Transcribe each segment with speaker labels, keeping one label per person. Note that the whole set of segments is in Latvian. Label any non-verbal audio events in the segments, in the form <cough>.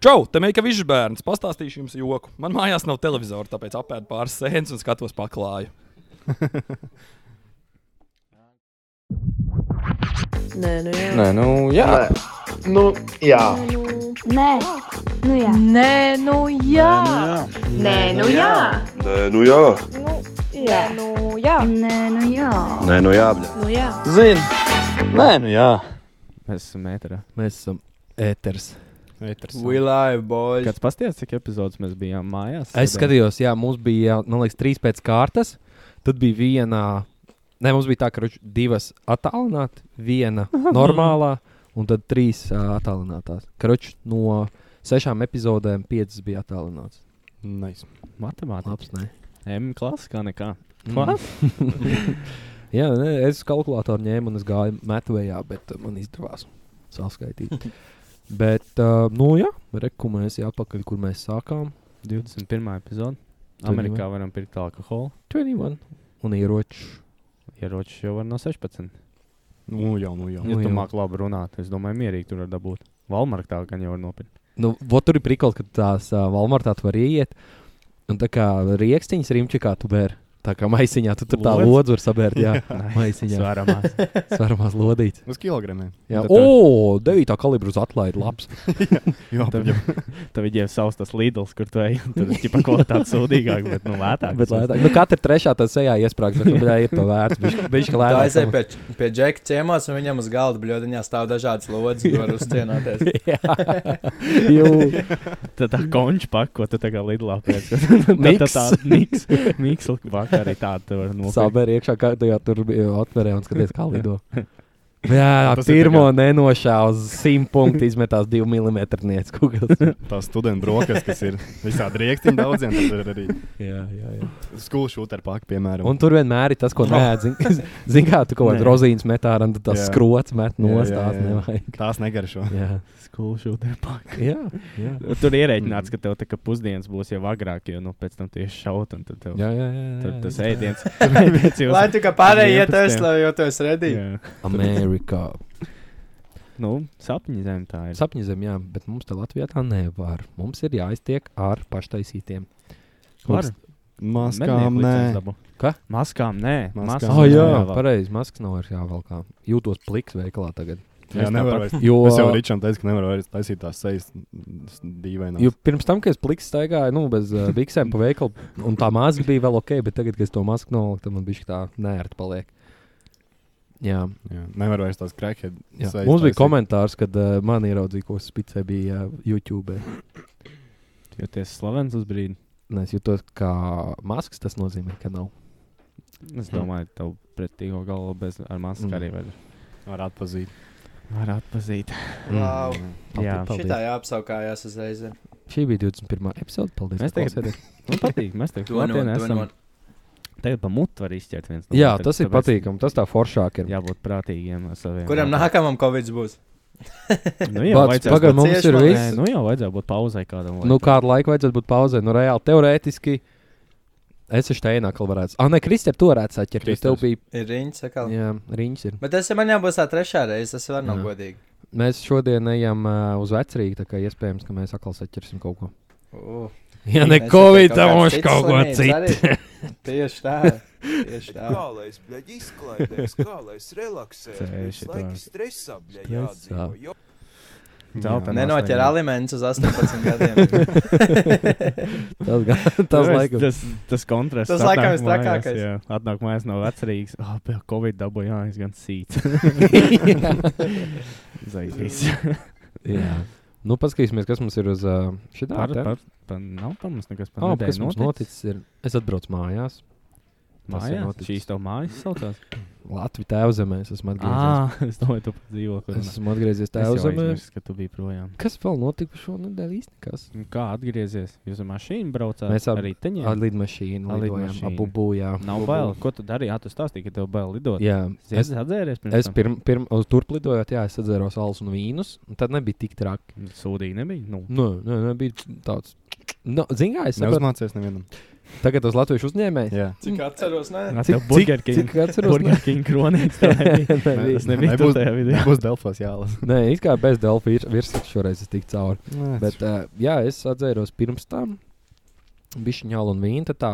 Speaker 1: Čau, te meklēja višķis bērns. Pastāstīšu jums joku. Man mājās nav televizora, tāpēc apēdu pāris sēnes un skatos paklāju.
Speaker 2: Nē, nu jā.
Speaker 3: Nē, nu, jā.
Speaker 4: Nē. Nu, jā.
Speaker 5: Nē, nu jā.
Speaker 2: Nē, nu jā.
Speaker 6: Nē, nu jā.
Speaker 7: Nē, nu jā,
Speaker 2: Nē, nu jā.
Speaker 5: Nē, nu jā.
Speaker 6: Nē, nu jā.
Speaker 2: Nu jā.
Speaker 3: Zini. Nē, nu, jā. Mēs esam metrā.
Speaker 8: Mēs esam ēters.
Speaker 3: Kāds
Speaker 4: We live, boys.
Speaker 3: pasties, cik epizodes mēs bijām mājās?
Speaker 8: Es
Speaker 3: Sēdējām.
Speaker 8: skatījos, jā, mums bija, man liekas, trīs pēc kārtas. Tad bija viena, ne, mums bija tā, ka ruč- divas attālināta, viena normālā, un tad trīs ā, attālinātās. Karoči no sešām epizodēm piecas bija attālināts.
Speaker 1: Nice.
Speaker 3: matemātikā.
Speaker 8: Labs, nē.
Speaker 3: eh, M klasiskā nekā.
Speaker 8: Mm. <laughs> jā, nē, es kalkulātoru ņēmu un es gāju metvējā, bet uh, man izdevās saskaitīt. bet, uh, nu jā, rekomendēsim apakaļ, kur mēs sākām.
Speaker 3: 21. epizode.
Speaker 8: Tu
Speaker 3: Amerikā varam pirkt alkoholu.
Speaker 8: 21 un ieroči.
Speaker 3: Ieroči jau var no 16.
Speaker 1: Nu, jau, nu, jau.
Speaker 3: Ja
Speaker 8: Nu,
Speaker 3: tu
Speaker 8: jā.
Speaker 3: māki labi runāt, es domāju, mierīgi tur var dabūt. Valmarktā gan jau var nopirkt.
Speaker 8: Nu, vo, tur ir prikals, ka tās uh, Walmartā tu vari iet. Un tā kā rīkstiņš rīmčikā tu bēr. Tā kā maisiņā tu tur tā
Speaker 1: Lodzi?
Speaker 8: lodzi var sabērt. Jā, maisiņā.
Speaker 3: Svaramās.
Speaker 8: <laughs> Svaramās lodītes.
Speaker 1: Uz kilogramiem.
Speaker 8: Jā,
Speaker 3: Tad tev-
Speaker 8: o, 9. kalibra uz atlaidi labs.
Speaker 1: Jā,
Speaker 3: Tad viņiem savs tas līdls, kur tu ej. un Tur ir tipa kvalitāte sūdīgāk, bet nu lētāk.
Speaker 8: bet lētāk. Nu, katra trešā tas sejā iesprāgst, bet nu, bļā, ir to vērts. Bišķi- Bišķi
Speaker 4: Tā
Speaker 8: lētāk.
Speaker 4: aizēja pie, pie džeka ciemos, un viņam uz galda bļodiņā stāv dažādas lodziņas, kur var uzcienāties.
Speaker 8: <laughs> Jū.
Speaker 3: Tā tā konča paka, ko tu tagad lidlā
Speaker 8: <laughs>
Speaker 3: pēc. Tā tā tā miks. Miksla paka arī tāda tu var nopirkt.
Speaker 8: Sabēr iekšā, kā tu jau tur biji atverē un skaties, kā lido. Jā,
Speaker 1: Tas ir
Speaker 8: pirmo nenošāva uz 100 punktu izmetās 2 mm kuklas.
Speaker 1: tā studenta brokas, kas ir visādi rīkstiņi daudziem, tad ir arī
Speaker 8: jā, jā, jā.
Speaker 1: skolu šūta ar paku, piemēram.
Speaker 8: Un tur vienmēr ir tas, ko <laughs> nēdz. Zini, kā tu kaut
Speaker 3: Nē.
Speaker 8: kādā rozīnas metā, un tad tās
Speaker 1: Jā.
Speaker 8: skrots met
Speaker 1: Jā, jā,
Speaker 8: nostās.
Speaker 1: jā.
Speaker 8: Nevajag. <laughs>
Speaker 1: tās negaršo.
Speaker 8: Jā,
Speaker 3: Skolšu te paka.
Speaker 8: jā. jā.
Speaker 3: Tur ierēķināts, ka tev tā kā pusdienas būs jau agrāk, jo nu pēc tam tieši šaut un tad tev.
Speaker 8: Jā, jā, jā, jā.
Speaker 3: Tur tas ēdiens.
Speaker 8: <laughs>
Speaker 3: <laughs> tur ēdiens jau-
Speaker 4: Lai tu kā pārējie iet
Speaker 3: 11.
Speaker 4: Tesla, jo tu esi redzīgs.
Speaker 3: Jā.
Speaker 8: Amerikā.
Speaker 3: Nu, sapņu zem tā ir.
Speaker 8: Sapņu zem, jā, bet mums te Latvijā tā nevar. Mums ir jāiztiek ar paštaisītiem.
Speaker 3: Var.
Speaker 1: Maskām, nē.
Speaker 8: Kā?
Speaker 3: Maskām nē.
Speaker 1: Maskām nē.
Speaker 3: Maskām
Speaker 8: Ah, jā,
Speaker 3: jāvelk.
Speaker 8: pareizi. Maskas nav vairs jāvelk. Jūtos pliks veikalā tagad.
Speaker 1: Jā,
Speaker 3: Es
Speaker 1: nevar
Speaker 3: tāpat.
Speaker 1: vairs.
Speaker 8: Jo,
Speaker 1: Es jau Ričam teicu, ka nevaru vairs taisīt tās sejas dīvainās.
Speaker 8: jo pirms tam, kad es pliks staigāju, nu, bez uh, biksēm pa veikalu, un tā maska bija vēl ok, bet tagad, kad es to masku noliku, tad man bija tā nērti paliek. Jā.
Speaker 1: Jā, nevar vairs tās crackhead
Speaker 8: Jā.
Speaker 1: sejas
Speaker 8: Mums bija
Speaker 1: taisīt.
Speaker 8: komentārs, kad uh, man ieraudzīja, ko spicē bija uh, YouTube.
Speaker 3: Jūties slavens uz brīdi.
Speaker 8: Nē, es jutos kā maskas, tas nozīmē, ka nav.
Speaker 3: Es
Speaker 8: Mhm.
Speaker 3: domāju, ka tev pretīgo galvu bez ar masku
Speaker 8: Mm.
Speaker 3: arī var,
Speaker 1: Var atpazīt.
Speaker 3: var atpazīt.
Speaker 4: Wow.
Speaker 3: Jā.
Speaker 8: Paldies.
Speaker 4: Šitā jāapsaukājās uzreiz.
Speaker 8: Šī bija 21. epizode. Paldies.
Speaker 3: Mēs
Speaker 8: ka
Speaker 3: tagad-
Speaker 8: klausāties.
Speaker 3: Man Nu, patīk, mēs te
Speaker 4: To no,
Speaker 3: klātienē
Speaker 4: to no.
Speaker 3: esam. Tagad pa mutu var izķert viens. no
Speaker 8: Jā,
Speaker 3: otra,
Speaker 8: tas ir
Speaker 3: tāpēc
Speaker 8: patīkami. Tas tā foršāk ir.
Speaker 3: Jābūt prātīgiem ar saviem.
Speaker 4: Kuram nākamam covid būs?
Speaker 3: Nu, jā,
Speaker 8: Bāc,
Speaker 3: vajadzēs
Speaker 8: pagaid,
Speaker 3: būt-
Speaker 8: mums
Speaker 4: cieš
Speaker 8: ir
Speaker 4: man,
Speaker 3: Nē,
Speaker 8: viss.
Speaker 3: Nu jau vajadzēja būt pauzē kādam.
Speaker 8: Nu, kādu laiku vajadzētu būt pauzē? Nu, reāli, teorētiski. Es esmu šeit, kā varētu. Ah, nē, Kristēns, tu varētu saķert. jo Tev
Speaker 1: Kristaps.
Speaker 8: bija
Speaker 4: Ir riņķis atkal.
Speaker 8: jā, riņķis. Ir.
Speaker 4: Bet tas man jau būs tā trešā reize, tas var nav
Speaker 8: Jā.
Speaker 4: godīgi.
Speaker 8: Mēs šodien ejam uh, uz vecrīgu, tā kā iespējams, ka mēs atkal saķersim kaut ko.
Speaker 4: Uh,
Speaker 8: Ja
Speaker 4: mēs te kāds cits slimnīca arī. <laughs> Tieši tā. Tieši
Speaker 8: <laughs>
Speaker 4: tā.
Speaker 6: Kā lai es bļaģ izklaidēs, kā lai es relaksēju,
Speaker 3: Tieši
Speaker 6: es laiku
Speaker 3: tā.
Speaker 6: stresā bļaģ
Speaker 8: Stresā.
Speaker 6: jādzīvo. jo-
Speaker 3: Zelta
Speaker 4: Nenoķer alimentus uz 18
Speaker 8: <laughs>
Speaker 4: gadiem.
Speaker 8: Tas, gan- <laughs> tas laikam.
Speaker 3: Nu, Tas, tas kontrasts.
Speaker 4: Tas laikam
Speaker 3: atnāk
Speaker 4: ir trakākais.
Speaker 3: mājās, Jā, atnāk mājās no vecrīgas. Ah, oh, Covid dabūja, jā, es gan
Speaker 8: <laughs>
Speaker 3: sīts. <laughs> Zaļīs.
Speaker 8: Jā. Nu, paskatīsimies, kas mums ir uz uh, šī
Speaker 3: Par,
Speaker 8: tāda.
Speaker 3: par, par, nav par mums nekas par
Speaker 8: Oh,
Speaker 3: nedēļu
Speaker 8: kas mums noticis? Ir. Es atbraucu mājās. Tas ir
Speaker 3: Mājās?
Speaker 8: noticis.
Speaker 3: Šīs tev mājas saucās?
Speaker 8: Latvijas tēvzemē es esmu atgriezies.
Speaker 3: Ah, <laughs> es domāju, tu pat dzīvo kaut
Speaker 8: Es
Speaker 3: kur.
Speaker 8: esmu atgriezies tēvzemē.
Speaker 3: Es ka tu biji projām.
Speaker 8: Kas vēl notika šonadēļ īstenībā?
Speaker 3: Nu, Kā atgriezies? Jūs ar mašīnu braucāt?
Speaker 8: Mēs ar-
Speaker 3: arī teņā.
Speaker 8: Ar lidmašīnu,
Speaker 3: Ar
Speaker 8: lidojām
Speaker 3: lidmašīnu.
Speaker 8: abu būjām.
Speaker 3: Nav bail. Ko tu darīji? Jā, tu stāstīji, ka tev bail lidot.
Speaker 8: Jā,
Speaker 3: Es
Speaker 8: es,
Speaker 3: atdzēries pirms
Speaker 8: es
Speaker 3: tam?
Speaker 8: pirms pirm, uz turp lidojot, jā, es atceros alus un vīnus, un tad nebija tik traki.
Speaker 3: Sūdīgi nebija. Nu,
Speaker 8: Nē, nē, nē bija tāds Nu, Zini, kā es saprotu,
Speaker 7: Neuzmācies nevienam.
Speaker 8: tagad tas latviešu uzņēmējs.
Speaker 7: Jā,
Speaker 4: Cik atceros, nē?
Speaker 3: Cik Burger King?
Speaker 8: cik atceros?
Speaker 3: Burger King kronēts <laughs> tajā
Speaker 8: Nē,
Speaker 3: Es nebiju tur tajā video.
Speaker 7: Būs Delfos jālasa.
Speaker 8: Nē, it kā bez Delfa virsmas šoreiz es tiku cauri.
Speaker 7: Nē,
Speaker 8: Bet, uh, jā, es atceros pirms tam, bija viņa un viņa tā.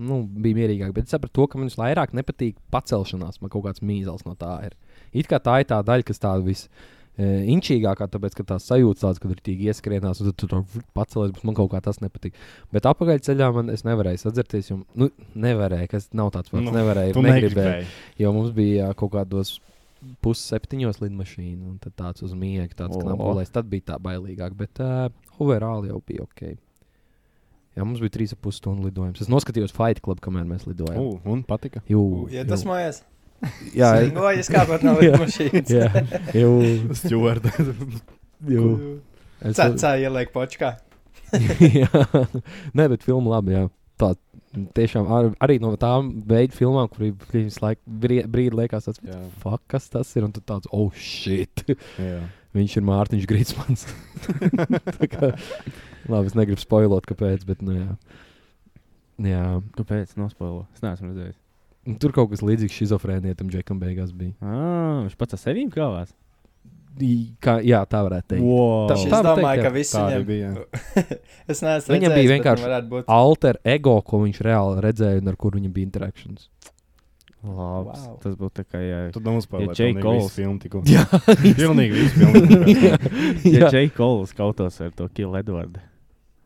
Speaker 8: Nu, bija mierīgāk, bet es sapratu, to, ka man vairāk nepatīk pacelšanās. Man kaut kāds mīzels no tā ir. It kā tā ir tā daļa, kas tāda vis. e, Inčīgākā, tāpēc, ka tā sajūta tāds, kad ir tik ieskrienās, un tad tu tur pacēlies, bet man kaut kā tas nepatīk. Bet apakšceļā man es nevarēju sadzerties, jo, nu, nevarēju, kas nav tāds pats,
Speaker 7: Nu,
Speaker 8: nu, nevarēju,
Speaker 7: Tu
Speaker 8: negribēju.
Speaker 7: negribēji.
Speaker 8: Jo mums bija jā, kaut kādos pusseptiņos lidmašīna, un tad tāds uz miega, tāds
Speaker 3: O.
Speaker 8: knabulēs. Tad bija tā bailīgāk, bet uh, overall jau bija ok. Jā, mums bija trīs ar pus stundu lidojums. Es noskatījos Fight Club, kamēr mēs lidojām.
Speaker 7: Ū, Un patika.
Speaker 8: Jū,
Speaker 4: Ja tas mājās. <laughs>
Speaker 8: jā, es-
Speaker 4: No, nu, es
Speaker 8: <laughs>
Speaker 4: kāpēc nav
Speaker 8: Jā.
Speaker 4: lidmašīnas. <laughs>
Speaker 8: jā, jū,
Speaker 7: Stjorda.
Speaker 8: <laughs> jū. Es,
Speaker 4: Cecā ieliek počkā.
Speaker 8: <laughs> jā, nē, bet filma labi, jā. Tā tiešām ar, arī no tām veidu filmām, kur ir visu laiku brie- brīdi liekas tāds,
Speaker 7: Jā,
Speaker 8: fuck, kas tas ir, un tu tāds, oh, shit.
Speaker 7: jā.
Speaker 8: Viņš ir Mārtiņš <laughs> Grīsmans. Tā kā, labi, es negribu spoilot, kāpēc, bet nu, jā. jā.
Speaker 3: Kāpēc? Nospoilo. Es neesmu redzējis.
Speaker 8: Nu, Tur kaut kas līdzīgs šizofrēnietam, Džekam, beigās bija.
Speaker 3: Ah, viņš pats ar sevīm kāvās.
Speaker 8: I- Kā, jā, tā varētu teikt.
Speaker 3: Wow.
Speaker 8: Tas
Speaker 4: Es
Speaker 8: Tā var
Speaker 4: domāju,
Speaker 8: teikt, jā.
Speaker 4: ka visi
Speaker 7: Tā arī
Speaker 4: viņam.
Speaker 7: bija. jā.
Speaker 4: Es neesmu
Speaker 8: Viņam
Speaker 4: redzējis,
Speaker 8: bija
Speaker 4: bet
Speaker 8: vienkārši
Speaker 4: nu varētu <laughs> būt.
Speaker 8: Alter ego, ko viņš reāli redzēja un ar kur viņam bija <laughs> interakcijas.
Speaker 3: Labs.
Speaker 4: Wow.
Speaker 3: Tas būtu tā kā, ja,
Speaker 7: Tu nospēlēji.
Speaker 3: Ja Jake Coles.
Speaker 7: filmu tikko. Jā. Pilnīgi visu
Speaker 8: <laughs>
Speaker 7: filmu.
Speaker 3: ja Jay Coles kautos ar to Kill Edvardu,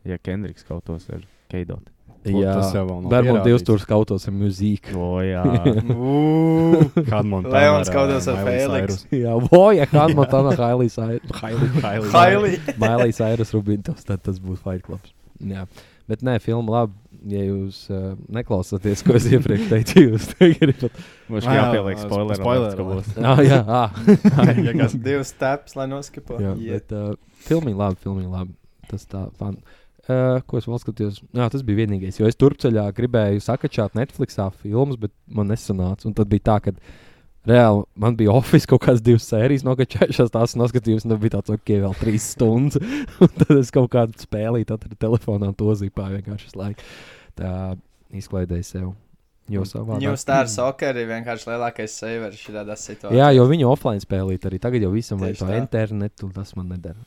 Speaker 3: ja Kendriks kautos ar Keidot.
Speaker 7: tas jau vēl nav
Speaker 8: Bermuda
Speaker 7: pierādīts.
Speaker 8: divas tur skautos ar mūziku.
Speaker 3: O, <laughs> jā.
Speaker 8: <laughs>
Speaker 7: Kāda man
Speaker 4: Leons kaudos ar <laughs> Fēliksu.
Speaker 8: Jā, voja, kā man tā no Hailijas Airus.
Speaker 7: Hailī.
Speaker 4: Hailī.
Speaker 8: Mailijas Airus Rubintovs, tad tas būtu Fight Club. Jā. Bet nē, filma labi. Ja jūs uh, neklausāties, ko es iepriekš teicu, jūs negribat.
Speaker 3: Mums
Speaker 7: Jā,
Speaker 3: jāpieliek
Speaker 7: jā,
Speaker 3: spoiler.
Speaker 7: spoiler
Speaker 3: Spoiler, ka
Speaker 7: <laughs>
Speaker 3: būs.
Speaker 8: <laughs>
Speaker 3: <laughs>
Speaker 8: Ah, jā, ah,
Speaker 4: Divas taps, lai noskipo.
Speaker 8: Jā,
Speaker 4: Jā.
Speaker 8: bet uh, filmiņa labi, filmiņa labi. Tas tā, fan. Uh, ko es vēl skatījos? Jā, tas bija vienīgais. Jo es turpceļā gribēju sakačāt Netflixā filmas, bet man nesanāca. Un tad bija tā, ka reāli man bija oficiāls kaut kādas divas sērijas, nokačājušās tās noskatījums, un tad bija tāds, ok, vēl trīs stundas. <laughs> un tad es kaut kādu spēlīju, tad telefonā to zīpāju vienkārši visu laiku. Tā izklaidēja sev. Jo savā
Speaker 4: New Star Soccer ir vienkārši lielākais saveris šādā situācijā.
Speaker 8: Jā, jo viņi offline spēlīja arī tagad jau visam, vai
Speaker 4: Tieši
Speaker 8: to
Speaker 4: tā.
Speaker 8: internetu, tas man nedara.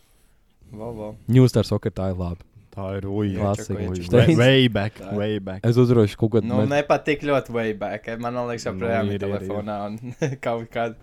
Speaker 4: Vo, vo.
Speaker 8: Newstar soccer tā ir labi.
Speaker 7: Tā ir uja.
Speaker 8: Klasika.
Speaker 4: čakoja,
Speaker 8: Viņš
Speaker 7: Way,
Speaker 8: teica,
Speaker 7: way back, way back.
Speaker 8: Es uzrašu kaut ko
Speaker 4: Nu,
Speaker 8: tādu.
Speaker 4: nepatīk ļoti way back. eh, Man liekas, joprojām
Speaker 7: Nu, ir, ir,
Speaker 4: ir
Speaker 7: ir.
Speaker 4: telefonā un <laughs> kaut kad.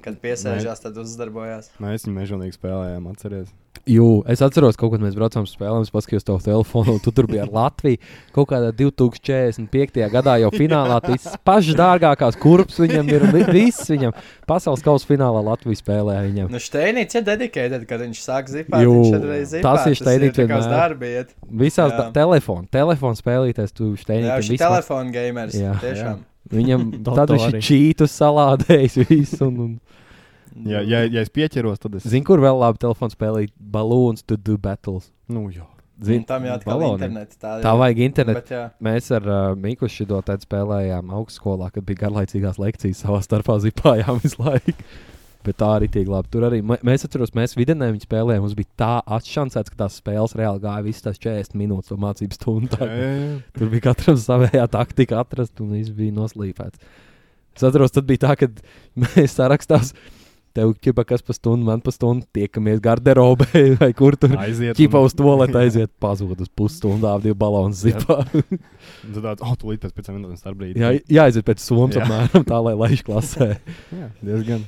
Speaker 4: Kad piesēžās, tad uzdarbojās.
Speaker 7: Mēs Nu, viņu mežonīgi spēlējām, atcerieties.
Speaker 8: Jū, es atceros, kaut kad mēs braucām uz spēlēm, es paskatījos to telefonu, un tu tur bija ar Latviju. Kaut kādā 2045. gadā jau finālā tas pašs dārgākās kurpes viņam ir. un vi- Viss viņam pasaules kausa finālā Latvija spēlēja viņam.
Speaker 4: Nu, Steinīts ir dedikēts, kad viņš sāk zipāt.
Speaker 8: Jū,
Speaker 4: viņš arī zipā.
Speaker 8: tas ir Steinīts
Speaker 4: Tā kā uz
Speaker 8: vienmēr.
Speaker 4: darbu iet.
Speaker 8: Visās
Speaker 4: Jā.
Speaker 8: telefonā, telefonā spēlīties, tu
Speaker 4: Jā, viņš
Speaker 8: steigni
Speaker 4: ir telefona gamers.
Speaker 8: Jā.
Speaker 4: Jā, tiešām.
Speaker 8: Viņam
Speaker 3: Datori.
Speaker 8: tad viņš ir čītus salādējis visu. Un, un...
Speaker 7: Ja, ja, ja es pieķeros, tad es.
Speaker 8: Zini, kur vēl labi telefons spēlēt balloons to do battles.
Speaker 7: Nu, jā.
Speaker 4: Un
Speaker 8: Zini,
Speaker 4: tam jāatkal
Speaker 8: baloni.
Speaker 4: internets.
Speaker 8: tā vajag internetu.
Speaker 4: Bet, jā.
Speaker 8: Mēs ar uh, Miku Šido tādu spēlējām augstskolā, kad bija garlaicīgās lekcijas savā starpā zipājām visu laiku. Bet tā arī tiek labi. Tur arī mē- mēs atceramies, mēs vidienē viņu spēlējām. Mums bija tā atšancēts, ka tās spēles reāli gāja visas tās 40 minūtes to mācību stundu.
Speaker 7: Jā, jā, jā.
Speaker 8: Tur bija katram savējā taktika atrast, un viss bija noslīpēts. Es atceros, tad bija tā, ka mēs sarakstās. Tev ķipa kas pa stundu, man pa stundu tiekamies garderobē <laughs> vai kur tur.
Speaker 7: Aiziet.
Speaker 8: Ķipa uz to, lai aiziet pazūd uz pusstundā, divu balonu zipā.
Speaker 7: Un tad tāds, oh, tu līdz pēc piecām minūtēm starpbrīd.
Speaker 8: Jā, jāiziet pēc somas,
Speaker 7: Jā.
Speaker 8: apmēram tā, lai laiš
Speaker 7: <laughs>
Speaker 8: klasē.
Speaker 7: jā, diezgan,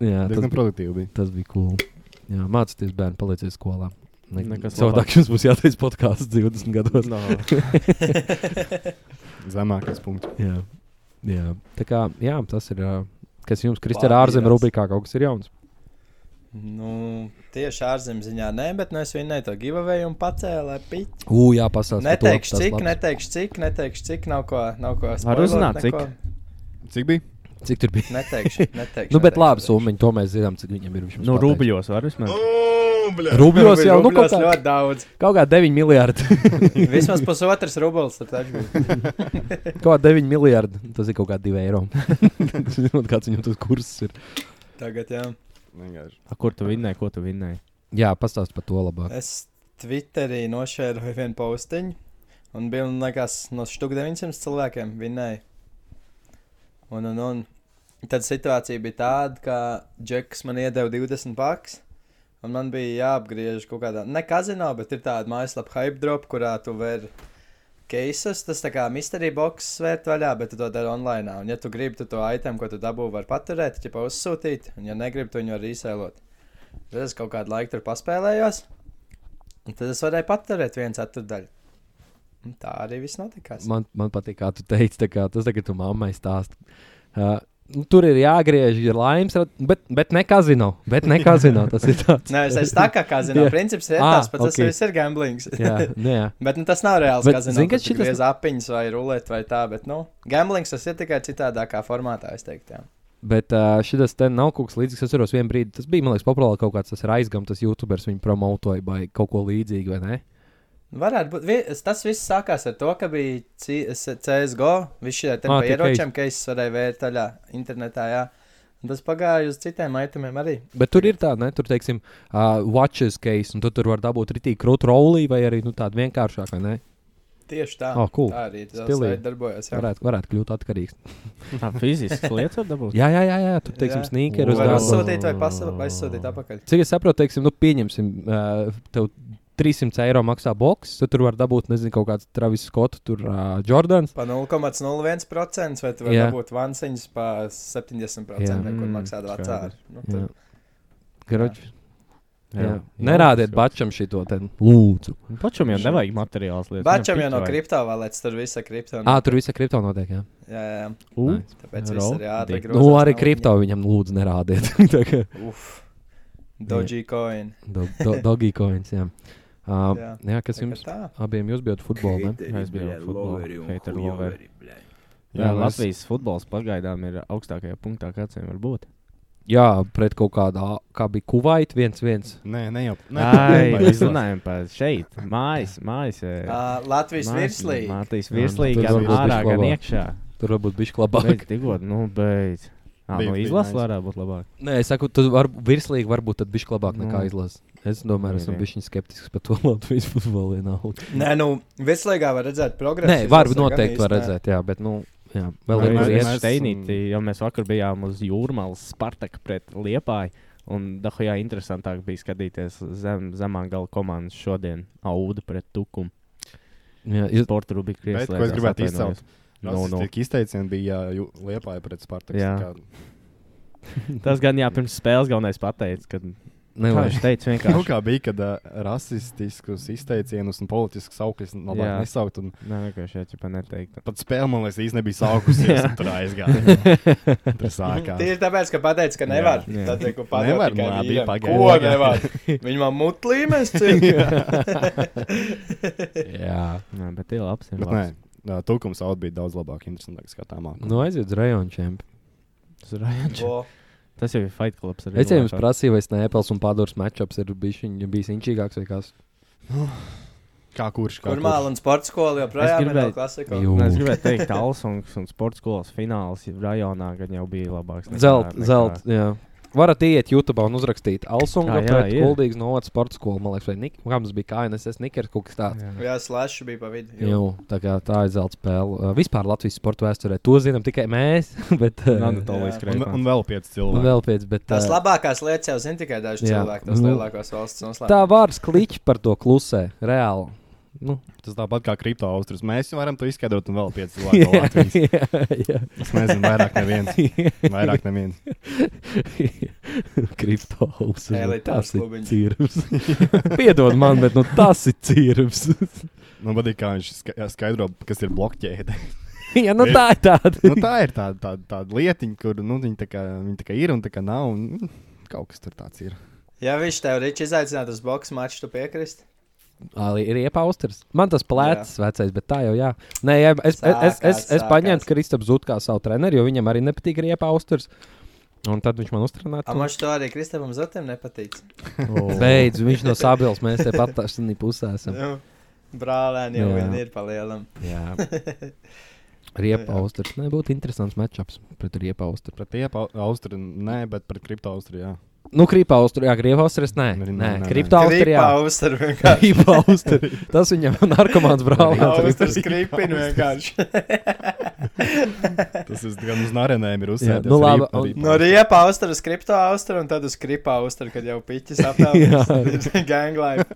Speaker 8: Jā, tas,
Speaker 7: diezgan produktīvi bija.
Speaker 8: tas bija cool. Jā, mācīties bērnu, palieciet skolā. Ne,
Speaker 3: Nekas
Speaker 8: Savādāk jums būs jātaisa podkāsts 20 gados.
Speaker 4: <laughs>
Speaker 3: No.
Speaker 7: Zemākais punkts.
Speaker 8: Jā. Jā. Tā kā, jā, tas ir, ā, kas jums, Kristē,
Speaker 4: Labi,
Speaker 8: ārzemē
Speaker 4: jā.
Speaker 8: rubrikā kaut kas ir jauns.
Speaker 4: Nu, tieši ārzemziņā nē, bet nu, es viņai to giveaway un pacēlu pitu.
Speaker 8: Ugh, jā, pastāstiet.
Speaker 4: Neteikšu, cik, neteikšu, cik, neteikšu, cik, nav ko, nav ko spoilot,
Speaker 3: uzzināt, cik?
Speaker 4: neko.
Speaker 7: Cik bija?
Speaker 8: Cik tur bija? <laughs>
Speaker 4: Neteikšu, neteikšu.
Speaker 8: Nu, bet
Speaker 4: neteikšu,
Speaker 8: labi,
Speaker 4: neteikšu.
Speaker 8: summiņi, to mēs zinām, cik viņam ir. viņš mums
Speaker 3: Nu,
Speaker 8: pateiks.
Speaker 3: rubļos var vismaz.
Speaker 8: Rubļos jau, nu, kaut
Speaker 4: Rubļos
Speaker 8: kā,
Speaker 4: ļoti
Speaker 8: <laughs>
Speaker 4: daudz.
Speaker 8: kaut kā 9 miljardi. <laughs>
Speaker 4: Vismaz pusotrs rublis. tur taču bija.
Speaker 8: Kaut kā 9 miljardi. Tas ir kaut kā 2
Speaker 7: <laughs>
Speaker 8: eiro. <laughs> Zinot, kāds viņam tas kurs ir.
Speaker 4: Tagad, jā.
Speaker 7: Vienkārši.
Speaker 3: <laughs> A, Kur tu vinnēji, ko tu vinnēji?
Speaker 8: Jā, pastāstiet par to labāk.
Speaker 4: Es Twitterī nošēroju <laughs> vienu postiņu, un bija man liekas, no štuk 900 cilvēkiem vinnēja. Un, un, un tad situācija bija tāda, ka Džeks man iedeva 20 pakas. Un man bija jāapgriež kaut kādā, ne kazino, bet ir tāda mājaslapa hype drop, kurā tu vari keisus, tas tā kā mystery box svērt vaļā, bet tu to dari online. Un ja tu gribi, tu to item, ko tu dabū, var paturēt, ja pa uzsūtīt, un ja negribi, tu viņu var īsēlot. Tad es kaut kādu laiku tur paspēlējos, un tad es varēju paturēt viens ceturdaļu. Un Tā arī viss notika. Man...
Speaker 8: Man, man patīk, kā tu teici, tā kā, tas tagad tu mammai stāst. Uh, nu, tur ir jāgriež, ir laimes, rad- bet, bet ne kazino. Bet ne kazino tas ir
Speaker 4: <laughs>
Speaker 8: tāds.
Speaker 4: Nē, es tā kā
Speaker 8: <laughs>
Speaker 4: kazino
Speaker 8: Jā.
Speaker 4: princips ir
Speaker 8: Ah,
Speaker 4: tas pats, tas
Speaker 8: ok.
Speaker 4: viss ir gamblings.
Speaker 8: jā, nu, jā.
Speaker 4: Bet nu, tas nav reāls
Speaker 8: Bet,
Speaker 4: kazino.
Speaker 8: zini,
Speaker 4: Zinu,
Speaker 8: ka
Speaker 4: ka šis
Speaker 8: šitas-
Speaker 4: ir apiņas vai rulēta vai tā, bet nu, gamblings tas ir tikai citādākā formātā, es teiktu. Jā.
Speaker 8: Bet uh, šis te nav kaut kas līdzīgs. Es atceros, vienā brīdī tas bija, man liekas, populārs kaut kāds aizgājums, tas youtuberis viņu promotoja vai kaut ko līdzīgu, vai ne?
Speaker 4: Varētu būt. Vi, tas viss sākās ar to, ka bija C- S- CSGO. Viņš šeit
Speaker 8: Ā,
Speaker 4: ar
Speaker 8: tie
Speaker 4: ieročiem, ka es varēju vērt taļā internetā. Jā. Un tas pagāja uz citiem itemiem arī.
Speaker 8: Bet tur ir tāda, ne, tur, teiksim, uh, watches case, un tu tur var dabūt rītīgi krūtu rolī, vai arī nu, tāda vienkāršāka, vai ne?
Speaker 4: Tieši tā.
Speaker 8: Oh, cool.
Speaker 4: Tā arī tas
Speaker 8: Stilīgi.
Speaker 4: darbojas. Jā.
Speaker 8: Varētu, varētu kļūt atkarīgs.
Speaker 3: Tā fiziski lietas var dabūt.
Speaker 8: Jā, jā, jā, jā tur, teiksim,
Speaker 4: Jā.
Speaker 8: sneakerus
Speaker 4: Var
Speaker 8: dāvā.
Speaker 4: uzsūtīt vai pasa- vai aizsūtīt atpakaļ.
Speaker 8: Cik es saprotu, teiksim, nu, pieņemsim, uh, tev 300 eiro maksā box, tad tur var dabūt, nezinu, kaut kāds Travis Scott, tur uh, Jordans.
Speaker 4: Pa 0,01% vai tu vari
Speaker 8: Jā.
Speaker 4: dabūt vansiņas pa 70%,
Speaker 8: Jā.
Speaker 4: kur
Speaker 3: Mm,
Speaker 4: maksā
Speaker 3: skaidrs.
Speaker 4: vecāri. Nu,
Speaker 8: Jā.
Speaker 4: tad-
Speaker 8: Karoč, jā, jā.
Speaker 3: Jā.
Speaker 8: Nerādiet bačam šito te lūdzu.
Speaker 3: Pačam jau nevajag materiāls lietas.
Speaker 4: Bačam jau no
Speaker 3: kripta.
Speaker 4: kriptovalētas tur visa kripto. nu.
Speaker 8: Ā, tur viss ir kripto notiek, jā.
Speaker 4: Jā, jā, jā. Tāpēc
Speaker 3: Ro-
Speaker 4: viss ir
Speaker 3: Dik.
Speaker 4: jāatgriež.
Speaker 8: Nu, arī kripto viņam lūdzu <laughs> nerādiet. Tā kā
Speaker 4: Uf. Doji coin.
Speaker 8: do, do, Dogi coins, jā. Uh, jā.
Speaker 4: Jā.
Speaker 8: jā, kas
Speaker 4: Tā kā
Speaker 8: jums
Speaker 4: tā.
Speaker 8: abiem jūs bijat futbolā? <laughs> ne?
Speaker 3: Es biju
Speaker 6: Bļa,
Speaker 3: futbolā,
Speaker 6: loveri un
Speaker 3: hater
Speaker 6: hujoveri,
Speaker 3: loveri.
Speaker 6: bļa.
Speaker 3: Jā,
Speaker 7: Jā, mēs-
Speaker 3: Latvijas futbols pagaidām ir augstākajā punktā, kāds viņam var būt.
Speaker 8: Jā, pret kaut kādā, kā bija Kuvaita, viens viens.
Speaker 7: Nē, ne jau. Nē,
Speaker 3: Ai,
Speaker 7: nebaidās.
Speaker 3: mēs runājam par šeit, mājas, mājas. eh,
Speaker 4: Ā, Ah, Latvijas virslīga.
Speaker 3: Mātīs
Speaker 8: Jā, nu,
Speaker 3: virslīgi,
Speaker 8: tur
Speaker 3: gan
Speaker 8: varbūt
Speaker 3: ārā,
Speaker 8: bišķi
Speaker 3: gan
Speaker 8: labāk.
Speaker 3: iekšā.
Speaker 8: Tur varbūt bija labāk.
Speaker 3: Beidz, tikot, nu, beidz. Ā,
Speaker 7: Bija-
Speaker 3: nu,
Speaker 7: bija
Speaker 3: izlases
Speaker 7: nice.
Speaker 3: varētu būt labāk.
Speaker 8: Nē, es saku, tas var būt virslīgi, varbūt tad bija labāk nekā
Speaker 3: Nu.
Speaker 8: izlase. Es domāju, es esmu
Speaker 3: Jā.
Speaker 8: bijis skeptisks par to <laughs> Latvijas futbolu. vienalga.
Speaker 4: Nē, nu, virslīgā var redzēt progresu.
Speaker 8: Nē, var
Speaker 4: izlasē
Speaker 8: noteikti
Speaker 4: gan
Speaker 8: var
Speaker 4: īsti, nē.
Speaker 8: redzēt, jā, bet nu, jā,
Speaker 3: Vēl
Speaker 8: vēl ir
Speaker 7: Vai
Speaker 3: vienmēr
Speaker 8: kur
Speaker 7: mēs-
Speaker 8: iet.
Speaker 3: ir
Speaker 7: mēs-
Speaker 3: steinīti, jo mēs vakar bijām uz jūrmālas Spartaka pret Liepāju. Un Dahojā interesantāk bija skatīties zem, zemā gala komandas šodien Auda pret Tukumu.
Speaker 8: Jā, jūs-
Speaker 3: Sporta rubriku
Speaker 7: Bet, ko es gribētu izcelt?
Speaker 3: Nu,
Speaker 7: No,
Speaker 4: Nu,
Speaker 7: no. Izteicieni bija liepāja pret Spartaku.
Speaker 3: Jā.
Speaker 7: tā kā-
Speaker 3: Tas gan jā, pirms spēles galvenais pateica, ka kā
Speaker 8: Nelaiž.
Speaker 3: viņš teica
Speaker 7: Nu,
Speaker 3: vienkārši.
Speaker 7: kā bija, kad uh, rasistiskus izteicienus un politiskus saukļus
Speaker 3: Jā.
Speaker 7: labāk nesaukt. un
Speaker 3: Nē, vienkārši šeit jau neteikt.
Speaker 7: Pat spēle, man liekas, īstenībā nebija saukusies. un Tur aizgāja.
Speaker 8: <laughs>
Speaker 7: Tur sākās.
Speaker 4: Mhm. Tieši tāpēc, ka pateica, ka nevar.
Speaker 3: Jā.
Speaker 4: Tad, ko
Speaker 7: Nevar, nu,
Speaker 4: pateica, ka
Speaker 7: labi,
Speaker 4: bija
Speaker 7: pagaidi,
Speaker 4: Ko
Speaker 7: pagaidi.
Speaker 4: nevar?
Speaker 8: <laughs>
Speaker 7: <laughs>
Speaker 4: Viņam mutlīmes <laughs> cik.
Speaker 8: Jā,
Speaker 3: <laughs> Nē, bet ir labs. Ir
Speaker 7: Bet
Speaker 3: labs.
Speaker 7: nē, nā, tulkums audio bija daudz labāk, interesantāk skatāmāk.
Speaker 8: nu aiziet uz rajonu čempionu.
Speaker 3: Tas, ir Ryan Ch-
Speaker 4: O,
Speaker 3: tas jau ir Fight Club.
Speaker 8: Es jau jums prasīju, vai Snēpels un Pāvils matčups ir bijis viņa- bijis inčīgāks vai kas.
Speaker 7: Kā kurš? Kā
Speaker 4: Kur māla un sporta skola
Speaker 3: Es
Speaker 4: joprojām ir vēl
Speaker 3: gribēju-
Speaker 4: klasika.
Speaker 8: Jū.
Speaker 3: Es gribēju teikt, ka Alsons un Sports skolas fināls rajonā gan jau bija labāks. nekā-
Speaker 8: Zelt,
Speaker 3: nekā-
Speaker 8: zelt, jā. Varat iet YouTube un uzrakstīt Alsunga
Speaker 3: Ah, jā,
Speaker 8: pret
Speaker 3: ir.
Speaker 8: Kuldīgas novada sporta skolu, man liekas, vai Nik, kā mums bija KNSS Nikers kaut kas tāds.
Speaker 3: Jā.
Speaker 4: Jā, slash bija pa vidu. Jū.
Speaker 8: Jū, tā, kā, tā ir zelta spēle. Uh, vispār Latvijas sporta vēsturē to zinām tikai mēs. <laughs> Bet, uh,
Speaker 3: Anatolijas
Speaker 7: Un,
Speaker 4: Jā.
Speaker 3: Kreipmans.
Speaker 7: un vēl pieci
Speaker 8: Un
Speaker 7: cilvēki.
Speaker 8: vēl pēc, bet,
Speaker 4: Tās
Speaker 8: ā,
Speaker 4: labākās lietas jau zina tikai daži
Speaker 8: Jā.
Speaker 4: cilvēki, tās
Speaker 8: Nu,
Speaker 4: lielākās valsts
Speaker 8: tā
Speaker 4: noslēpumā.
Speaker 8: vārds kliķi par to klusē, reāli. Nu,
Speaker 7: Tas tāpat kā kripto austrus. Mēs varam to izskaidrot, un vēl pieci cilvēki. no
Speaker 8: jā,
Speaker 7: Latvijas.
Speaker 8: <laughs> jā,
Speaker 7: Es nezinu, vairāk neviens. <laughs>
Speaker 8: <laughs>
Speaker 7: Vairāk neviens.
Speaker 8: jā. Kripto ausis. nu,
Speaker 4: Elitārs
Speaker 8: Tas ir
Speaker 4: klubiņš.
Speaker 8: cirps.
Speaker 7: <laughs>
Speaker 8: Piedod man, bet nu, tas ir cirps.
Speaker 7: Man patīk, kā viņš ska- skaidro, kas ir blokķēde.
Speaker 8: <laughs> jā, nu tā ir tāda.
Speaker 7: nu, tā ir tāda, tāda, tāda lietiņa, kur nu, viņi, tā kā, viņi tā kā ir un tā kā nav. Un, mm, kaut kas tur tāds ir.
Speaker 4: Ja viņš tev riči izaicinātu uz boxe maču, tu piekrist?
Speaker 8: Ali ir iepausters. Man tas plētas vecais, bet tā jau jā. Nē, jā, es, es, es, es, es
Speaker 4: Sākās,
Speaker 8: paņēmu
Speaker 4: sākās.
Speaker 8: Kristaps Zut kā savu treneru, jo viņam arī nepatīk ir iepausters. Un tad viņš man uztrunāja.
Speaker 4: A man šo arī Kristapam Zotam nepatīk.
Speaker 8: Beidz, viņš no sabils, mēs te pat tādā pusē esam.
Speaker 4: Nu, Brālēni jau
Speaker 8: Jā.
Speaker 4: vien ir pa lielam.
Speaker 8: <laughs> Jā. Riepausters. Nē, būtu interesants matčups pret riepaustru.
Speaker 4: <laughs>
Speaker 7: Pret tiem austriem, nē, bet pret kripto austriem.
Speaker 8: Nu, krīpā uzturā, jā, grīvā uzturā. Nē,
Speaker 7: Nē,
Speaker 8: nē,
Speaker 7: nē,
Speaker 8: nē.
Speaker 7: nē.
Speaker 8: krīpā uzturā. <laughs>
Speaker 4: Auster vienkārši.
Speaker 8: Krīpā
Speaker 4: <laughs>
Speaker 8: uzturā. <laughs> Tas viņam narkomāns <laughs> brālis.
Speaker 4: Auster skripina
Speaker 8: <laughs>
Speaker 4: vienkārši.
Speaker 7: <laughs> Tas ir gan uz nārenēm ir
Speaker 8: Jā,
Speaker 7: uzsēdies.
Speaker 8: nu labi, un-
Speaker 4: No riepa auster uz kripto auster un tad uz kripa auster, kad jau
Speaker 8: <laughs>
Speaker 4: piķis apēlis. <laughs> Gang life.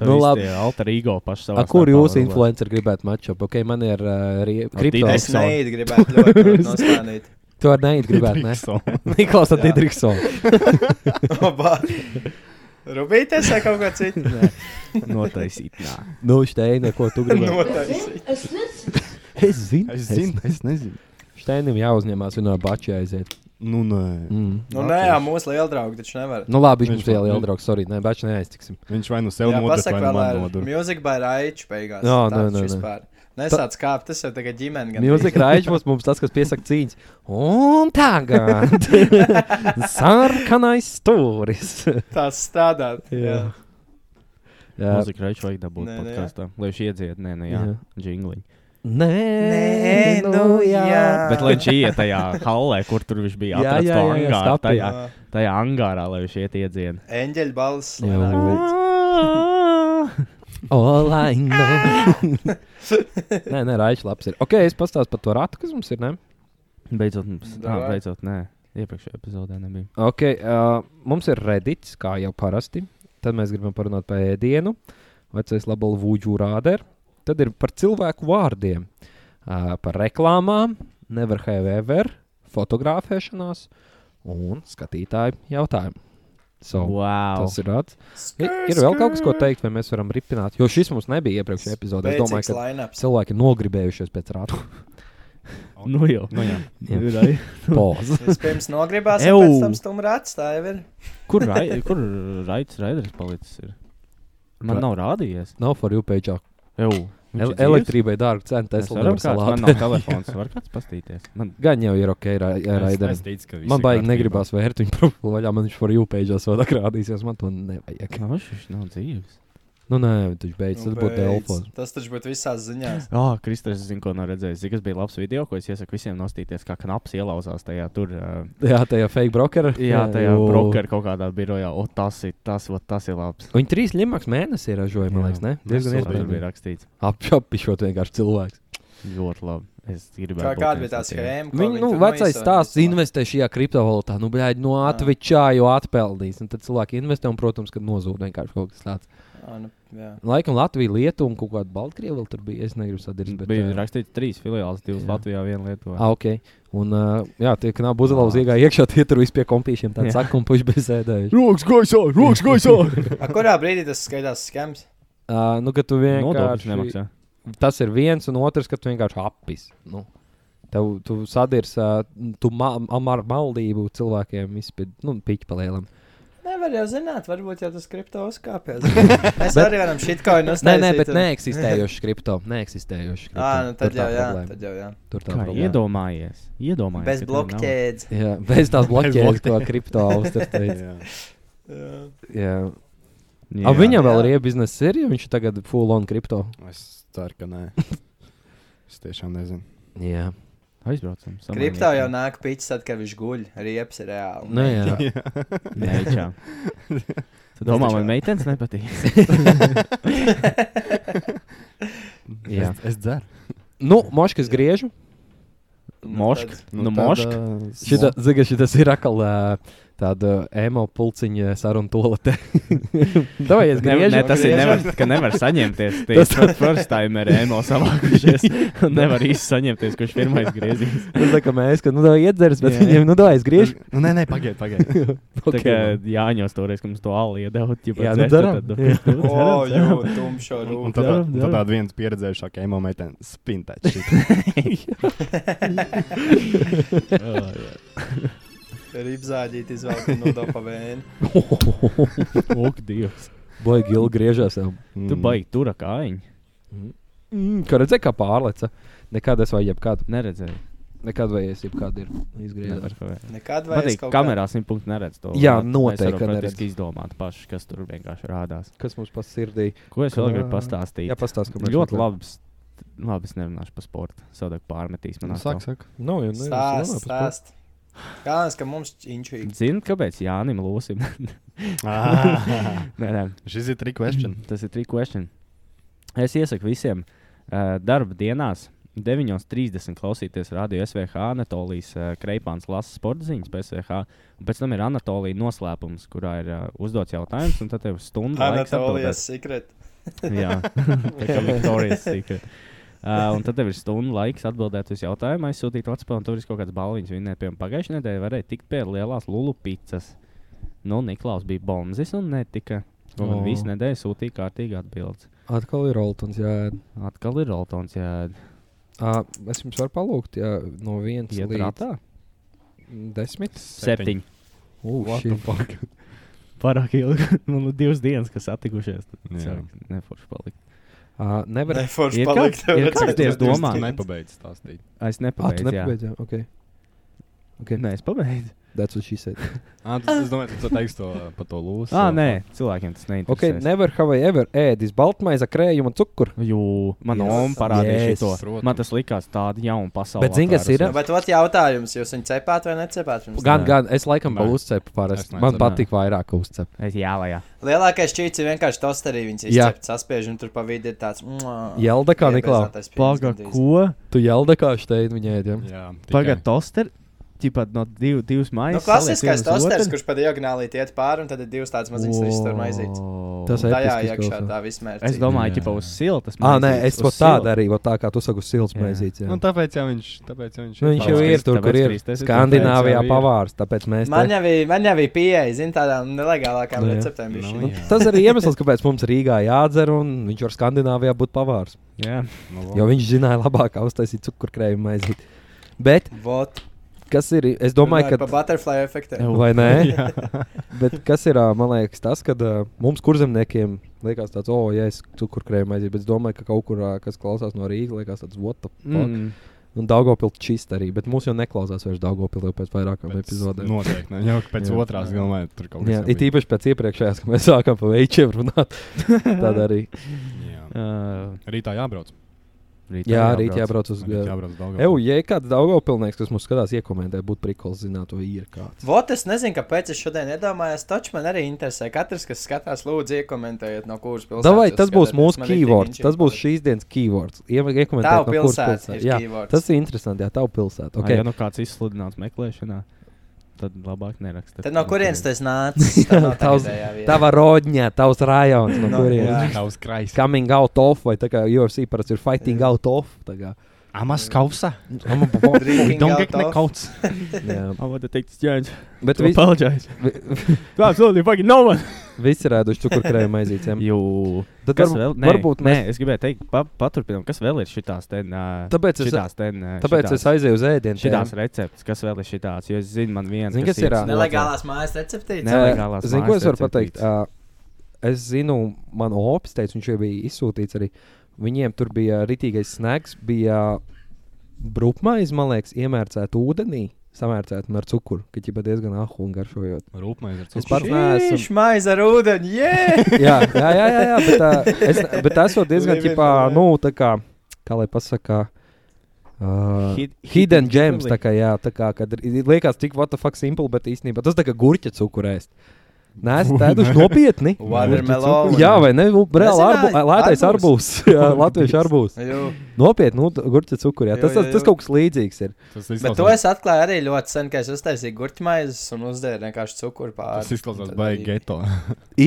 Speaker 8: Nu,
Speaker 3: Nu,
Speaker 8: labi.
Speaker 3: labi. Alter ego pašs savā.
Speaker 8: A, kur
Speaker 3: starpā
Speaker 8: jūs
Speaker 3: var labāk.
Speaker 8: influenceri gribētu matčup? Ok, man ir uh, krīpā.
Speaker 3: Didriks.
Speaker 4: Es neiet gribētu
Speaker 8: <laughs>
Speaker 4: ļoti nostānīt.
Speaker 8: Tu ar neiet gribētu, ne?
Speaker 7: <laughs>
Speaker 8: <laughs> Niklaus, tad
Speaker 4: Jā.
Speaker 8: Didriksons.
Speaker 4: Oba. Rubīties vai kaut ko
Speaker 8: <laughs>
Speaker 4: citu? Nē.
Speaker 3: <laughs> Notaisīt. nā.
Speaker 8: Nu, Šteina, ko tu
Speaker 4: <laughs>
Speaker 8: gribēji?
Speaker 4: Notaisīt.
Speaker 8: Es zinu.
Speaker 7: Es zinu, es nezinu.
Speaker 8: Šteinim jāuzņemās, viņa no bača aiziet.
Speaker 7: Nu, nē.
Speaker 8: Mm.
Speaker 4: Nu nē, jā, mūsu liela drauga taču nevar.
Speaker 8: Nu, labi, viņš
Speaker 7: Viņš
Speaker 8: mums bija
Speaker 7: man-
Speaker 8: liela draugs. Sorry, nē, bača neaiztiksim.
Speaker 7: Viņš vai nu sev
Speaker 4: Jā,
Speaker 7: nodur,
Speaker 4: pasak
Speaker 7: vai nu
Speaker 4: vēl
Speaker 7: man
Speaker 4: ar
Speaker 7: nodur.
Speaker 4: Music by Raichu beigās.
Speaker 8: Jā, nē,
Speaker 4: tāds
Speaker 8: nē, nē.
Speaker 4: vispār. Nesāc kāpt, tas jau tagad ģimene. gan
Speaker 8: Mūzika raidījums mums tas, kas piesaka cīņas. Un
Speaker 4: <laughs>
Speaker 8: tagad sarkanais stūris.
Speaker 4: <laughs> Tās strādāt.
Speaker 8: Jā.
Speaker 4: Jā.
Speaker 8: Jā.
Speaker 3: Mūziku reiķu vajag dabūt
Speaker 4: Nē, nē, jā.
Speaker 3: podkāstā. Lai viņš iedzied, nē, nē, jā.
Speaker 8: Jā.
Speaker 3: Džingliņi.
Speaker 8: Nē,
Speaker 4: Nē, nu jā.
Speaker 3: Bet lai viņš iet tajā hallē, kur tur viņš bija.
Speaker 8: Jā,
Speaker 3: Jā, jā,
Speaker 8: jā, jā, jā,
Speaker 3: jā, jā,
Speaker 8: skapī.
Speaker 3: tajā, tajā angārā, lai viņš iet iedzied.
Speaker 4: Eņģeļa balss.
Speaker 8: Jā.
Speaker 4: lēnāk.
Speaker 8: Ah. All I
Speaker 4: <laughs>
Speaker 8: know. nu. nē, nē, raidījums labs ir. Ok, es pastāstu par to ratu, kas mums ir. Ne?
Speaker 3: Beidzot, mums. Jā,
Speaker 4: Davai.
Speaker 3: beidzot, nē. Iepriekšējā epizodē nebija.
Speaker 8: Ok, uh, mums ir redīts, kā jau parasti. Tad mēs gribam parunāt par ēdienu, vecais labo lūdzu rādēru. Tad ir par cilvēku vārdiem, uh, par reklāmām, nevar have ever, fotografēšanās un skatītāju jautājumu. So, wow.
Speaker 3: Wow!
Speaker 8: Tas ir rāds. Ir, ir vēl kaut kas, ko teikt, vai mēs varam ripināt? Jo šis mums nebija iepriekšējā epizodē. Es
Speaker 4: Beidzīgs
Speaker 8: domāju, ka
Speaker 4: lineups.
Speaker 8: cilvēki nogribējušies pēc rādu
Speaker 3: Nu jau.
Speaker 7: Nu, jā.
Speaker 3: <laughs>
Speaker 8: pozas.
Speaker 4: Vispirms
Speaker 8: <laughs>
Speaker 4: nogribās,
Speaker 3: Ew.
Speaker 4: un pēc tam stumbrāts. Tā jau ir.
Speaker 3: Kur rai- kur raids raiders palicis? Ir? Man
Speaker 8: Ra-
Speaker 3: nav rādījies.
Speaker 8: Nav for you page.
Speaker 3: Jau.
Speaker 8: El elektrībai dārga cena, tas
Speaker 3: Es
Speaker 8: ir
Speaker 3: varu
Speaker 8: labi.
Speaker 3: kāds, man nav telefons, var kāds pastīties. Man
Speaker 8: Gan jau ir ok,
Speaker 7: Es-
Speaker 8: Raiders.
Speaker 7: es ticu, ka visi
Speaker 8: Man baigi
Speaker 7: kārtībā.
Speaker 8: negribās vērt viņa profilu vaļā, man viņš par jūpēģos vēl akrādīsies, man to nevajag.
Speaker 3: nav šis nav <laughs> dzīves.
Speaker 8: Nu nē, viņš beidz,
Speaker 4: Nu,
Speaker 8: tas būtu
Speaker 4: beidz.
Speaker 8: telefons.
Speaker 4: Tas taču būtu visās
Speaker 8: <laughs>
Speaker 4: ziņās.
Speaker 3: Ā, oh, Kristers, es zinu, ko nav redzējis. Zini, kas bija labs video, ko es iesaku visiem nostīties, kā knaps ielauzās tajā tur. Uh,
Speaker 8: Jā, tajā fake brokerā.
Speaker 3: jā, tajā brokeru kaut kādā birojā. O, tas ir, tas, o, tas ir labs.
Speaker 8: Viņi trīs limaks mēnesī ražoja, man
Speaker 3: Jā.
Speaker 8: liekas, ne?
Speaker 3: Tas
Speaker 8: Diezgan
Speaker 3: tur bija
Speaker 8: iespējams.
Speaker 3: rakstīts.
Speaker 8: Apšapišot vienkārši cilvēks.
Speaker 3: Ļoti labi. Es gribēju.
Speaker 4: Kā,
Speaker 3: būt
Speaker 4: kāda
Speaker 3: viens
Speaker 4: bija tā
Speaker 3: no tiem.
Speaker 4: schēma? ko
Speaker 8: Viņi, nu,
Speaker 4: tur
Speaker 8: vecais
Speaker 4: noisoja?
Speaker 8: stāsts investē šajā kriptovalūtā, nu, bļāj, no atvičā jau atpeldīs. Un tad cilvēki investē, un, protams, kad nozūd vienkārši kaut kas tāds.
Speaker 4: Ā, nu, jā.
Speaker 8: Laikam Latvija, Lietuva un kaut kāda Baltkrievija vēl tur bija. Es negribu sadirst, bet. eh,
Speaker 3: Bija
Speaker 8: ā,
Speaker 3: rakstīts trīs filiālis, divas
Speaker 8: Jā.
Speaker 3: Latvijā, viena Lietuvā.
Speaker 8: Ah, ok. Un, uh, jā, tie knapi uzlauza iekšā, iekšā tie tur vispār pie kompīšiem. Tāds
Speaker 3: Jā.
Speaker 8: sakums, puš bez ēdēju.
Speaker 7: <laughs> Rokas gaisā, rokas
Speaker 8: <laughs>
Speaker 7: gaisā!
Speaker 4: A, Kurā brīdī tas skaitās skams?
Speaker 8: Uh, nu, ka tu
Speaker 3: Nodokļus
Speaker 8: vienkārši.
Speaker 3: nemaksā.
Speaker 8: Tas ir viens, un otrs, ka tu vienkārši apis. Nu. Tev, tu sadirs, uh, tu ma am- ar maldību cilvēkiem izspied, nu, piķi palielam.
Speaker 4: Nevar jau zināt, varbūt jau tas kripto uzkāpjas. Mēs bet, arī varam šit kaut ko
Speaker 8: Nē,
Speaker 4: nostāstīt.
Speaker 8: nē, bet neeksistējoši kripto. Neeksistējoši kripto.
Speaker 4: Ā, nu
Speaker 8: Tur
Speaker 4: tad
Speaker 8: tā
Speaker 4: jau, jā,
Speaker 8: problēma.
Speaker 4: tad jau, jā.
Speaker 8: Tur tā
Speaker 3: Kā
Speaker 8: problēma.
Speaker 3: iedomājies? Iedomājies.
Speaker 4: Bez
Speaker 3: ka tev nav-
Speaker 4: blokķēdes.
Speaker 8: Jā, bez tās bloķēšanas, ko
Speaker 7: blokķēdes.
Speaker 8: kripto
Speaker 7: <laughs>
Speaker 8: austerteica.
Speaker 7: Jā.
Speaker 4: Jā.
Speaker 8: Jā.
Speaker 3: Jā.
Speaker 8: A, viņam vēl
Speaker 4: Jā.
Speaker 8: ir iebiznesa ir, jo viņš ir tagad full on kripto.
Speaker 7: Es ceru, ka <laughs> nē. Es tiešām nezinu.
Speaker 8: Jā.
Speaker 3: aizbraucam. samainīsim.
Speaker 4: Kriptā jau nāk pīķis, tad, kad viņš guļ. Riepas ir reāli.
Speaker 8: Nu,
Speaker 7: <laughs>
Speaker 8: jā.
Speaker 3: Neičā. Tu domā, man meitenes nepatīk?
Speaker 8: Jā.
Speaker 7: Es, es dzeru.
Speaker 8: Nu, moškas griežu.
Speaker 3: Moška.
Speaker 7: Nu,
Speaker 3: Nu,
Speaker 7: tad, nu,
Speaker 3: moška.
Speaker 7: ā, s-
Speaker 8: Šita, ziga, šitas ir akal ā, tāda emo pulciņa saruna <laughs> tolete. Davājies
Speaker 3: Ne,
Speaker 8: griežu.
Speaker 3: ne, tas ir
Speaker 4: griežam.
Speaker 8: <laughs>
Speaker 3: nevar, ka nevar saņemties. Tas ir first time ar emo savākušies. un Nevar īsti saņemties, kurš pirmais
Speaker 8: <laughs>
Speaker 3: griezīs.
Speaker 8: Tas tā kā mēs, ka, nu, davai iedzers, bet
Speaker 3: Jā.
Speaker 8: viņiem, nu, davājies griežu.
Speaker 7: Nu, nē, nē, pagaidi, <laughs> pagaidi.
Speaker 3: Tā kā Jāņos toreiz, ka mums to alu iedevot, ja
Speaker 8: Jā, nu,
Speaker 3: <laughs>
Speaker 8: daram. Jā.
Speaker 4: <laughs> O, jū,
Speaker 7: Un,
Speaker 4: tumšo
Speaker 7: un
Speaker 4: rūku.
Speaker 7: tad,
Speaker 3: Dzeram,
Speaker 7: tad
Speaker 3: dzeram.
Speaker 7: tāda viens pieredzējušākā emocija spintēt.
Speaker 8: <laughs>
Speaker 7: šit.
Speaker 4: Ripzāģīt izvēlēt no dopa vēni.
Speaker 3: Ok, Dievs.
Speaker 8: Baigi ilgi griežās. jau.
Speaker 3: Tu
Speaker 7: Mm.
Speaker 3: baigi tur kājiņu.
Speaker 8: Mm, Kā redzēji, kā pārleca. Nekad es vai jebkad.
Speaker 3: Neredzēju.
Speaker 8: Nekad vai es jebkad ir izgriezies.
Speaker 3: Nevar ko vēl.
Speaker 4: Nekad vairs
Speaker 3: Patīk,
Speaker 4: kaut
Speaker 3: kamerā simtpunkts neredz to.
Speaker 8: Jā,
Speaker 3: Mēs
Speaker 8: noteikti,
Speaker 3: varam
Speaker 8: ka neredz.
Speaker 3: praktiski izdomāt paši, kas tur vienkārši rādās.
Speaker 8: Kas mums pa sirdī?
Speaker 3: Ko es vēl gribu
Speaker 8: Kā-
Speaker 3: pastāstīt?
Speaker 8: Jā, pastāst, ka mēs
Speaker 3: Ļoti labs. Labi, es nerunāšu par sportu. Sadāk pārmetīs
Speaker 7: Nu,
Speaker 3: man.
Speaker 7: Saka, saka.
Speaker 8: Nav nu, jau
Speaker 4: Stāst,
Speaker 8: nevienas.
Speaker 4: stāst. Kā es, ka mums inčīgi.
Speaker 3: Zini, kāpēc Jānis Lūsim?
Speaker 7: Ah,
Speaker 3: <laughs>
Speaker 7: <laughs>
Speaker 3: nē, nē.
Speaker 7: Šis ir trick question.
Speaker 3: Tas ir trīs question. Es iesaku visiem uh, darba dienās. 9.30 klausīties radio SVH Anatolijas uh, Kreipāns lasa sporta ziņas par SVH. un Pēc tam ir Anatolija noslēpums, kurā ir uh, uzdots jautājums, un tad tev stundu laiks atbildēt.
Speaker 4: Anatolijas sekret.
Speaker 3: <laughs> Jā, tā kā Viktorijas <laughs> secret. Uh, un tad tev ir stunda laiks atbildēt uz jautājumu, aizsūtīt Latviju, un tur ir kaut kāds balviņš. Viņa piemēram pagājušajā nedēļā varēja tikt pie lielās lulu pizzas. Nu, Niklaus bija bonzis un netika. Un
Speaker 8: O.
Speaker 3: oh. visu nedēļu sūtīja kārtīgi atbildes.
Speaker 8: Atkal ir Roltons. Jā,
Speaker 3: Atkal ir Roltons, jā,
Speaker 8: à, es jums varu palūgt jā, no 1
Speaker 3: iet
Speaker 8: līdz
Speaker 3: rātā.
Speaker 8: 10.
Speaker 3: Septiņi.
Speaker 8: Ugh,
Speaker 7: <laughs>
Speaker 8: šī
Speaker 3: Pārāk ilgi. <laughs> Man ir divas dienas, kas satikušies.
Speaker 7: Jā.
Speaker 3: Tad neforši palikt.
Speaker 8: Ā, Nevar
Speaker 4: Neforši
Speaker 3: ir kaut-
Speaker 4: palikt.
Speaker 3: ir
Speaker 4: redzēt,
Speaker 3: kaut kāds
Speaker 4: bet jūs
Speaker 3: domā.
Speaker 7: Tu
Speaker 4: ticat.
Speaker 7: nepabeidz stāstīt.
Speaker 3: Es
Speaker 8: Ah, tu
Speaker 3: nepabeidzu. jā.
Speaker 8: nepabeidz, jā, ok. Ok,
Speaker 3: Nē, es pabeidzu.
Speaker 8: that's what she said. <laughs>
Speaker 7: Ah, tu, es domāju, tu teiksi to par to lūsu.
Speaker 3: Ah, nē, cilvēkiem tas neinteresē.
Speaker 8: Ok, never have I ever ēdis baltmaiza krējumu un cukuru.
Speaker 3: Jū, man
Speaker 4: Yes.
Speaker 3: yes. parādīja
Speaker 8: Yes.
Speaker 3: yes, to.
Speaker 7: Protams.
Speaker 3: Man tas likās tāda jauna pasaule.
Speaker 8: Bet zini, kas ir?
Speaker 4: Nu, Bet vat jautājums, jūs viņu cepāt vai necepāt? pirms
Speaker 8: Gan,
Speaker 3: Nē.
Speaker 8: gan, es laikam
Speaker 7: Nē.
Speaker 8: vēl uzcepu
Speaker 7: Es
Speaker 8: parasti.
Speaker 7: neesmu,
Speaker 8: Man
Speaker 7: nē.
Speaker 8: patīk vairāk uzcepu.
Speaker 3: Es jālajā.
Speaker 4: Lielākais čīts ir vienkārši tas, arī viņas
Speaker 8: Jā.
Speaker 4: izcept, saspiež un tur pa vidu ir tāds. mm,
Speaker 8: Jelda kā Niklā.
Speaker 4: iebēzātais piens
Speaker 3: Paga,
Speaker 4: gandrīz.
Speaker 3: ko?
Speaker 8: Tu jelda kā šeit viņa ēdiem.
Speaker 7: Jā,
Speaker 3: Paga, toster. Čipa no div, divas
Speaker 4: Nu,
Speaker 3: maizes.
Speaker 4: klasiskais tosters, kurš pa diagonālī iet pāri, un tad ir divas tādas maziņas, kas tur maizītas.
Speaker 8: Tas ir
Speaker 4: Tajā
Speaker 8: episki
Speaker 4: iekšā
Speaker 8: izklausās.
Speaker 4: tā vismēr.
Speaker 3: Es
Speaker 7: Jā.
Speaker 3: domāju, ķipa uz siltas.
Speaker 8: Ā, Ah, nē,
Speaker 3: maizītes, uz
Speaker 8: es to
Speaker 3: siltu.
Speaker 8: tādu arī, vot tā kā tu saku, silts
Speaker 3: Jā.
Speaker 8: maizīts. jā.
Speaker 7: Nu, tāpēc jau viņš, tāpēc jau viņš
Speaker 8: Nu, Viņš jau
Speaker 3: Tāpēc,
Speaker 8: ir
Speaker 3: Kristi,
Speaker 8: tur, kur
Speaker 3: tāpēc,
Speaker 8: ir.
Speaker 3: Kristi, es-
Speaker 7: tāpēc
Speaker 8: Skandināvijā
Speaker 7: jau ir.
Speaker 8: pavārs, tāpēc mēs.
Speaker 4: Man
Speaker 8: te-
Speaker 4: jau bija, man jau bija pieeja, zin, tādām nelegālākām
Speaker 8: Nu, jā.
Speaker 4: receptēm. bišķiņ.
Speaker 7: Nu, jā.
Speaker 8: Tas arī iemesls, kāpēc mums Rīgā jādzer, un viņš var Skandināvijā būt pavārs.
Speaker 3: Jā.
Speaker 7: Nu,
Speaker 8: Jo viņš zināja labāk, kā uztaisīt cukurkrējumu maizīt. Bet
Speaker 4: Vot,
Speaker 8: kas ir? Es domāju,
Speaker 4: runājot
Speaker 8: ka
Speaker 4: par butterfly efektu.
Speaker 8: Vai ne? <laughs> bet kas ir, ā, man liekas, tas, kad ā, mums, kurzemniekiem, liekas, tāds, oh, ja es cukurkrējumu aizīju, bet es domāju, ka kaut kur, ā, kas klausās no Rīgas, liekas, tāds, what the fuck.
Speaker 3: Mm.
Speaker 8: Mm. Un Daugopils čist arī, bet mūs jau neklausās vairs Daugopils jau pēc vairākām
Speaker 7: Pēc-
Speaker 8: epizodēm.
Speaker 7: Noteikti. Ne, jau pēc
Speaker 8: Jā.
Speaker 7: otrās galvenā tur kaut kas
Speaker 8: Jā,
Speaker 7: jau
Speaker 8: it
Speaker 7: bija.
Speaker 8: īpaši pēc iepriekšējās, kad mēs sākām par veičiem runāt. Tad arī.
Speaker 7: Jā.
Speaker 3: Uh,
Speaker 7: Rītā jābrauc.
Speaker 8: Jā, arī jābrauc uz
Speaker 7: Rīt
Speaker 8: Gāzi.
Speaker 7: jābrauc daudz.
Speaker 8: Eju, ja ir kāds Daugopilnieks, kas mums skatās, iekomentē, būtu prikols zināt, to ir kāds.
Speaker 4: Vot, es nezinu, kāpēc es šodien nedomāju, taču man arī interesē. Katrs, kas skatās, lūdzu, iekomentējiet, no kuras pilsētas.
Speaker 8: Davai,
Speaker 4: jūs
Speaker 8: tas būs
Speaker 4: skatāties.
Speaker 8: mūsu
Speaker 4: Man riktīgi
Speaker 8: keywords.
Speaker 4: inčīgi
Speaker 8: Tas būs
Speaker 4: patīk.
Speaker 8: šīs dienas keywords. Iekomentēt,
Speaker 4: Tavu
Speaker 8: no kuras
Speaker 4: pilsēta
Speaker 8: pilsētas.
Speaker 4: ir
Speaker 8: Jā,
Speaker 4: keywords.
Speaker 8: tas ir interesanti. Jā, tavu pilsētu.
Speaker 3: Okay.
Speaker 8: Okay.
Speaker 3: Ja nu kāds izsludināts meklēšanā, tad labāk neraksta.
Speaker 4: Tad no kurienes tas nācis? Tā nav tā
Speaker 8: Tavs-
Speaker 4: ideja, jā. <laughs>
Speaker 8: Tava rodņa, tavs rajons, no
Speaker 4: Nu,
Speaker 8: kurienes.
Speaker 4: jā.
Speaker 7: Tavs krājs.
Speaker 8: Coming out of, vai tā kā UFC parasti ir fighting out of. tā kā.
Speaker 7: Amas kausa.
Speaker 4: Drinking out of.
Speaker 7: kauts.
Speaker 8: <laughs> Jā.
Speaker 3: I want to take this challenge.
Speaker 8: Bet
Speaker 3: To
Speaker 8: vi-
Speaker 3: apologize. Tu absolutely fucking no one.
Speaker 8: visi ir ēduši
Speaker 3: <laughs>
Speaker 8: cukurkrējumu aizītēm.
Speaker 3: Jū.
Speaker 8: Tad
Speaker 3: Kas
Speaker 8: varbūt-
Speaker 3: vēl? Nē,
Speaker 8: varbūt
Speaker 3: nē,
Speaker 8: mēs.
Speaker 3: es gribēju teikt, pa, paturpinām, kas vēl ir šitās ten. Uh,
Speaker 8: Tāpēc es,
Speaker 3: šitās ten. Uh,
Speaker 8: tāpēc es
Speaker 3: šitās,
Speaker 8: aizēju uz ēdienu.
Speaker 3: Šitās receptes, kas vēl ir šitās, jo es zinu, man viena.
Speaker 8: Zini, kas ir, ā,
Speaker 4: Nelegālās mājas receptītes.
Speaker 3: Ne. nelegālās
Speaker 8: Zinu, ko
Speaker 3: mājas
Speaker 8: es varu pateikt?
Speaker 3: receptītes.
Speaker 8: Uh, es zinu, man opis teica, viņš jau bija izsūtīts arī. Viņiem tur bija rītīgais snags, bija brūkmaize, man liekas, iemērcēta ūdenī, samērcēta ar cukuru, ka jau diezgan ahu un garšojot.
Speaker 7: Rūpmaize ar
Speaker 8: Es
Speaker 7: cukuru.
Speaker 8: pats neesmu.
Speaker 4: Viņš maize ar ūdeni, jē!
Speaker 8: Jā, jā, jā, jā, jā bet, uh, es, bet tas ir diezgan
Speaker 4: Living
Speaker 8: ķipā,
Speaker 4: the life.
Speaker 8: nu, tā kā, kā lai pasakā. Uh,
Speaker 3: Hid-
Speaker 8: Hidden
Speaker 3: hidden
Speaker 8: gems,
Speaker 3: jewelry.
Speaker 8: tā kā, jā, tā kā, kad ir- ir- liekas, tik what the fuck simple, bet īstenībā tas tā kā gurķa cukurēs. Nē, es tēduši nopietni.
Speaker 4: Watermelon.
Speaker 8: Jā, vai ne? Nu, Reāli
Speaker 4: Nezināju.
Speaker 8: arbu, lētais arbūs. <laughs> Jā, latviešu arbūs.
Speaker 4: Jū.
Speaker 8: Nopietni, nu, gurķa cukuru. Jā,
Speaker 4: Jā,
Speaker 8: tas,
Speaker 4: jā,
Speaker 8: tas, tas
Speaker 4: jā.
Speaker 8: kaut kas līdzīgs ir.
Speaker 7: Tas
Speaker 4: Bet to
Speaker 7: izklausās,
Speaker 4: es atklāju arī ļoti sen, kad es uztaisīju gurķmaizes un uzdēju vienkārši cukuru pāri.
Speaker 7: tas izklausās
Speaker 4: Tad
Speaker 7: baigi
Speaker 4: arī-
Speaker 7: geto.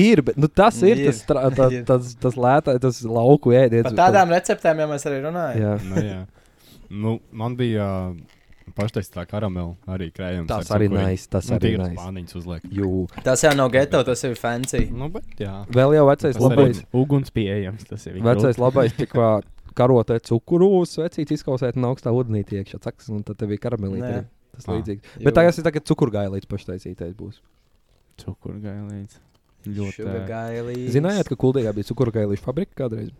Speaker 8: Ir, bet nu, tas ir,
Speaker 4: Ir.
Speaker 8: tas, tra, tā,
Speaker 4: Ir.
Speaker 8: tas, tas lētais, tas lauku ēdiens.
Speaker 4: Par tādām receptēm jau mēs arī runājam.
Speaker 8: Jā,
Speaker 7: Nu, jā. Nu, man bija paštaistā karamela arī krējums.
Speaker 8: tas
Speaker 7: ar
Speaker 8: arī
Speaker 7: cukuriem.
Speaker 8: nais, tas
Speaker 7: Nu,
Speaker 8: arī
Speaker 7: tīras
Speaker 8: nais.
Speaker 7: Spāniņas uzliek.
Speaker 8: Jū.
Speaker 4: Tas jau nav geto, tas ir fancy.
Speaker 7: Nu, bet jā.
Speaker 8: Vēl jau vecais
Speaker 7: Tas
Speaker 8: labais.
Speaker 7: arī-
Speaker 3: Uguns pieejams. Tas ir
Speaker 8: Vecais labais tikko karotē cukuru, svecīts izkausēt un augstā ūdenīte iekšā caks, un tad tev bija
Speaker 4: Nē.
Speaker 8: karamelīte. arī. Tas
Speaker 7: Ah.
Speaker 8: līdzīgs.
Speaker 4: Jū.
Speaker 8: Bet tagad tas ir tagad cukurgailīts paštaisītais būs.
Speaker 3: Cukurgailīts. Ļoti. ā,
Speaker 4: Sugar gailī.
Speaker 8: Zinājāt, ka Kuldīgā bija cukurgailīšu fabrika kādreiz?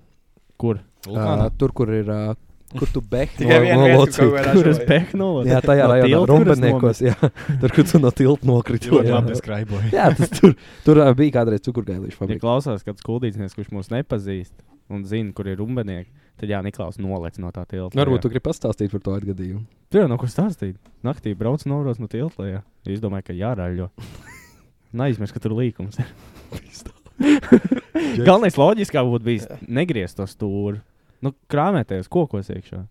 Speaker 3: Kur?
Speaker 7: Vulkānā.
Speaker 8: Ā, tur, kur ir. ā, Kur tu beigti?
Speaker 4: Tikai vienu reizi, kaut ko
Speaker 3: Kur es
Speaker 4: ražoju.
Speaker 3: pehnoloģiju?
Speaker 8: Jā, tajā rajonā Rumbeniekos. Jā, tur, kur tu no tilta nokriti.
Speaker 7: Ļoti
Speaker 8: jā.
Speaker 7: labi deskraiboja.
Speaker 8: Jā, tas tur, tur ā, bija kādreiz cukurgailīšu
Speaker 3: Ja
Speaker 8: fabrika.
Speaker 3: klausās kāds kuldīgs, kurš mūs nepazīst, un zina, kur ir rumbenieki, tad jā, Niklaus nolec no tā tilta.
Speaker 8: Varbūt tu gribi pastāstīt par to atgadījumu.
Speaker 3: Tur jau nav kur stāstīt. Naktī brauc noros no tilta. Jā. Es domāju, ka
Speaker 8: <laughs>
Speaker 3: jārāļo. Neaizmirst, ka tur līkums ir. Galvenais loģiskā būtu bijis negriezt to stūri. Nu, krāpēties kokos iekšā.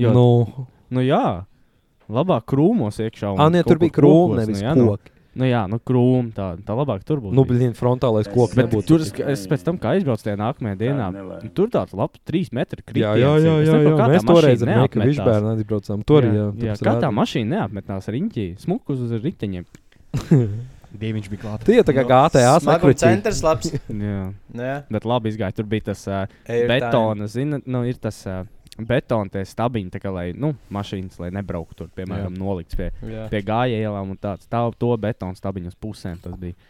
Speaker 3: Jo, nu.
Speaker 8: nu,
Speaker 3: nu jā, labāk krūmos iekšā. un
Speaker 8: ah, nē,
Speaker 3: kaut
Speaker 8: tur bija
Speaker 3: kur kokos,
Speaker 8: krūma, nevis
Speaker 3: nu, jā, nu,
Speaker 8: koks.
Speaker 3: nu, jā, nu krūma tā, tā labāk tur būtu.
Speaker 8: Nu, blīn, frontālais koks
Speaker 3: Bet
Speaker 8: nebūtu.
Speaker 3: tur es, es pēc tam, kā aizbraucu tajā nākamajā dienā,
Speaker 9: nelēma.
Speaker 3: tur tāds labs trīs metru
Speaker 8: Jā,
Speaker 3: kritiens.
Speaker 8: jā, jā,
Speaker 3: ir. Es
Speaker 8: jā,
Speaker 3: nezinu,
Speaker 8: jā.
Speaker 3: kā tā
Speaker 8: mēs toreiz
Speaker 3: mašīna
Speaker 8: ar Meku
Speaker 3: neapmetās.
Speaker 8: Višbērnu atbraucām. Tur
Speaker 3: jā,
Speaker 8: jā,
Speaker 3: jā, kā tā mašīna neapmetnās riņķī, smukus uz
Speaker 8: <laughs>
Speaker 3: riteņiem.
Speaker 7: Dievs, viņš bija klāts.
Speaker 8: Tie tā kā GTA
Speaker 4: Nu, Smagu
Speaker 8: sakruķi.
Speaker 4: centrs labs.
Speaker 3: Jā.
Speaker 4: Nu jā,
Speaker 3: Bet labi izgāja. Tur bija tas uh,
Speaker 4: airtime.
Speaker 3: betona, zina, nu, ir tas uh, betona tie stabiņi, tā kā lai, nu, mašīnas, lai nebrauktu tur, piemēram,
Speaker 8: Jā.
Speaker 3: nolikts pie,
Speaker 4: Jā.
Speaker 3: pie gājielām un tāds. Tā, to betona stabiņu uz pusēm tas bija.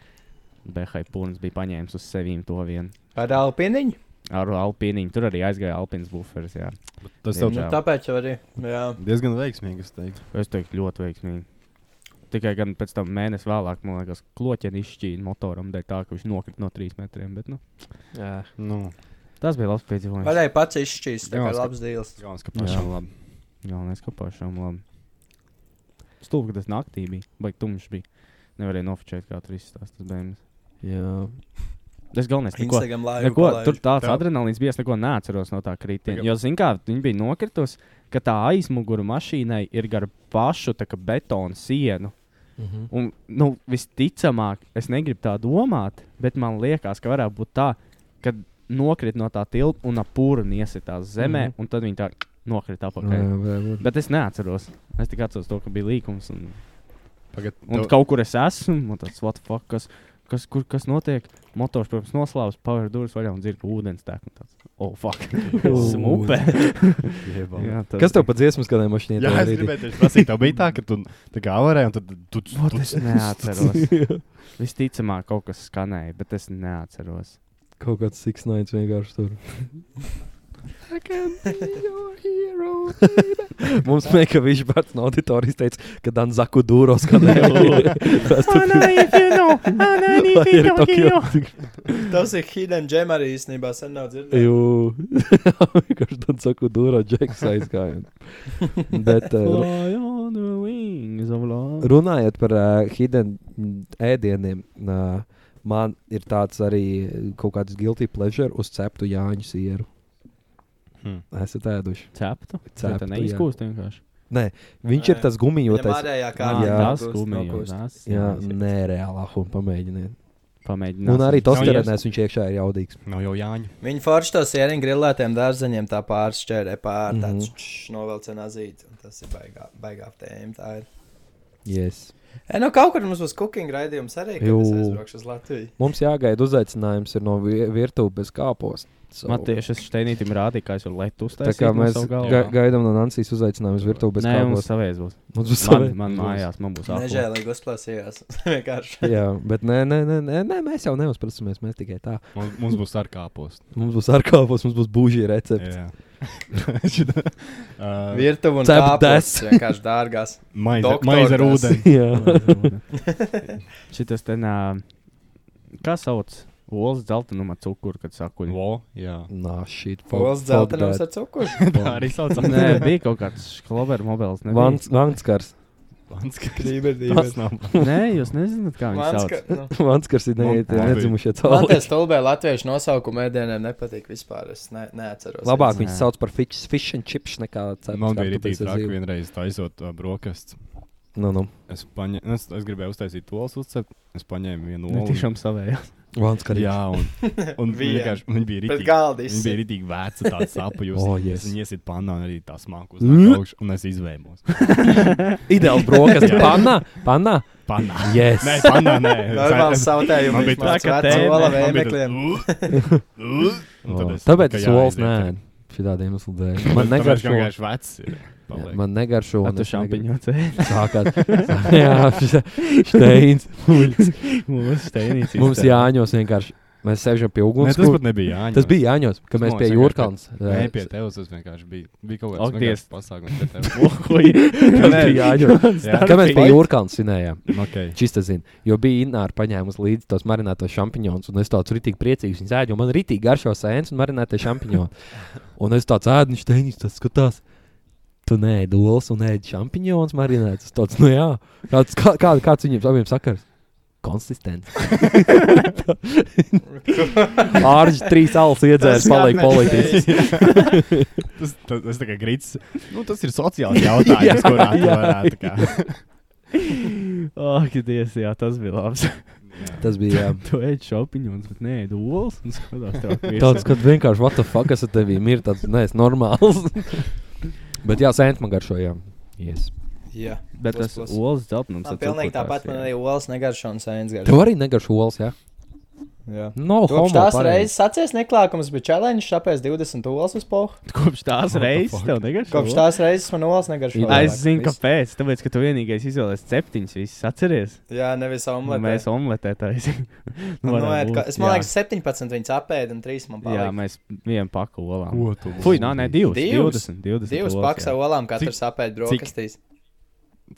Speaker 3: Behai Pūns bija paņēmis uz sevīm to vienu.
Speaker 4: Ar alpiniņu?
Speaker 3: Ar alpīniņu. Tur arī aizgāja alpīns buferis. Jā.
Speaker 7: Tas
Speaker 3: tev-
Speaker 7: tev
Speaker 4: Nu,
Speaker 3: Jā.
Speaker 4: tāpēc jau arī. Jā.
Speaker 7: diezgan veiksmīgi, es teiktu.
Speaker 3: Es teiktu, ļoti veiksmīgi. Tikai gan pēc tam mēnesi vēlāk, man liekas, kloķeni izšķīra motoram, dēļ tā, ka viņš nokrita no trīs metriem. Bet, nu,
Speaker 7: Nu,
Speaker 3: tas bija labs piedzīvojums.
Speaker 4: Varēja pats izšķīst, tā kā
Speaker 7: Jā,
Speaker 4: labs dīls.
Speaker 7: galvenais, ka
Speaker 3: Jā,
Speaker 7: pašam labi.
Speaker 3: labi. Galvenais, ka pašam labi. Stulbi, ka tas naktī bija, baigi tumšs bija. Nevarēja nofočēt, kā tur izstāstās tas bērns.
Speaker 8: Jā.
Speaker 3: Tas galvenais, neko,
Speaker 4: Instagram live.
Speaker 3: neko, tur tāds
Speaker 7: Tev-
Speaker 3: adrenalīns bija, es neko neatceros no tā kritiena.
Speaker 7: Tagad-
Speaker 3: Jo, zin kā, viņi bija nokritus, ka tā aizmuguru mašīnai ir gar pašu tā kā betonu sienu.
Speaker 8: Mhm.
Speaker 3: Un, nu, visticamāk, es negribu tā domāt, bet man liekas, ka varētu būt tā, ka nokrit no tā tilta un apūra iesitās zemē, mm
Speaker 8: Mhm.
Speaker 3: -hmm. un tad viņi tā nokrita apakšā.
Speaker 8: Jā,
Speaker 3: Mm -hmm.
Speaker 8: varbūt.
Speaker 3: Bet es neatceros. Es tikai atceros to, ka bija līkums. Un,
Speaker 7: Pagad,
Speaker 3: un
Speaker 7: tev-
Speaker 3: kaut kur es esmu, un tas what the fuck, kas, kas, kur, kas notiek. Motors, protams, noslēpjas, paver durvis vaļā un dzird, ka ūdens tek. un tāds, Oh,
Speaker 8: <laughs>
Speaker 3: fuck. Smūpe.
Speaker 7: Jebal.
Speaker 3: Jā, tas-
Speaker 8: Kas tev pa dziesmas kādai mašīnai?
Speaker 7: Jā, es gribēju tieši prasīt, tev bija tā, ka tu tā kā avarēji, un tad tu
Speaker 3: Vot es
Speaker 8: <laughs>
Speaker 3: neatceros. Visticamāk, kaut kas skanēja, bet es neatceros.
Speaker 8: Kaut kāds six nights vienkārši tur. Mums Meku Višbērns no auditorijas teica, ka Danzaku Dūro skanēja. Tas tur ir Tokio.
Speaker 4: Tas ir hidden gem arī īstenībā, sen nav dzirdējis.
Speaker 8: Jū, <laughs> vienkārši tad saku, dūrā džeks aizgāja. Bet uh,
Speaker 3: Fly on the wings of love.
Speaker 8: runājot par uh, hidden mm, ēdieniem, uh, man ir tāds arī kaut kāds guilty pleasure uz ceptu Jāņu sieru.
Speaker 7: Hmm.
Speaker 8: Esat ēduši.
Speaker 3: Ceptu.
Speaker 8: Ceptu,
Speaker 3: Ceptu
Speaker 8: jā.
Speaker 3: neizkūst vienkārši.
Speaker 8: Viņš
Speaker 4: Nē.
Speaker 8: ir tas gumijotais.
Speaker 4: Ārējā
Speaker 8: Kā-
Speaker 3: jā,
Speaker 8: jā,
Speaker 4: kārtā.
Speaker 3: tas
Speaker 4: nokūst,
Speaker 3: skumjš.
Speaker 4: nokūst.
Speaker 8: Jā, nereālā huma pamēģiniet.
Speaker 3: Pamēģināt.
Speaker 8: Un arī
Speaker 7: Nav
Speaker 8: tos terēnēs viņš iekšā ir jaudīgs.
Speaker 7: Nav jau Jāņa.
Speaker 4: Viņa forši tos ieriņķi grillētiem dārzeņiem tā pāršķērē pār
Speaker 8: Mhm.
Speaker 4: tādu mm. novilcienu azīti. Un Tas ir baigā, baigā tēma. Tā ir.
Speaker 8: Yes.
Speaker 4: E, nu, kaut kur mums būs cooking raidījums arī, kad
Speaker 8: Jū.
Speaker 4: es aizbraukšu uz Latviju.
Speaker 8: Mums jāgaida uzaicinājums ir no vi- virtuves bez kāpos. So,
Speaker 3: Man tieši es steinītim rādīju, kā es varu letu uztaisīt.
Speaker 8: tā kā mēs ga
Speaker 3: gājām.
Speaker 8: gaidām no Nancijas uzaicinājumu uz virtuves bez
Speaker 3: Nē, mums
Speaker 8: kāpos.
Speaker 3: savēs
Speaker 8: <laughs>
Speaker 3: būs.
Speaker 8: Mums būs
Speaker 3: Man,
Speaker 8: savi-
Speaker 3: man mājās, man būs apgājis.
Speaker 4: Nežēlīgi uzplāsījās. <laughs> Vienkārši.
Speaker 8: Jā, bet nē, nē, nē, nē, nē mēs jau neuzprasimies. Mēs tikai tā.
Speaker 7: Mums, mums būs ar kāpos.
Speaker 8: Mums būs ar kāpos, mums būs būžī recepte.
Speaker 7: Jā. <laughs> Šitā, ā,
Speaker 4: Virtuve un
Speaker 8: Cep
Speaker 4: tāpēc
Speaker 8: des.
Speaker 4: vienkārši dārgās.
Speaker 7: Maize
Speaker 4: Doktor
Speaker 7: maize Uh, ar
Speaker 4: tas.
Speaker 8: <laughs>
Speaker 7: ūdeni.
Speaker 8: Jā,
Speaker 3: Šitas ten, ā, kā sauc, olas dzeltenuma cukuru, kad sakuļ.
Speaker 7: Vo,
Speaker 8: <laughs>
Speaker 7: jā.
Speaker 8: nā, šī
Speaker 4: Pols dzeltenums ar
Speaker 3: <laughs>
Speaker 4: cukuru.
Speaker 7: Tā arī saucās.
Speaker 3: Nē, bija kaut kāds šklober mobils.
Speaker 8: Vans,
Speaker 7: <laughs>
Speaker 8: Vanskars.
Speaker 7: Vanskars.
Speaker 4: Krīberdības.
Speaker 7: Tas nav.
Speaker 3: <laughs> Nē, jūs nezināt, kā viņš sauc.
Speaker 4: Vanska. Nu.
Speaker 8: Vanskars ir
Speaker 7: Man-
Speaker 8: neiet-
Speaker 7: man bija.
Speaker 8: nedzimušie
Speaker 4: Man tie
Speaker 8: cilvēki.
Speaker 4: stulbē latviešu nosaukumi ēdieniem nepatīk vispār. Es ne, neatceros.
Speaker 8: Labāk
Speaker 3: Nē.
Speaker 8: viņus sauc par fish, fish and chips nekā cepts.
Speaker 7: Man bija arī
Speaker 8: kartupeļs ar
Speaker 7: traki
Speaker 8: zīvi.
Speaker 7: vienreiz taisot ā, brokastis.
Speaker 8: Nu, nu.
Speaker 7: Es, paņē, es, es gribēju uztaisīt to olas uzcept. Es paņēmu vienu
Speaker 3: Ne
Speaker 7: olu.
Speaker 3: Nu, tiešām savējās.
Speaker 8: Vanskars.
Speaker 7: Jā, un, un
Speaker 4: Vienu.
Speaker 7: vienkārši viņi bija
Speaker 4: Bet
Speaker 7: rītīgi.
Speaker 4: galdīs.
Speaker 7: Viņa bija
Speaker 4: <laughs>
Speaker 7: rītīgi veca, tāda sapa. Jūs oh,
Speaker 8: Oh, yes.
Speaker 7: yes. iesiet panā un arī tā smaku uzlūkošu, un es izvēmos.
Speaker 8: Ideāls
Speaker 7: <laughs>
Speaker 8: brokastis.
Speaker 7: Jā.
Speaker 8: Panna, panna.
Speaker 7: Panā.
Speaker 8: <laughs> Yes.
Speaker 7: Nē, panā, nē.
Speaker 4: Normāli sautējumi.
Speaker 7: Man bija tā,
Speaker 4: ka
Speaker 3: tā
Speaker 4: tēma.
Speaker 3: tēma.
Speaker 4: Ola
Speaker 7: Man bija
Speaker 4: vēmekliem.
Speaker 7: Un nu,
Speaker 4: <laughs>
Speaker 7: tad es-
Speaker 8: Tāpēc
Speaker 7: ka
Speaker 8: es
Speaker 7: jāaiziet.
Speaker 8: solis nē.
Speaker 7: <laughs>
Speaker 8: Šī tāda iemesla dēļ. Man
Speaker 7: Tāpēc, ka
Speaker 8: negaršo.
Speaker 7: vienkārši vecs. ir.
Speaker 8: Jā,
Speaker 7: Paliek.
Speaker 8: Man negaršo. un
Speaker 3: Ar to
Speaker 8: es negribu. <laughs>
Speaker 3: šampiņu cēlienu.
Speaker 8: Sākās. Jā, šis steins.
Speaker 7: <laughs>
Speaker 3: Mums steinīts.
Speaker 8: Mums jāņos vienkārši Mēs sēžam pie
Speaker 7: Nē,
Speaker 8: uguns.
Speaker 7: tas pat nebija Jāņa.
Speaker 8: tas bija Jāņos, kad
Speaker 7: Tas
Speaker 8: mēs
Speaker 7: man
Speaker 8: pie eh,
Speaker 7: liekas
Speaker 8: Jūrkalnas.
Speaker 7: Nē,
Speaker 8: <laughs>
Speaker 7: pie tevis tas vienkārši bija. Bija kaut
Speaker 3: Ak,
Speaker 7: kāds
Speaker 3: Dievs.
Speaker 7: vienkāršs pasākums pie
Speaker 8: <laughs>
Speaker 7: tevis.
Speaker 3: Tas
Speaker 7: Nē,
Speaker 3: bija Jāņos.
Speaker 7: jā.
Speaker 8: Kad mēs pie Jūrkalnas svinējām. <laughs>
Speaker 7: okay.
Speaker 8: Čista zina, jo bija Ināra paņēmusi līdzi tos marinātos šampūņus, un es tāds rītīgi priecīgs viņu ēdu, jo man rītīgi garšo sēnes un marinātie šampūņi. Un es tāds ēdu, viņš teņģis, tas skatās. Tu nē, dūlis un ēdi šampūņus, marinēts. Es Tāds, nu jā, tāds, kā, kā, kāds viņiem saviem sakars? Konsistents. <laughs> Ārģis trīs alus iedzērs, paliek politiski.
Speaker 7: <laughs> tas, tas, tas tā kā grīts. Nu, tas ir
Speaker 8: <laughs>
Speaker 7: sociāls jautājums, kurā tu varētu. kā-
Speaker 3: Ak, Ah, Dievs, jā, tas bija labs.
Speaker 8: Tas bija. Jā.
Speaker 3: <laughs> Tu ej šopiņos, bet nē, dūlis un skatās
Speaker 7: <laughs>
Speaker 3: tev
Speaker 8: Tāds, kad vienkārši, what the fuck, kas ar tevi ir, tāds, nē, es normāls. Bet jā, sēnes man garšojām. Yes.
Speaker 4: Jā,
Speaker 3: Bet tas
Speaker 4: plus, plus.
Speaker 3: olas dzeltenums.
Speaker 4: Man pilnīgi tāpat, man arī olas negaršo un sēnes garšo.
Speaker 8: Tev arī negaršo olas, jā?
Speaker 4: Jā.
Speaker 8: No,
Speaker 4: Kopš
Speaker 8: Nu, homo,
Speaker 4: tās
Speaker 8: pareizi.
Speaker 4: reizes sācies neklākums, bet challenge tāpēc 20 olas uz pohu.
Speaker 3: Kopš tās reizes tev negaršo.
Speaker 4: Kopš tās reizes man olas negaršo.
Speaker 8: Jā,
Speaker 3: Es zinu,
Speaker 4: Viss.
Speaker 3: kāpēc. Tāpēc, ka tu vienīgais izvēlējies septiņus, visas atceries.
Speaker 4: Jā, nevis
Speaker 3: Un
Speaker 4: omletē.
Speaker 3: Mēs omletē
Speaker 4: <laughs>
Speaker 3: taisījām.
Speaker 4: Man noēd, ka, es man liekas, 17 viņas apēda un 3 man
Speaker 3: Jā,
Speaker 4: palika.
Speaker 3: mēs vienu paku olām.
Speaker 7: Ko tu?
Speaker 3: Fui, nē, nē, divas.
Speaker 4: Divas?
Speaker 3: 20, 20
Speaker 4: Divas
Speaker 3: olas,
Speaker 4: pakas
Speaker 3: jā.
Speaker 4: ar olām, katrs apēda
Speaker 7: cik?
Speaker 4: brokastīs.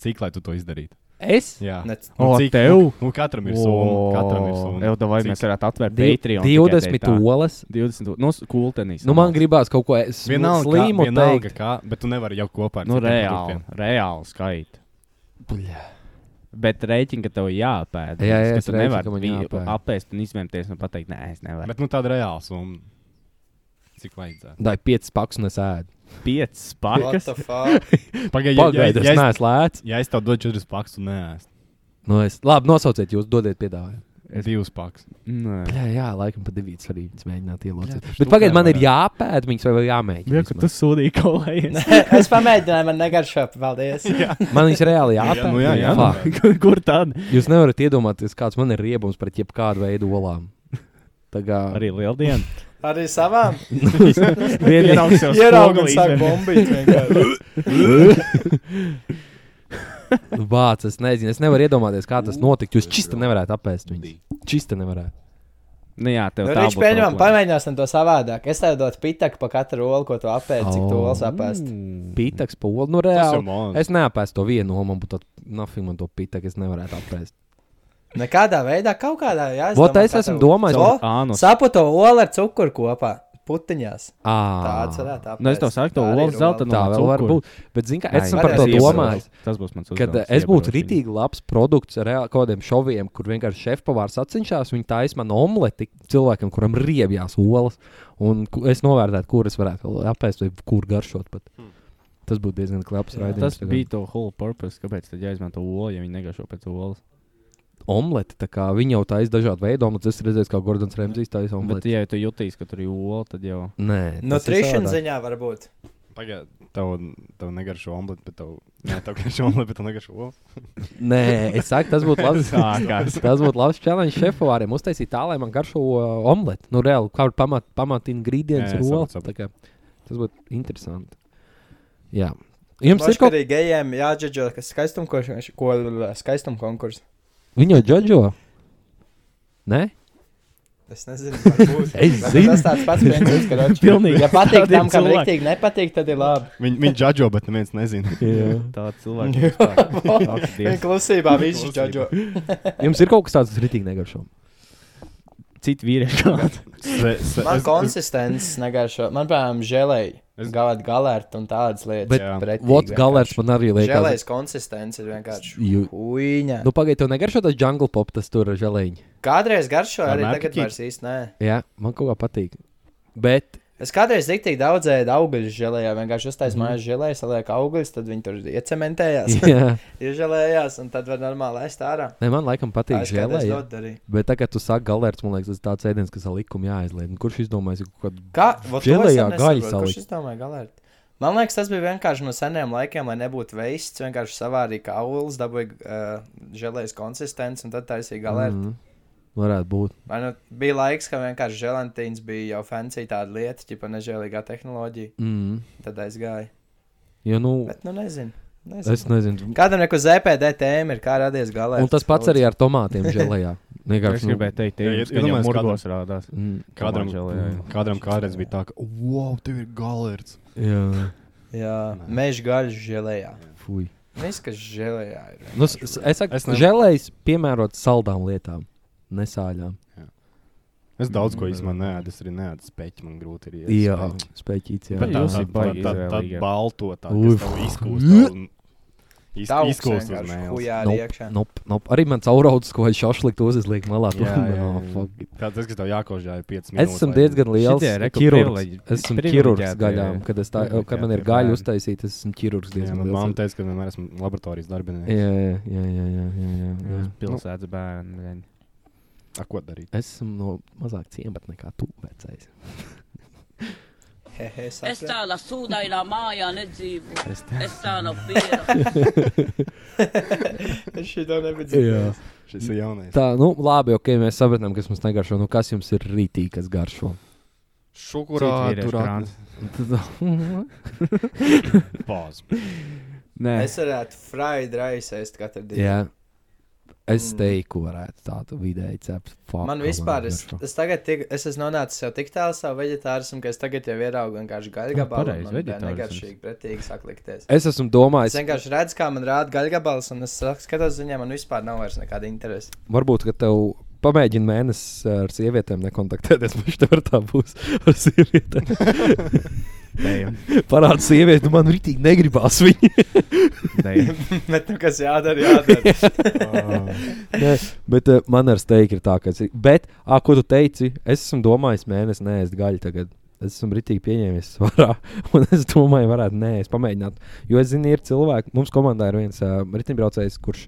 Speaker 7: Cik lai tu to izdarītu?
Speaker 8: Es?
Speaker 7: Jā.
Speaker 4: Ne-
Speaker 7: Un
Speaker 3: O,
Speaker 7: cik-
Speaker 3: tev?
Speaker 7: Nu, katram ir summa. Katram ir
Speaker 3: O,
Speaker 7: summa.
Speaker 3: Jau, vai mēs
Speaker 7: Cik?
Speaker 3: varētu atvērt
Speaker 8: Div-
Speaker 3: Patreon.
Speaker 8: 20 olas.
Speaker 3: 20. No kultenīs.
Speaker 8: Nu, man gribās kaut ko es- nu,
Speaker 7: Vienalga, kā,
Speaker 8: slimu
Speaker 7: vienalga
Speaker 8: teikt.
Speaker 7: kā, bet tu nevari jau kopā ar
Speaker 3: Nu,
Speaker 7: citiem
Speaker 3: reāli,
Speaker 7: produktiem.
Speaker 3: reāli skaita.
Speaker 8: Buļļā.
Speaker 3: Bet rēķina, ka tev jāpēta.
Speaker 8: Jā, jā, es
Speaker 3: tu
Speaker 8: rēķinu,
Speaker 3: nevari
Speaker 8: ka man
Speaker 3: vi-
Speaker 8: jāpēd.
Speaker 3: apēst un izņemties un pateikt, nē, es nevaru.
Speaker 7: Bet nu, tāda reāla summa. Cik vajadzētu?
Speaker 8: Dai 5 pakas un es ēdu.
Speaker 3: Bet piecas
Speaker 4: What
Speaker 3: pakas.
Speaker 4: the fuck?
Speaker 7: Pagaidiet,
Speaker 8: Pagaidiet,
Speaker 7: ja,
Speaker 8: es
Speaker 7: ja,
Speaker 8: neesmu lēts.
Speaker 7: ja es tev dodu četras pakas, tu neēst.
Speaker 8: Nu, es... Labi, nosauciet, jūs dodiet piedāvājumu.
Speaker 7: Es... Divas pakas.
Speaker 3: Nē.
Speaker 8: Jā, jā, laikam pat divas arī viņas mēģināt ielocīt.
Speaker 7: par
Speaker 8: Bet
Speaker 7: štukām
Speaker 8: pagaidiet, man ir
Speaker 7: varētu.
Speaker 8: jāpēd viņas vai vēl jāmēģina.
Speaker 3: Jā, ka tu
Speaker 8: vismaz.
Speaker 3: sūdīji kolēģis.
Speaker 4: <laughs> es pamēģināju, man negaršo. Paldies.
Speaker 8: Man viņas reāli
Speaker 7: Jā,
Speaker 8: jāpēd.
Speaker 7: nu jā, jā.
Speaker 8: Fuck.
Speaker 3: Kur tad?
Speaker 8: Jūs nevarat iedomāties, kāds man ir riebums pret jebkādu veidu olām. <laughs> Tā kā
Speaker 3: Arī lieldiena.
Speaker 4: <laughs> Arī savām.
Speaker 3: Vienīgais
Speaker 4: <laughs>
Speaker 3: jau
Speaker 4: Ieraugu un sāk
Speaker 3: <laughs>
Speaker 4: bombīt. vienkārši.
Speaker 8: vārds, es nezinu, es nevaru iedomāties, kā tas notiktu. Jūs čista nevarētu apēst viņu. Čista nevarētu.
Speaker 3: Nu jā, tev
Speaker 4: Nu,
Speaker 3: tā
Speaker 4: Viņš pieņemam, pamēģināsim to savādāk. Es tev dodu pitaku pa katru olu, ko tu apēdi, cik tu
Speaker 8: Oh.
Speaker 4: olas apēst.
Speaker 3: Mm.
Speaker 8: Pitaks pa olu, nu
Speaker 7: Tas
Speaker 8: reāli.
Speaker 7: jau man.
Speaker 8: Es neapēstu to vienu, un man būtu tāds, nafīgi man to pita, ka es nevarētu apēst.
Speaker 4: Nekādā veidā, kaut kādā jāizdomā.
Speaker 8: Vot es esmu domājis,
Speaker 4: O,
Speaker 3: Ānus.
Speaker 4: Sapu to olu ar cukuru kopā. Putiņās. Tāds
Speaker 8: Ā,
Speaker 4: varētu būt.
Speaker 3: Nu, es tev saku, to olas zelta
Speaker 8: tā vēl var būt. Bet, zini, kā es esmu par
Speaker 4: varēs
Speaker 8: to
Speaker 4: iebraukt.
Speaker 8: domājis.
Speaker 3: Tas būs mans
Speaker 8: Kad eh,
Speaker 3: uzdevums.
Speaker 8: es būtu
Speaker 3: iebraukt viņu.
Speaker 8: rītīgi labs produkts ar reāli kaut kādiem šoviem, kur vienkārši šefpavārs atcinšās, viņi taisīja man omleti cilvēkam, kuram riebjās olas. Un ku- es novērtētu, kur es varētu vēl apēst vai kur garšot. Pat. Tas būtu diezgan klāps
Speaker 4: Jā,
Speaker 8: raidījums.
Speaker 3: Hmm. Tas
Speaker 8: tagad.
Speaker 3: bija to whole purpose, kāpēc tad jāizmanto olu, ja viņi negašo pēc olas.
Speaker 8: omleti. tā kā Viņi jau taisīja dažādu veidu omletus. Es redzēju, kā Gordons Ramsīs taisīja
Speaker 3: Bet,
Speaker 8: omleti.
Speaker 3: ja tu jutīs, ka tur ir ola, tad jau.
Speaker 8: Nē, tas ir savādāk.
Speaker 4: Nutrition Nu, ziņā varbūt.
Speaker 7: Pagaidiet, tev, tev negaršo omleti, bet tev, nē, tev garšo omleti, bet tev negaršo olas.
Speaker 8: Nē, es saku, tas būtu labs.
Speaker 3: <laughs>
Speaker 8: tas būtu labs challenge šefovāriem. Uztaisīt tā, lai man garšo uh, omleti. Nu, reāli, kā ir pamat, pamat ingredients
Speaker 7: Jā, jā,
Speaker 8: ir olas.
Speaker 7: saprotu,
Speaker 8: Tā kā Tas būtu interesanti. Jā. Jums ir
Speaker 4: Moška
Speaker 8: kaut
Speaker 4: arī gejiem jāģeģo, kas skaistuma konkurss. Ko, skaistuma konkurss.
Speaker 8: Viņu ģeģo? Nē?
Speaker 4: Es nezinu, kas
Speaker 8: Es zinu.
Speaker 4: tas tāds pats princips, ka roči.
Speaker 3: Pilnīgi
Speaker 4: Ja patīk tam, kam
Speaker 3: cilvēki.
Speaker 4: rīktīgi nepatīk, tad ir labi.
Speaker 7: Viņi viņ džadžo, bet neviens
Speaker 8: <laughs>
Speaker 7: nezina.
Speaker 3: Tā cilvēka
Speaker 4: Viņa
Speaker 3: apstākļi.
Speaker 4: klusībā visi ģeģo.
Speaker 8: Jums ir kaut kas tāds, kas ritīgi negaršo.
Speaker 3: Citi vīrieši.
Speaker 7: Se, se,
Speaker 4: Man
Speaker 7: es, es,
Speaker 4: konsistences negaršo. Man, piemēram, žēlēja
Speaker 7: Es-
Speaker 4: galēt galērtu un tādas lietas.
Speaker 8: Bet
Speaker 7: Jā.
Speaker 4: pretīgi
Speaker 8: Vots
Speaker 4: vienkārši.
Speaker 8: galērs man arī liekas.
Speaker 4: Žēlējas konsistence ir vienkārši.
Speaker 8: Jū-
Speaker 4: Uiņa.
Speaker 8: Nu, pagaidiet, tev negaršo tas jungle pop, tas tur žēlēņi.
Speaker 4: Kādreiz garšo,
Speaker 7: Ar
Speaker 4: arī tagad
Speaker 7: mērķi?
Speaker 4: vairs īsti nē.
Speaker 8: Jā, man kaut kā patīk. Bet
Speaker 4: Es kādreiz tik tik daudz ēdu augļu žēlējā, vienkārši uztaisīju mm. mājas žēlēju, salieku augļus, tad viņi tur iecementējās,
Speaker 8: <laughs>
Speaker 4: <laughs>
Speaker 8: jā,
Speaker 4: iežēlējās, un tad var normāli ēst ārā.
Speaker 8: ne, man laikam patīk
Speaker 4: Tā es kādreiz
Speaker 8: žēlēja.
Speaker 4: ļoti darīju.
Speaker 8: Bet tagad, kad tu saki galērts, man liekas, tas ir tāds ēdiens, kas ar likumu jāaizliedz. Nu, Kurš izdomājis kaut kādu
Speaker 4: Kā? Vot to es
Speaker 8: Želejā
Speaker 4: nesaprotu,
Speaker 8: gaļu
Speaker 4: kurš
Speaker 8: salikt.
Speaker 4: izdomāja galērti? Man liekas, tas bija vienkārši no seniem laikiem, lai nebūtu veists. Vienkārši savārīja kaulus, dabūja uh, žēlējas konsistenci un tad taisīja galērti.
Speaker 8: Mhm.
Speaker 4: Mm.
Speaker 8: Varētu būt.
Speaker 4: Man nu, bija laiks, ka vienkārši žēlantīns bija jau fancy tāda lieta, tipa nežēlīgā tehnoloģija.
Speaker 8: Mm.
Speaker 4: Tad aizgāja.
Speaker 8: Jo, nu,
Speaker 4: Bet nu nezinu. nezinu.
Speaker 8: es nezinu.
Speaker 4: Kādam neko ZPD tēma ir, kā radies galā.
Speaker 8: Un tas pats arī ar tomātiem žēlējā.
Speaker 3: Es
Speaker 8: Vienkārši, nu,
Speaker 3: gribēju teikt,
Speaker 7: Jā,
Speaker 3: ka
Speaker 7: ja-
Speaker 3: tas ir
Speaker 7: iedomājies,
Speaker 3: murgos rādās.
Speaker 8: mm,
Speaker 7: Kādam,
Speaker 3: Komančeli, jā,
Speaker 8: Nu.
Speaker 3: jā.
Speaker 7: kādam kādreiz bija tā, ka, wow, tev ir galerts.
Speaker 8: Jā,
Speaker 4: Jā, meža gaļa žēlējā.
Speaker 8: fuj.
Speaker 4: Viss, kas žēlējā ir.
Speaker 8: Nu, s- s- es saku,
Speaker 7: Es
Speaker 8: es
Speaker 7: ne-
Speaker 8: žēlēju, piemērot saldām lietām, nesāļām.
Speaker 7: Es daudz ko
Speaker 8: Mm.
Speaker 7: īstenībā neēdu, es arī neēdu speķi, man grūti ir iet
Speaker 8: Jā,
Speaker 7: speķi.
Speaker 8: spēcīgs.
Speaker 7: Bet
Speaker 3: Jā,
Speaker 7: tā
Speaker 3: jūs ir baigi
Speaker 7: ir
Speaker 3: izvēlīgi.
Speaker 7: tāda balto, tā
Speaker 8: Uf.
Speaker 7: kas tev izkūst un
Speaker 4: Tā
Speaker 7: iz- izkūst uz mēles.
Speaker 4: Kujā
Speaker 8: Nop,
Speaker 4: iekšā.
Speaker 8: nop, nop. Arī man cauraudzis, ko viņš šašlikt uzliek malā. <laughs>
Speaker 7: <laughs>
Speaker 8: tur.
Speaker 7: Jā, jā,
Speaker 8: No,
Speaker 7: jā.
Speaker 8: fuck.
Speaker 7: Tāds, tas, kas tev jākožģē 5 minūtes.
Speaker 8: Es esmu
Speaker 7: lai-
Speaker 8: diezgan liels
Speaker 3: Šitie, re, ka
Speaker 8: ķirurgs.
Speaker 3: privileģi-
Speaker 8: Es esmu
Speaker 3: privileģēti,
Speaker 8: ķirurgs
Speaker 3: jā.
Speaker 8: gaļām. Kad, es tā, kad man ir
Speaker 7: Privileģēti,
Speaker 8: gaļa
Speaker 7: jā.
Speaker 8: uztaisīta, es esmu ķirurgs
Speaker 7: Jā,
Speaker 8: diezgan
Speaker 7: man
Speaker 8: liels.
Speaker 7: mamma teica, ka vienmēr esmu laboratorijas darbinieks.
Speaker 8: Jā, jā, jā, jā, jā, jā, jā, jā.
Speaker 3: Pilsētas bērni.
Speaker 7: Tā, ko darīt?
Speaker 8: Es esmu no mazāk ciemata nekā tu vecais.
Speaker 4: Hehe, saka.
Speaker 9: Es tādā sūdainā mājā nedzīvoju.
Speaker 3: Es
Speaker 9: Es tā no pieras.
Speaker 4: Es šito nebiju.
Speaker 8: Jā.
Speaker 7: Šis ir jaunais.
Speaker 8: Tā, nu, labi, ok, mēs sapratām, kas mums negaršo. Nu, kas jums ir rītī, kas garšo?
Speaker 7: Šukurā tur atnes- Paz.
Speaker 3: Nē,
Speaker 4: Es varētu fried rice ēst katru dienu.
Speaker 8: Jā. Es
Speaker 4: Mm.
Speaker 8: teiktu, varētu tādu vidēji cept. Fuck,
Speaker 4: Man vispār, es,
Speaker 8: garšo.
Speaker 4: es tagad tiek, es esmu nonācis jau tik tālu savā vegetārismā, ka es tagad jau ieraugu vienkārši gaļu
Speaker 3: Tā,
Speaker 4: gabalu.
Speaker 3: pareizi,
Speaker 4: Man bija
Speaker 3: veģetārisms.
Speaker 4: negaršīgi, pretīgi sāk likties.
Speaker 8: es esmu
Speaker 4: Es
Speaker 8: domājis,
Speaker 4: vienkārši redzu, kā man rāda gaļu gabals, un es sak- skatos viņiem, man vispār nav vairs nekāda interesa.
Speaker 8: varbūt, ka tev pamēģini mēnesi ar sievietēm nekontaktēties. <laughs> Viņš tev tā būs ar sievietēm. <laughs>
Speaker 3: Dejam,
Speaker 8: Parāda sievieti, nu, man rītīgi negribās viņu.
Speaker 7: <laughs>
Speaker 3: dejam.
Speaker 4: <laughs> Bet nu, kas jādara, jādara.
Speaker 8: Nē, bet uh, man ar steiku ir tā, ka. es- Bet, ah, ko tu teici? Es esmu domājis, mēnesi nē, es gaļu tagad. Es esmu rītīgi pieņēmis <laughs> svarā, un es domāju, varētu nē, es pamēģinātu. Jo es zinu, ir cilvēki, mums komandā ir viens uh, riteņbraucējs, kurš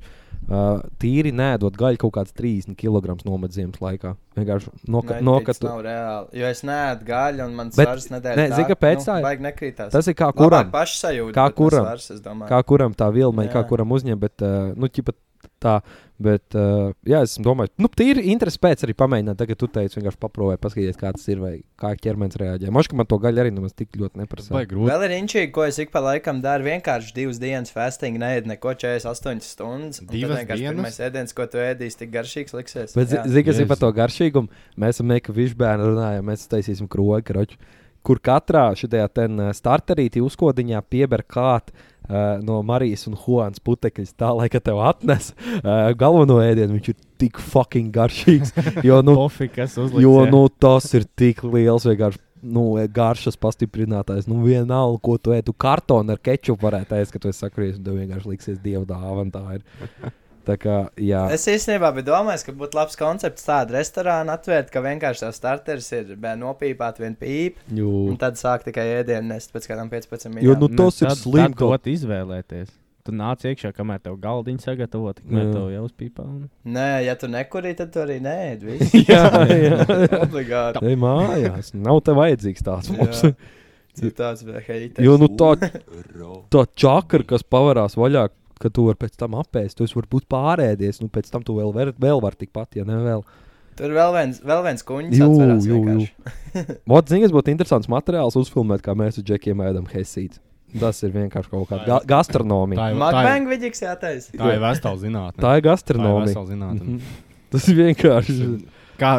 Speaker 8: uh, tīri nedod gaļu kaut kāds 30 kg nomet ziemas laikā. Vienkārši <laughs> noka-
Speaker 4: Nokas
Speaker 8: nokatu.
Speaker 4: nav reāli. Jo es neēdu gaļu, un man
Speaker 8: Bet-
Speaker 4: svars nedēļas. nu,
Speaker 8: nē, zini, kāpēc tā ir?
Speaker 4: Vajag nekrītās.
Speaker 8: Tas ir kā kuram.
Speaker 4: Pašsajūta.
Speaker 8: Kā
Speaker 4: bet ne
Speaker 8: kuram?
Speaker 4: Svars, es domāju.
Speaker 8: kā kuram tā vilna, kā
Speaker 4: Jā.
Speaker 8: kuram uzņem, bet, uh, nu, ķipa tā, bet, uh, jā, es domāju, nu, tīri interesi pēc arī pamēģināt, tagad tu teici, vienkārši paprovēji, paskatījies, kā tas ir, vai kā ķermenis reaģē. Moši, ka man to gaļu arī nemaz tik ļoti neprasa.
Speaker 7: Vai grūti?
Speaker 4: Vēl ir inčīgi, ko es ik pa laikam daru. Vienkārši divas dienas fasting, neiet neko 48 stundas. un tad
Speaker 7: Divas
Speaker 4: vienkārši
Speaker 7: dienas?
Speaker 4: Pirmais ēdiens, ko tu ēdīsi, tik garšīgs liksies.
Speaker 8: Bet,
Speaker 4: Jā.
Speaker 8: zini, kas ir par
Speaker 7: Jēzus.
Speaker 8: to garšīgumu? Mēs ar Meku Višbēnu runājām, mēs taisīsim krogu, kroķu, kur katrā šajā ten eh, starterītī uzkodiņā pieber klāt. eh, No Marijas un Juanas putekļiem tā, lai ka tev atnes eh, galveno ēdienu. Viņš ir tik fucking garšīgs. Jo, nu,
Speaker 3: Pofi, kas uzliek.
Speaker 8: Jo nu, tas ir tik liels, vienkārši nu, garšas pastiprinātājs. Nu, vienalga, ko tu ēdi, tu kartonu ar kečupu varētu ēst, ka tu esi sakrājis, un tev vienkārši liksies dieva dāvana. Tā ir. Tā kā, jā.
Speaker 4: Es īstenībā biju domājis, ka būtu labs koncepts tādu restorānu atvērt, ka vienkārši tā starteris ir bē, nopīpāt vienu pīpi, un
Speaker 8: Jū.
Speaker 4: tad sāk tikai ēdienu nest pēc kādām 15
Speaker 8: Jo, nu,
Speaker 4: minūtēm.
Speaker 8: tas ir
Speaker 3: Tad
Speaker 8: slikti.
Speaker 3: dot izvēlēties. Tu nāc iekšā, kamēr tev galdiņa sagatavo,
Speaker 8: Jā.
Speaker 3: tikmēr tev jau uzpīpā.
Speaker 8: <laughs>
Speaker 3: un- <laughs>
Speaker 4: Nē, ja tu nekurī, tad tu arī nē, <laughs> viss.
Speaker 8: Jā, jā.
Speaker 4: Obligāti.
Speaker 8: Ej mājās. Nav tev vajadzīgs tāds
Speaker 4: <laughs>
Speaker 8: mums.
Speaker 4: Jā. Nu, Citāds, bet heiters.
Speaker 8: Jo nu, tā, tā čakra, kas pavarās vaļā, ka tu vari pēc tam apēst, tu esi varbūt pārēdies, nu pēc tam tu vēl, var- vēl vari tikpat, ja ne vēl.
Speaker 4: Tur vēl viens, vēl viens kuņģis.
Speaker 8: Jū,
Speaker 4: atverās
Speaker 8: jū,
Speaker 4: vienkārši.
Speaker 8: jū. Vot, zini, kas būtu interesants materiāls uzfilmēt, kā mēs ar Džekiem ēdam hesītu. Tas ir vienkārši kaut kāda ga gastronomija.
Speaker 7: Tā ir tā ir-
Speaker 4: Makbang vidiks jātais.
Speaker 7: tā ir vesela zinātne.
Speaker 8: Tā ir
Speaker 7: Tā ir
Speaker 8: gastronomija. Mhm.
Speaker 7: vesela
Speaker 8: <laughs>
Speaker 7: zinātne.
Speaker 8: Tas ir vienkārši.
Speaker 7: Kā,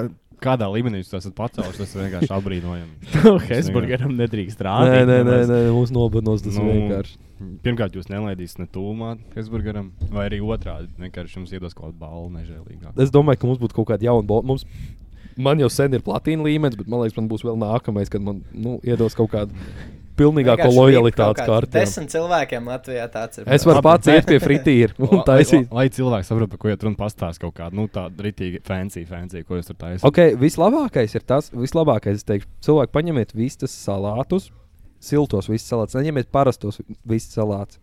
Speaker 7: kādā līmenī jūs esat pacēlušies, tas ir vienkārši
Speaker 8: <laughs>
Speaker 7: apbrīnojami.
Speaker 3: Tev Hesburgeram nedrīkst
Speaker 8: Nē,
Speaker 3: rādīt.
Speaker 8: nē, nē,
Speaker 3: nemaz.
Speaker 8: nē, mūsu nobanos tas ir
Speaker 7: Nu.
Speaker 8: vienkārši.
Speaker 7: Pirmkārt, jūs nelaidīsiet ne tūmā Hesburgeram, vai arī otrādi. Vienkārši jums iedos kaut kādu balvu nežēlīgāku.
Speaker 8: Es domāju, ka mums būtu kaut kāda jauna balva. Mums... Man jau sen ir platīna līmenis, bet man liekas, man būs vēl nākamais, kad man nu, iedos kaut kādu pilnīgāko
Speaker 4: Vienkārši
Speaker 8: lojalitātes
Speaker 4: kaut kāds
Speaker 8: karti.
Speaker 4: Desmit cilvēkiem Latvijā tāds ir.
Speaker 8: Es varu pats iet pie fritīra un taisīt.
Speaker 7: Lai, lai cilvēki saprotu, par ko jūs runājat, pastāstiet kaut kādu nu, tādu rītīgu fancy, fancy, ko jūs tur taisāt.
Speaker 8: Ok, vislabākais ir tas, vislabākais, es teikšu, cilvēki paņemiet vistas salātus, siltos vistas salātus, neņemiet parastos vistas salātus,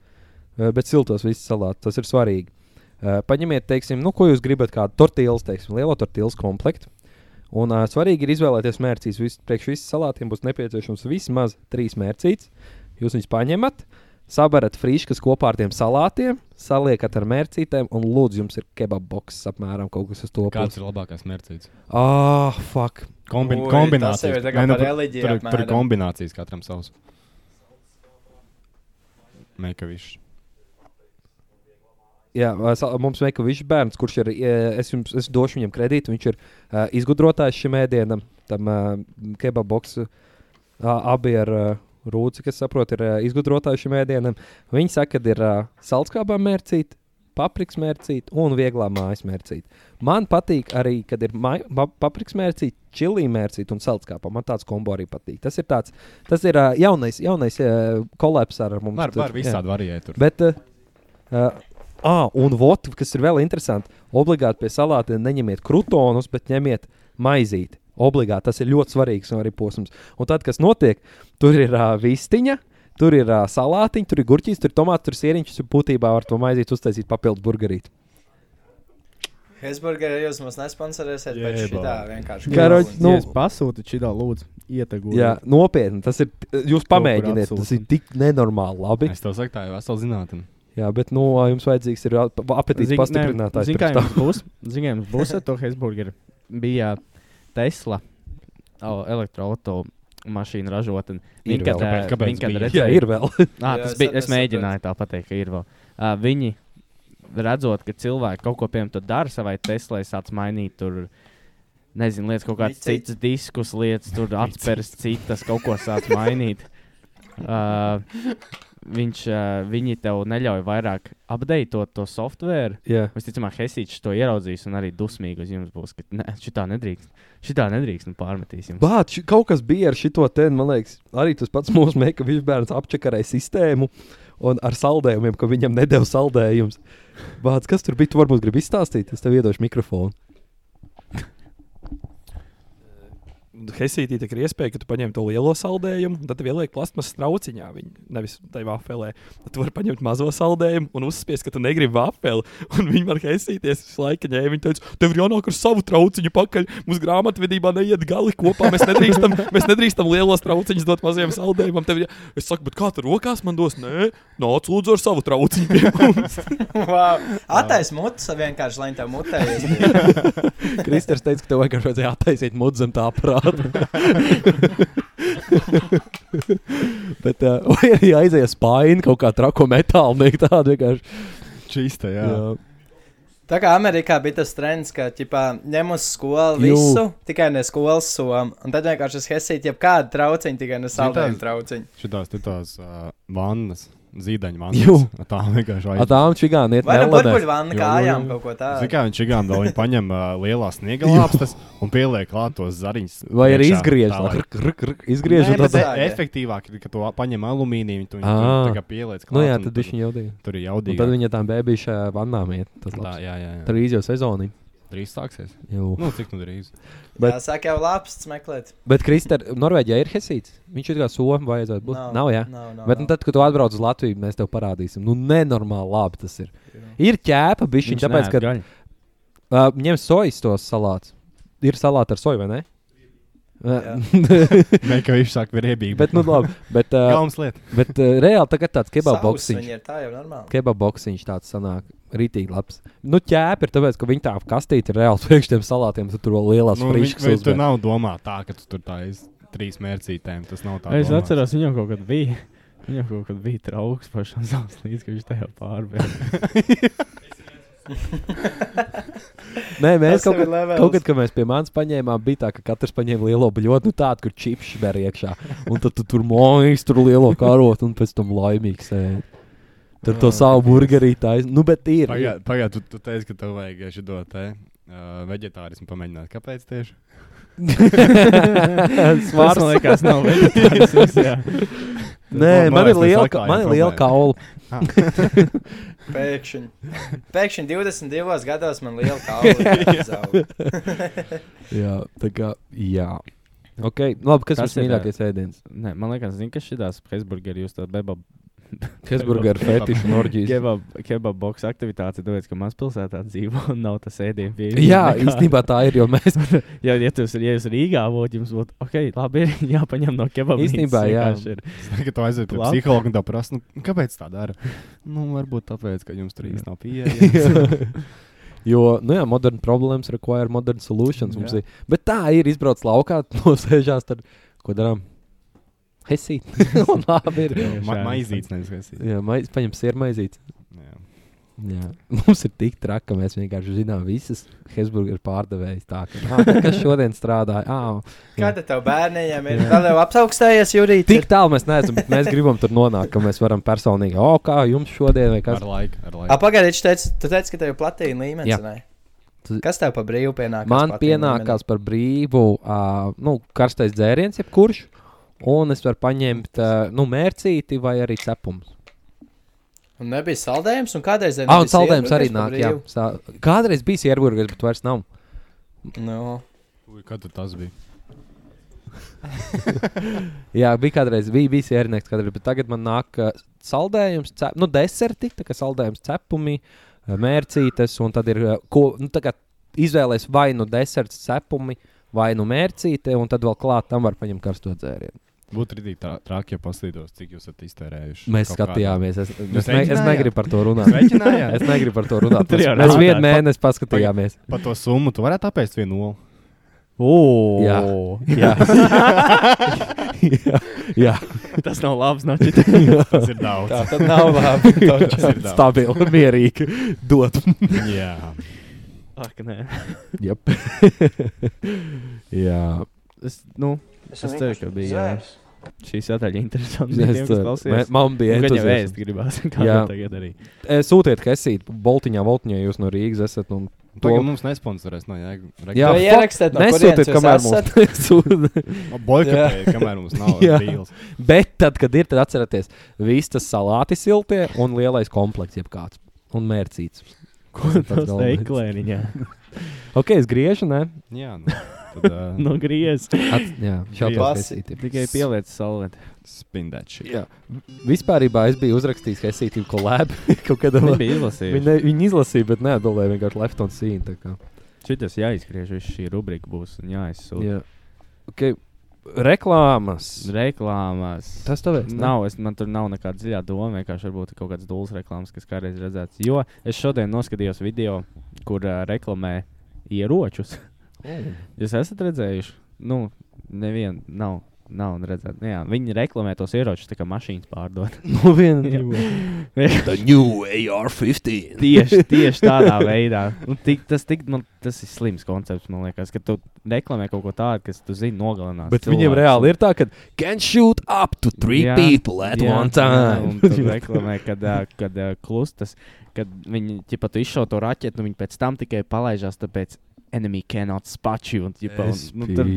Speaker 8: eh, bet siltos vistas salātus, tas ir svarīgi. Eh, Paņemiet, teiksim, nu, ko jūs gribat, kādu tortīlu, teiksim, lielo tortīlu komplektu. Un uh, svarīgi ir izvēlēties mērcīs. Vis, priekš visiem salātiem būs nepieciešams vismaz trīs mērcītes. Jūs viņus paņemat, sabarat frīškas kopā ar tiem salātiem, saliekat ar mērcītēm, un lūdzu, jums ir kebab boks apmēram kaut kas uz to
Speaker 7: Kāds ir labākais mērķis?
Speaker 8: Ah, fuck!
Speaker 7: Kombi
Speaker 4: Ui, tas jau
Speaker 7: kombinācijas.
Speaker 4: ir tā kā
Speaker 7: Nē, nu,
Speaker 4: par
Speaker 7: tur-
Speaker 4: reliģiju
Speaker 7: tur, ir- tur ir
Speaker 4: apmēram.
Speaker 7: kombinācijas katram savs. Meikavišs.
Speaker 8: Jā, ā, sa- mums ir Mekovičs bērns, kurš ir. ā, Es, jums, es došu viņam kredītu. Viņš ir ā, izgudrotājs šim ēdienam, tam e, kebaboksu. Abi ir ā, rūci, kas saprot, ir ā, izgudrotāji šim ēdienam. Viņi saka, ka ir ā, saldskābā mērcīt. Papriks mērcīt un vieglā mājas mērcīt. Man patīk arī, kad ir mai- ma- papriks mērcīt, čili mērcīt un saldskāpā. Man tāds kombo arī patīk. Tas ir, tāds, tas ir ā, jaunais, jaunais ā, kolaps ar mums.
Speaker 10: Var,
Speaker 8: tur.
Speaker 10: var
Speaker 8: Jā.
Speaker 10: visādi variēt. Tur.
Speaker 8: Bet, uh, uh, ah, un vot, kas ir vēl interesanti, obligāti pie salātiem neņemiet krutonus, bet ņemiet maizīti. Obligāti tas ir ļoti svarīgs un arī posms. Un tad, kas notiek, tur ir uh, vistiņa. Tur ir uh, salātiņa, tur ir gurķis, tur ir tomāts, tur ir sēriņš. Būtībā ar to maizīt, uztaisīt papildus burgerīti.
Speaker 4: Hesburgeri jūs mums nesponsorēsiet, bet
Speaker 10: Jebā.
Speaker 4: šitā vienkārši.
Speaker 8: Karoči, nu-
Speaker 7: nu,
Speaker 4: <laughs>
Speaker 7: es pasūtu šitā, lūdzu, ietagūdu.
Speaker 8: Jā, nopietni, tas ir. Jūs pamēģiniet, tas ir
Speaker 7: atsūtam.
Speaker 8: tik nenormāli labi.
Speaker 10: Es tev saku, tā jau esmu zinātnē.
Speaker 8: Jā, bet nu, ā, jums vajadzīgs ir ap- apetīts pastiprinātājs.
Speaker 3: Ziniet, kā
Speaker 8: pirms tam.
Speaker 3: jums būs? Ziniet, kā jums būs ar to Hesburgeru. Bija Tesla au- elektroautomašīna ražotne.
Speaker 8: Ir
Speaker 3: Viņa kad,
Speaker 8: vēl.
Speaker 3: ā,
Speaker 10: Kāpēc- kāpēc
Speaker 3: viņa kad
Speaker 10: bija?
Speaker 3: redzēja,
Speaker 8: <laughs> Jā, ir vēl. <laughs>
Speaker 3: Nā,
Speaker 4: Jā,
Speaker 3: tas
Speaker 4: es
Speaker 3: bija.
Speaker 4: sa-
Speaker 3: Es
Speaker 4: es
Speaker 3: mēģināju tā pateikt, ka ir vēl. Uh, viņi redzot, ka cilvēki kaut ko piemēram tur dara savai Teslai, sāc mainīt tur. Nezinu, lietas kaut kādas
Speaker 4: Micīt.
Speaker 3: citas, diskus, lietas, tur atspērs citas, kaut ko
Speaker 8: <laughs>
Speaker 3: sāc mainīt. Uh, viņš, uh, viņi tev neļauj vairāk apdeitot to software.
Speaker 8: Jā.
Speaker 3: Visticamāk, Hesīčs to ieraudzīs un arī dusmīgi uz jums būs, ka ne, šitā nedrīkst. Šitā nedrīkst, nu pārmetīs jums.
Speaker 8: Bāc, ši- kaut kas bija ar šo te, man liekas, arī tas pats mūsu meklējuma bērns apčakarēja sistēmu un ar saldējumiem, ka viņam nedēļa saldējums. Bāc, kas tur bija? Tu varbūt gribi izstāstīt, es tev iedošu
Speaker 10: <laughs>
Speaker 8: mikrofonu.
Speaker 1: Hesītī ir iespēja, ka tu paņem to lielo saldējumu, un tad tev ieliek plasmas strauciņā, viņa nevis tajā vafelē. Tad tu vari paņemt mazo saldējumu un uzspiest, ka tu negribi vafeli. <laughs> Un viņi man hesīties visu laiku ņēma. Viņi teica, tev ir jānāk ar savu trauciņu pakaļ. Mums grāmatvedībā neiet gali kopā. Mēs
Speaker 8: <laughs>
Speaker 1: nedrīkstam, mēs nedrīkstam lielos trauciņus dot mazajam saldējumam. Tev, ir jā- es saku, bet kā tu rokās man dos? Nē, nāc lūdzu ar savu trauciņu. <laughs> pie mums."
Speaker 4: Wow. Atais mutes vienkārši, lai tā mutē.
Speaker 8: Kristers teica, ka tev vienkārši vajadzēja attaisīt mudus zem tā
Speaker 10: <laughs>
Speaker 8: aparāta. Bet, uh, <laughs> vai arī aizies pāri kaut kā trako metālu, nekā tādu vienkārši.
Speaker 10: Čista, jā. jā.
Speaker 8: Jā.
Speaker 4: Tā kā Amerikā bija tas trends, ka ķipā, ņem uz skolu
Speaker 8: Jū.
Speaker 4: visu, tikai ne skolas somu. Un tad vienkārši es hesīju, ja kādu trauciņu, tikai ne
Speaker 10: Zini,
Speaker 4: saldējumu
Speaker 10: tā-
Speaker 4: trauciņu.
Speaker 10: Šitās tur tās uh, vannas, zīdaņu
Speaker 8: Jū.
Speaker 10: vannas. Tā vienkārši
Speaker 8: Ar tām čigām iet
Speaker 4: Vai nu
Speaker 8: melnēs.
Speaker 4: burbuļu vannu
Speaker 10: Jū,
Speaker 4: kājām
Speaker 10: jū.
Speaker 4: kaut ko
Speaker 10: Zini,
Speaker 4: tādu.
Speaker 10: kā viņš čigām
Speaker 8: <laughs>
Speaker 10: vēl viņa paņem uh, lielās sniega lāpstas un pieliek klāt tos zariņus.
Speaker 8: Vai arī
Speaker 10: iekšā,
Speaker 8: izgriež?
Speaker 10: tā,
Speaker 8: lai
Speaker 10: lai-
Speaker 8: krk, krk, krk, Izgriež
Speaker 4: Nē,
Speaker 8: un
Speaker 10: Bet
Speaker 8: tad.
Speaker 4: bet-
Speaker 10: e- efektīvāk, ir, ka tu paņem alumīniju, tu
Speaker 8: Ā.
Speaker 10: viņu pieliec klāt.
Speaker 8: Nu jā,
Speaker 10: un
Speaker 8: tad viņš jau bija.
Speaker 10: tur ir
Speaker 8: Un
Speaker 10: jaudīgi.
Speaker 8: tad viņa tam bēbīšā vannā iet. Tas
Speaker 10: tā,
Speaker 8: labs.
Speaker 10: jā, jā,
Speaker 8: Tur
Speaker 10: jā.
Speaker 8: ir izjūta sezonī.
Speaker 10: Drīz sāksies.
Speaker 8: Jū.
Speaker 10: Nu, cik nu
Speaker 8: <laughs>
Speaker 10: drīz?
Speaker 8: bet-
Speaker 4: Bet... Jā, sāk jau labs meklēt.
Speaker 8: Bet Kristē, Norvēģijā ir hesīts. Viņš ir kā somu vajadzētu būt. Nav, jā.
Speaker 4: Nav, nav,
Speaker 8: Bet nu,
Speaker 4: nav.
Speaker 8: tad, kad tu atbrauc uz Latviju, mēs tev parādīsim. Nu, nenormāli labi tas ir. Ir ķēpa, bišķiņ, tāpēc, ka
Speaker 3: gaļa.
Speaker 8: uh, ņem sojas tos salātus. Ir salāti ar soju, vai ne?
Speaker 10: Nē, ka viņš sāk riebīgi.
Speaker 8: <laughs>
Speaker 10: <laughs>
Speaker 8: bet, nu, labi. Bet, uh,
Speaker 10: Galvas lieta.
Speaker 8: bet uh, reāli tagad tāds
Speaker 4: Sauss
Speaker 8: kebaboksiņš.
Speaker 4: Viņi ir tā jau normāli.
Speaker 8: Kebaboksiņš tāds sanāk. Rītīgi labs. Nu, ķēpa ir tāpēc, ka viņi tā kastīte ir reāli <laughs> priekš tiem salātiem. Tad tur vēl lielās
Speaker 10: Nu, viņš,
Speaker 8: frīškas.
Speaker 10: viņš tur nav domā tā, ka tu tur tā iz trīs mērcītēm. Tas nav tā.
Speaker 3: Es
Speaker 10: domāts.
Speaker 3: atceros, viņam kaut kad bija. Viņam kaut kad bija trauks pašam savs līdz, ka viņš tajā pārbēga.
Speaker 8: Nē, mēs
Speaker 4: Tas
Speaker 8: kaut
Speaker 4: tev
Speaker 8: kad,
Speaker 4: ir levels.
Speaker 8: kaut kad, kad mēs pie manis paņēmām, bija tā, ka katrs paņēma lielo buļbuļsaktu, nu tādu, kur čipsi ver iekšā. Un tad tu tur mājas, tur lielo karotu un pēc tam laimīgs. Ē. Tur to savu burgerīti taisnu. Nu, bet ir. ir. <laughs>
Speaker 10: Pagaid, pagaid, tu, tu teici, ka tev vajag šo te uh, vegetārismu pamēģināt. Kāpēc tieši?
Speaker 8: <laughs>
Speaker 3: Tas man
Speaker 8: Svars.
Speaker 3: liekas, nav vegetārisms.
Speaker 8: <laughs>
Speaker 3: jā.
Speaker 8: Nē,
Speaker 10: Man
Speaker 8: man ir
Speaker 10: liekas, mēs
Speaker 8: liela, ka-
Speaker 10: atklājam
Speaker 8: man ir liela
Speaker 10: problēmu.
Speaker 8: kaula.
Speaker 4: Pēkšņi.
Speaker 8: <laughs>
Speaker 4: Pēkšņi 22 gados man liela kaula. <laughs>
Speaker 8: Jā, tā kā, jā. Ok, labi, kas
Speaker 3: Tas
Speaker 8: tas
Speaker 3: ir,
Speaker 8: ir mīļākais ēdiens?
Speaker 3: Nē, man liekas, zinu, ka šitās Hesburgeri jūs tādā beba
Speaker 8: Hesburgeru fetišu un orģijas.
Speaker 3: kebab box aktivitāte, tāpēc, ka mazpilsētā dzīvo un nav tas ēdienu pieejams.
Speaker 8: Jā, īstenībā tā ir, jo mēs <laughs>
Speaker 3: Jā, ja jūs, ja jūs Rīgā būtu, jums būtu, ok, labi, <laughs> ir jāpaņem no kebab.
Speaker 8: Īstenībā, jā.
Speaker 7: <laughs>
Speaker 10: Tagad tu aizies pie
Speaker 3: Labi.
Speaker 10: psihologa un te prasa, nu, kāpēc tā dara? Nu, varbūt tāpēc, ka jums tur īsti nav
Speaker 8: <laughs>
Speaker 10: pieejams.
Speaker 8: Jo, nu jā, modern problēmas require modern solutions. mums Ir. Bet tā ir izbrauc laukā, <laughs> nosēžās, tad ko darām? Hesīt. Un labi ir.
Speaker 10: Ma maizītes nevis kas ir.
Speaker 8: Jā, maiz, paņem sirmaizīti.
Speaker 10: Jā.
Speaker 8: Jā. Mums ir tik traki, ka mēs vienkārši zinām visas Hesburgas pārdevējas. Tā kā "Ā, nu, kas šodien strādāja, ah,
Speaker 4: Kāda tev bērniem ir? Vēl jau apsaukstējies, Jurīt?
Speaker 8: tik tālu mēs neesam, bet mēs gribam tur nonākt, ka mēs varam personīgi, oh, kā jums šodien vai kas.
Speaker 7: Ar laiku, ar laiku.
Speaker 4: Apagaidiet, tu teici, tu teici, ka tev ir platīna līmenis.
Speaker 8: Jā.
Speaker 4: vai ne?
Speaker 8: Tu-
Speaker 4: Kas tev par brīvu pienākas?
Speaker 8: Man pienākās par brīvu uh, nu, karstais dzēriens, jebkurš, un es varu paņemt uh, nu, mērcīti vai arī cepumu.
Speaker 4: Un nebija saldējums, un kādreiz
Speaker 8: Ah, un saldējums arī nāk. Jā, sā, kādreiz bija sērburgers, bet vairs nav.
Speaker 4: No.
Speaker 7: Ui, Kad tad tas bija?
Speaker 8: Jā, bija kādreiz, bija bijis ierīnēks, kādreiz, bet tagad man nāk ā, saldējums, ce, nu, deserti, tā kā saldējums, cepumi, ā, mērcītes, un tad ir, ā, ko, nu, tā kā izvēlēs vai nu deserts, cepumi, vai nu mērcīte, un tad vēl klāt tam var paņemt karsto dzērienu.
Speaker 7: Būtu rītīgi trā- traki, ja paskatītos, cik jūs esat iztērējuši.
Speaker 8: Mēs
Speaker 7: kaut kādā. Nu,
Speaker 8: skatījāmies, es, es, ne, es
Speaker 7: mēģinājāt?
Speaker 8: negribu par to runāt.
Speaker 7: Mēģinājāt?
Speaker 8: es negribu par to runāt.
Speaker 7: Tur jau
Speaker 8: Mēs
Speaker 7: rādāt.
Speaker 8: vienu mēnesi paskatījāmies.
Speaker 7: Par to summu tu varētu apēst vienu olu.
Speaker 8: Jā.
Speaker 7: O, jā.
Speaker 8: jā, jā.
Speaker 3: Tas nav labs, Naķis.
Speaker 7: tas ir daudz.
Speaker 4: Tā tad nav labi.
Speaker 7: Tas ir daudz.
Speaker 8: Stabili, mierīgi dot.
Speaker 7: <laughs> Jā.
Speaker 3: Ak, nē.
Speaker 7: <laughs>
Speaker 8: Jep. Jā.
Speaker 3: Es, nu, es teiktu, ka bija jā, šī sadaļa interesanta.
Speaker 8: Es
Speaker 3: Es
Speaker 8: ceru.
Speaker 3: domāju,
Speaker 8: Mē- man bija
Speaker 3: ka viņa
Speaker 8: entuziasms.
Speaker 3: vēst gribās. <laughs> Kā
Speaker 8: Jā.
Speaker 3: jā. tagad arī?
Speaker 8: E, Sūtiet, ka esat Boltiņā, Voltiņā, jūs no Rīgas esat. Un...
Speaker 7: Tagad mums nesponsorēs, no jēga.
Speaker 8: Jā,
Speaker 4: Vai
Speaker 8: fuck,
Speaker 4: ierakstiet, no kurienes
Speaker 8: nesūtiet,
Speaker 4: jūs
Speaker 8: kamēr mums <laughs> nesūta.
Speaker 7: Boikotēji, kamēr mums nav
Speaker 8: <laughs> Jā.
Speaker 7: rīls.
Speaker 8: Bet tad, kad ir, tad atcerieties, vistas salāti siltie un lielais komplekts, jeb kāds. Un mērcīts.
Speaker 3: Ko
Speaker 8: Tas ir tāds
Speaker 3: tas
Speaker 8: galvenais.
Speaker 3: teikt, Lēniņā? <laughs>
Speaker 8: Ok, es griežu, nē.
Speaker 7: Jā, nu.
Speaker 8: <laughs>
Speaker 7: Tad uh,
Speaker 3: No griez.
Speaker 8: At, jā, šādi
Speaker 4: Pasi.
Speaker 8: pasīti.
Speaker 3: Tikai pieliec
Speaker 8: <laughs>
Speaker 3: salvēt.
Speaker 7: spindēt šī.
Speaker 8: Jā. Vispār es biju uzrakstījis, ka esat jau kolēbi <laughs> kaut kādā
Speaker 3: Viņa
Speaker 8: veidā.
Speaker 3: bija izlasījusi.
Speaker 8: Viņa, viņa izlasīja, bet neatbildēja vienkārši left on scene. tā kā.
Speaker 3: Šitas jāizgriež, viss šī rubrika būs un jāizsūta.
Speaker 8: Jā. Okay. Reklāmas.
Speaker 3: Reklāmās.
Speaker 8: Tas tev ir. <laughs>
Speaker 3: Nav, es, man tur nav nekāda dziļā doma. Vienkārši varbūt ir kaut kāds dūls reklāmas, kas kādreiz redzēts. Jo es šodien noskatījos video, kur uh, reklamē
Speaker 8: <laughs>
Speaker 3: ieročus.
Speaker 8: Oh.
Speaker 3: Jūs esat redzējuši? Nu, nevienu nav. Nav redzēt, nu, jā, viņi reklamē tos ieročus, tā kā mašīnas pārdod.
Speaker 8: <laughs> Nu, viena.
Speaker 3: Jā. <laughs>
Speaker 8: divu.
Speaker 3: The new AR-15. tieši, tieši tādā veidā. Nu, tik, tas, tik, man, tas ir slims koncepts, man liekas, ka tu reklamē kaut ko tādu, kas, tu zini, nogalinās.
Speaker 8: Bet viņiem
Speaker 3: cilvēkus.
Speaker 8: reāli ir tā, ka can shoot up to three
Speaker 3: Jā,
Speaker 8: jā, people at jā,
Speaker 3: jā,
Speaker 8: one
Speaker 3: jā, un
Speaker 8: time. <laughs>
Speaker 3: tur reklamē, kad, ā, kad ā, klustas, kad viņi ķipa, tu izšauj to raķetu, un viņi pēc tam tikai palaižās, tāpēc enemy cannot spot you. Un, ķipa,
Speaker 8: <laughs>
Speaker 3: un, un, tur,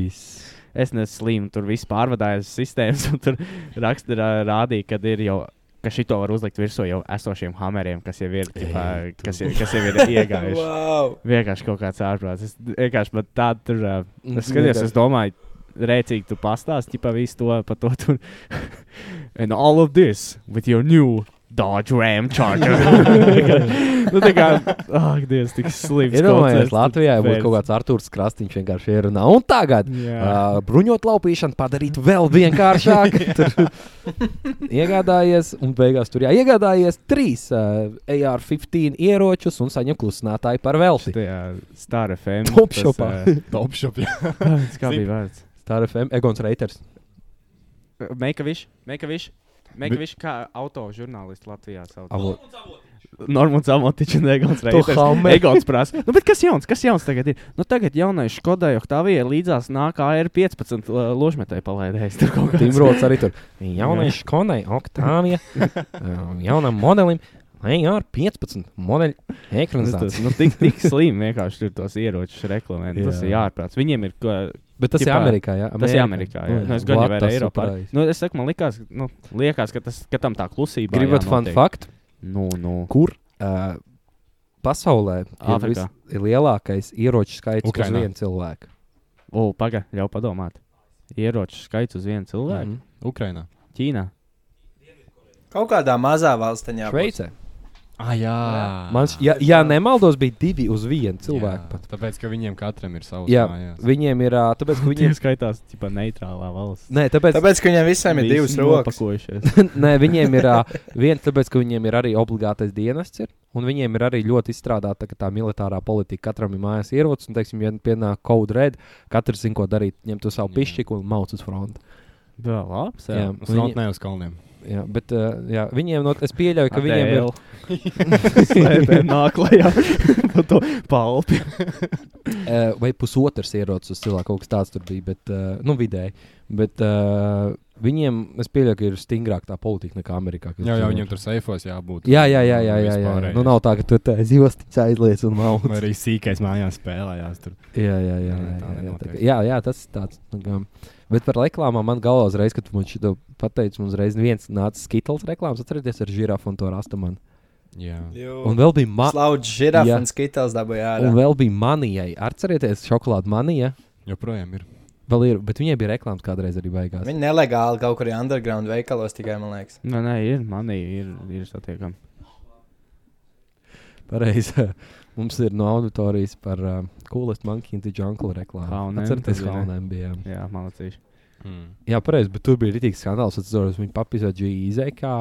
Speaker 3: es neslimu, tur viss pārvadājas sistēmas, <laughs> un tur raksta rā- rādīja, kad ir jau. Ka šito var uzlikt virsū jau esošiem hameriem, kas jau ir, ķipā, kas ir, kas jau ir
Speaker 8: <laughs>
Speaker 3: iegājuši.
Speaker 4: Wow.
Speaker 3: Vienkārši kaut kāds ārprāts. Es vienkārši man tādu tur. ā,
Speaker 8: Un
Speaker 3: Es skatos,
Speaker 8: vienkārši-
Speaker 3: es domāju, rēcīgi tu pastāstīji par visu to, par to tur. <laughs> And all of this with your new Dodge Ram
Speaker 8: <laughs>
Speaker 3: Charger. nu, tā kā, ah, Dievs, tik slims.
Speaker 8: Iedomājieties,
Speaker 3: koncepts,
Speaker 8: Latvijā būtu
Speaker 3: bet-
Speaker 8: kaut kāds Arthurs Krastīņš vienkārši ierunā. Un tagad
Speaker 3: Jā.
Speaker 8: uh, bruņot laupīšanu padarīt vēl
Speaker 3: <laughs>
Speaker 8: vienkāršāk. Tur iegādājies, un beigās tur jā, iegādājies trīs uh, AR-15 ieročus un saņem klusinātāju par velti.
Speaker 3: Tajā Star FM.
Speaker 8: <laughs> <laughs> Top
Speaker 3: tas,
Speaker 8: shopā.
Speaker 3: ā,
Speaker 7: Top shop, jā.
Speaker 3: kāds- Kā bija vārds?
Speaker 8: Tā ir FM, Egons Reiters.
Speaker 3: Meikavišs, Meikavišs. Meikavišs kā auto žurnālists Latvijā. sauc. <laughs>
Speaker 8: Avo-
Speaker 3: Normāls amotiņš un egons reizes.
Speaker 8: Hummer.
Speaker 3: Egons prasa. Nu, bet kas jauns? Kas jauns tagad ir? Nu, tagad jaunais Škodai Oktavijai līdzās nāk AR-15 l- ložmetai palaidējis. Tur kaut kāds.
Speaker 8: Timrods arī tur. Jaunai Škonai, Oktāvija, um, jaunam modelim, AR-15 modeļa
Speaker 3: <laughs> Nu,
Speaker 8: ekranizācija.
Speaker 3: Tas, nu, tik, tik slim vienkārši tur tos ieročus reklamē. Nu, Tas
Speaker 8: Jā.
Speaker 3: ir jāprāts. Viņiem ir, ko-
Speaker 8: Bet tas ir
Speaker 3: Ķipā-
Speaker 8: Amerikā. Mm. Jā,
Speaker 3: tas ir Amerikā. Jā. Nu, es gan jau varu Eiropā. arī. Nu, es saku, man likās, nu, liekas, ka, tas, ka tam tā klusība.
Speaker 8: Gribat fun fact,
Speaker 3: Nu, nu.
Speaker 8: kur uh, pasaulē ir,
Speaker 3: Āfrikā.
Speaker 8: vis, ir lielākais ieroču skaits uz
Speaker 7: Ukrainā.
Speaker 8: vienu cilvēku?
Speaker 3: O, paga, ļauj padomāt. Ieroču skaits uz vienu cilvēku. Mm.
Speaker 8: Mhm.
Speaker 7: Ukrainā.
Speaker 3: Ķīnā.
Speaker 4: Kaut kādā mazā valstiņā. būs.
Speaker 8: Šveicē.
Speaker 7: Ah, jā.
Speaker 8: Man, š- ja, ja nemaldos, bija divi uz vienu cilvēku.
Speaker 7: Jā,
Speaker 8: pat.
Speaker 7: Tāpēc, ka viņiem katram ir savs
Speaker 8: Jā,
Speaker 7: mājās.
Speaker 8: viņiem ir. ā, Tāpēc,
Speaker 7: <laughs>
Speaker 8: ka
Speaker 3: Viņiem
Speaker 8: viņiem,
Speaker 3: skaitās, tipā, neitrālā valsts.
Speaker 8: nē, tāpēc,
Speaker 4: Tāpēc, ka viņiem visiem ir
Speaker 3: Visi
Speaker 4: divas rokas.
Speaker 3: nopakojušies.
Speaker 8: <laughs> Nē, viņiem ir ā, viens, tāpēc, ka viņiem ir arī obligātais dienests, ir, un viņiem ir arī ļoti izstrādāta tā, ka tā militārā politika. Katram ir mājās ierocis, un, teiksim, ja pienāk kaut kāda reda, katrs zina, ko darīt. Ņem to savu pišķiku un mauc uz fronti.
Speaker 3: Jā, labs. <laughs>
Speaker 8: Jā.
Speaker 3: Jā.
Speaker 7: Sraut ne uz kalniem.
Speaker 8: Jā, bet uh, jā, viņiem no, es pieļauju, ka viņiem ir.
Speaker 3: Slēpēm nāk <laughs> lejā no to palpi.
Speaker 8: Eh, vai pusotrs ierodas uz cilvēku, kaut kas tāds tur bija, bet eh, nu, vidēji. Bet eh, viņiem, es pieļauju, ka ir stingrāk tā politika nekā Amerikā. kas
Speaker 7: Jā, jā,
Speaker 8: dzīvo.
Speaker 7: viņiem tur seifos jābūt.
Speaker 8: Jā, jā, jā, jā, jā, jā.
Speaker 7: Vispārējais.
Speaker 8: Nu, nav tā, ka tur tā zivstis aizliec un nav.
Speaker 7: Vai arī sīkais mājās spēlējās. Tur.
Speaker 8: Jā, jā, jā,
Speaker 7: Nē,
Speaker 8: jā,
Speaker 7: tā
Speaker 8: jā, jā, tā,
Speaker 7: nenotiek.
Speaker 8: kā- jā, jā, tas ir tāds. tā Kā, bet par reklāmām man galvā uzreiz, kad tu man šito pateici, man uzreiz viens nāca skitls reklāmas, atcerieties ar žirafu un to rastamanu.
Speaker 7: Jā.
Speaker 4: Jū.
Speaker 8: Un vēl bija ma-
Speaker 4: Slaudz žirafa
Speaker 8: Jā.
Speaker 4: un skitels dabūjā.
Speaker 8: Un vēl bija manijai. Atcerieties, šokolāde manija.
Speaker 7: Joprojām ir.
Speaker 8: Vēl ir, bet viņai bija reklāmas kādreiz arī beigās.
Speaker 4: Viņi nelegāli kaut kur underground veikalos tikai, man liekas.
Speaker 3: Nu, Nē, nē, ir. Manī ir, ir satiekami.
Speaker 8: Pareizi. <laughs> Mums ir no auditorijas par uh, Coolest Monkey and the Jungle reklāmu.
Speaker 3: Haunēm
Speaker 8: Atcerieties,
Speaker 3: tad
Speaker 8: kā
Speaker 3: bija, ne?
Speaker 8: Haunēm bija.
Speaker 3: Jā, malacīši.
Speaker 7: Mm.
Speaker 8: Jā, pareizi, bet tur bija rītīgs skandāls. Atceros, viņi papisā G-Easy kā,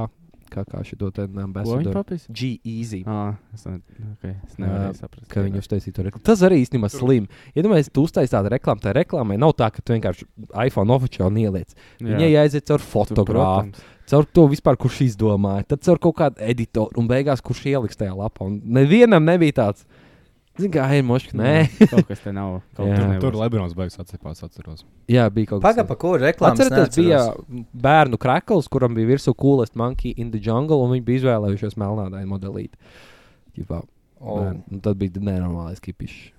Speaker 8: kā, kā šito te
Speaker 3: Ko
Speaker 8: um,
Speaker 3: viņi
Speaker 8: ambasadoru.
Speaker 3: papis?
Speaker 8: G-Easy.
Speaker 3: Ā, es ne- okay, es nevarēju saprast.
Speaker 8: Ka viņi uztaisīja to reklāmu. Tas arī īstenībā slim. Iedomājieties, tu uztaisīji tādu reklāmu, tā reklāmai nav tā, ka tu vienkārši iPhone oficiāli ieliec.
Speaker 3: Jā.
Speaker 8: Viņai jāiziet caur fotogrāfu,
Speaker 3: protams.
Speaker 8: caur to vispār, kurš izdomāja, tad caur kaut kādu editoru un beigās, kurš ieliks tajā lapā. Un nevienam nebija tāds. Zini, kā ir moška? Nē,
Speaker 3: Kaut kas te nav. Kaut
Speaker 8: Jā.
Speaker 3: kas
Speaker 7: Tur,
Speaker 3: nebūs.
Speaker 7: tur Lebrons beigas atcīmās, atceros.
Speaker 8: Jā, bija kaut kas
Speaker 4: Paga, pa kuru reklāmas
Speaker 8: Atcerieties, bija
Speaker 4: neatceros.
Speaker 8: bērnu krāklis, kuram bija virsū coolest monkey in the jungle, un viņi bija izvēlējušies melnādainu modelīti. Ģipā,
Speaker 4: O.
Speaker 8: bērnu. Un tad bija nenormālais kipišs.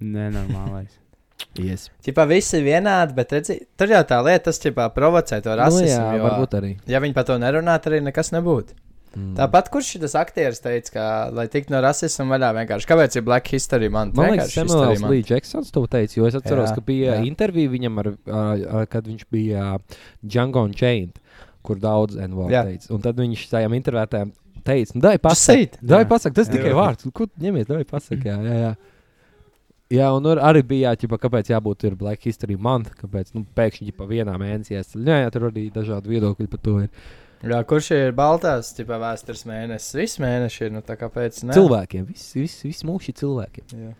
Speaker 3: Nenormālais.
Speaker 8: Yes.
Speaker 4: Ķipā visi ir vienādi, bet redzi, tur jau tā lieta, tas ķipā provocē to rasismu.
Speaker 8: Nu jā,
Speaker 4: jo,
Speaker 8: varbūt arī.
Speaker 4: Ja viņi par to nerunātu, arī nekas nebūtu. Mm. Tāpat, kurš šis aktieris teica, ka, lai tiktu no rasisma vaļā, vienkārši kāpēc ir Black History man?
Speaker 8: Man liekas,
Speaker 4: Vienkārši
Speaker 8: Samuēls
Speaker 4: History Month.
Speaker 8: Līdžs Jacksons to teica, jo es atceros, jā,
Speaker 4: Jā,
Speaker 8: ka bija jā.
Speaker 4: jā.
Speaker 8: intervija viņam, ar, ar, ar, kad viņš bija Django un Chain, kur daudz NVO
Speaker 4: Jā.
Speaker 8: teica. Un tad viņš tajām intervētājām teica, nu, dai pasakot,
Speaker 4: Just say it.
Speaker 8: dai
Speaker 3: Jā.
Speaker 8: pasakot, tas
Speaker 3: Jā.
Speaker 8: tikai
Speaker 3: Jā.
Speaker 8: vārds, ko tu ņemies, dai pasakot, jā, jā. jā. Jā, un ar- arī bija jāķipa, kāpēc jābūt ir Black History Month, kāpēc nu, pēkšņi pa vienā mēnesī jāsaļ. Jā, jā, tur arī dažādi viedokļi par to ir.
Speaker 4: Jā, kurš ir baltās, ķipā vēstures mēnesis? Viss mēnesis ir, nu tā kāpēc ne?
Speaker 8: Cilvēkiem, viss, viss, viss mūši cilvēkiem.
Speaker 4: Jā.
Speaker 3: <laughs>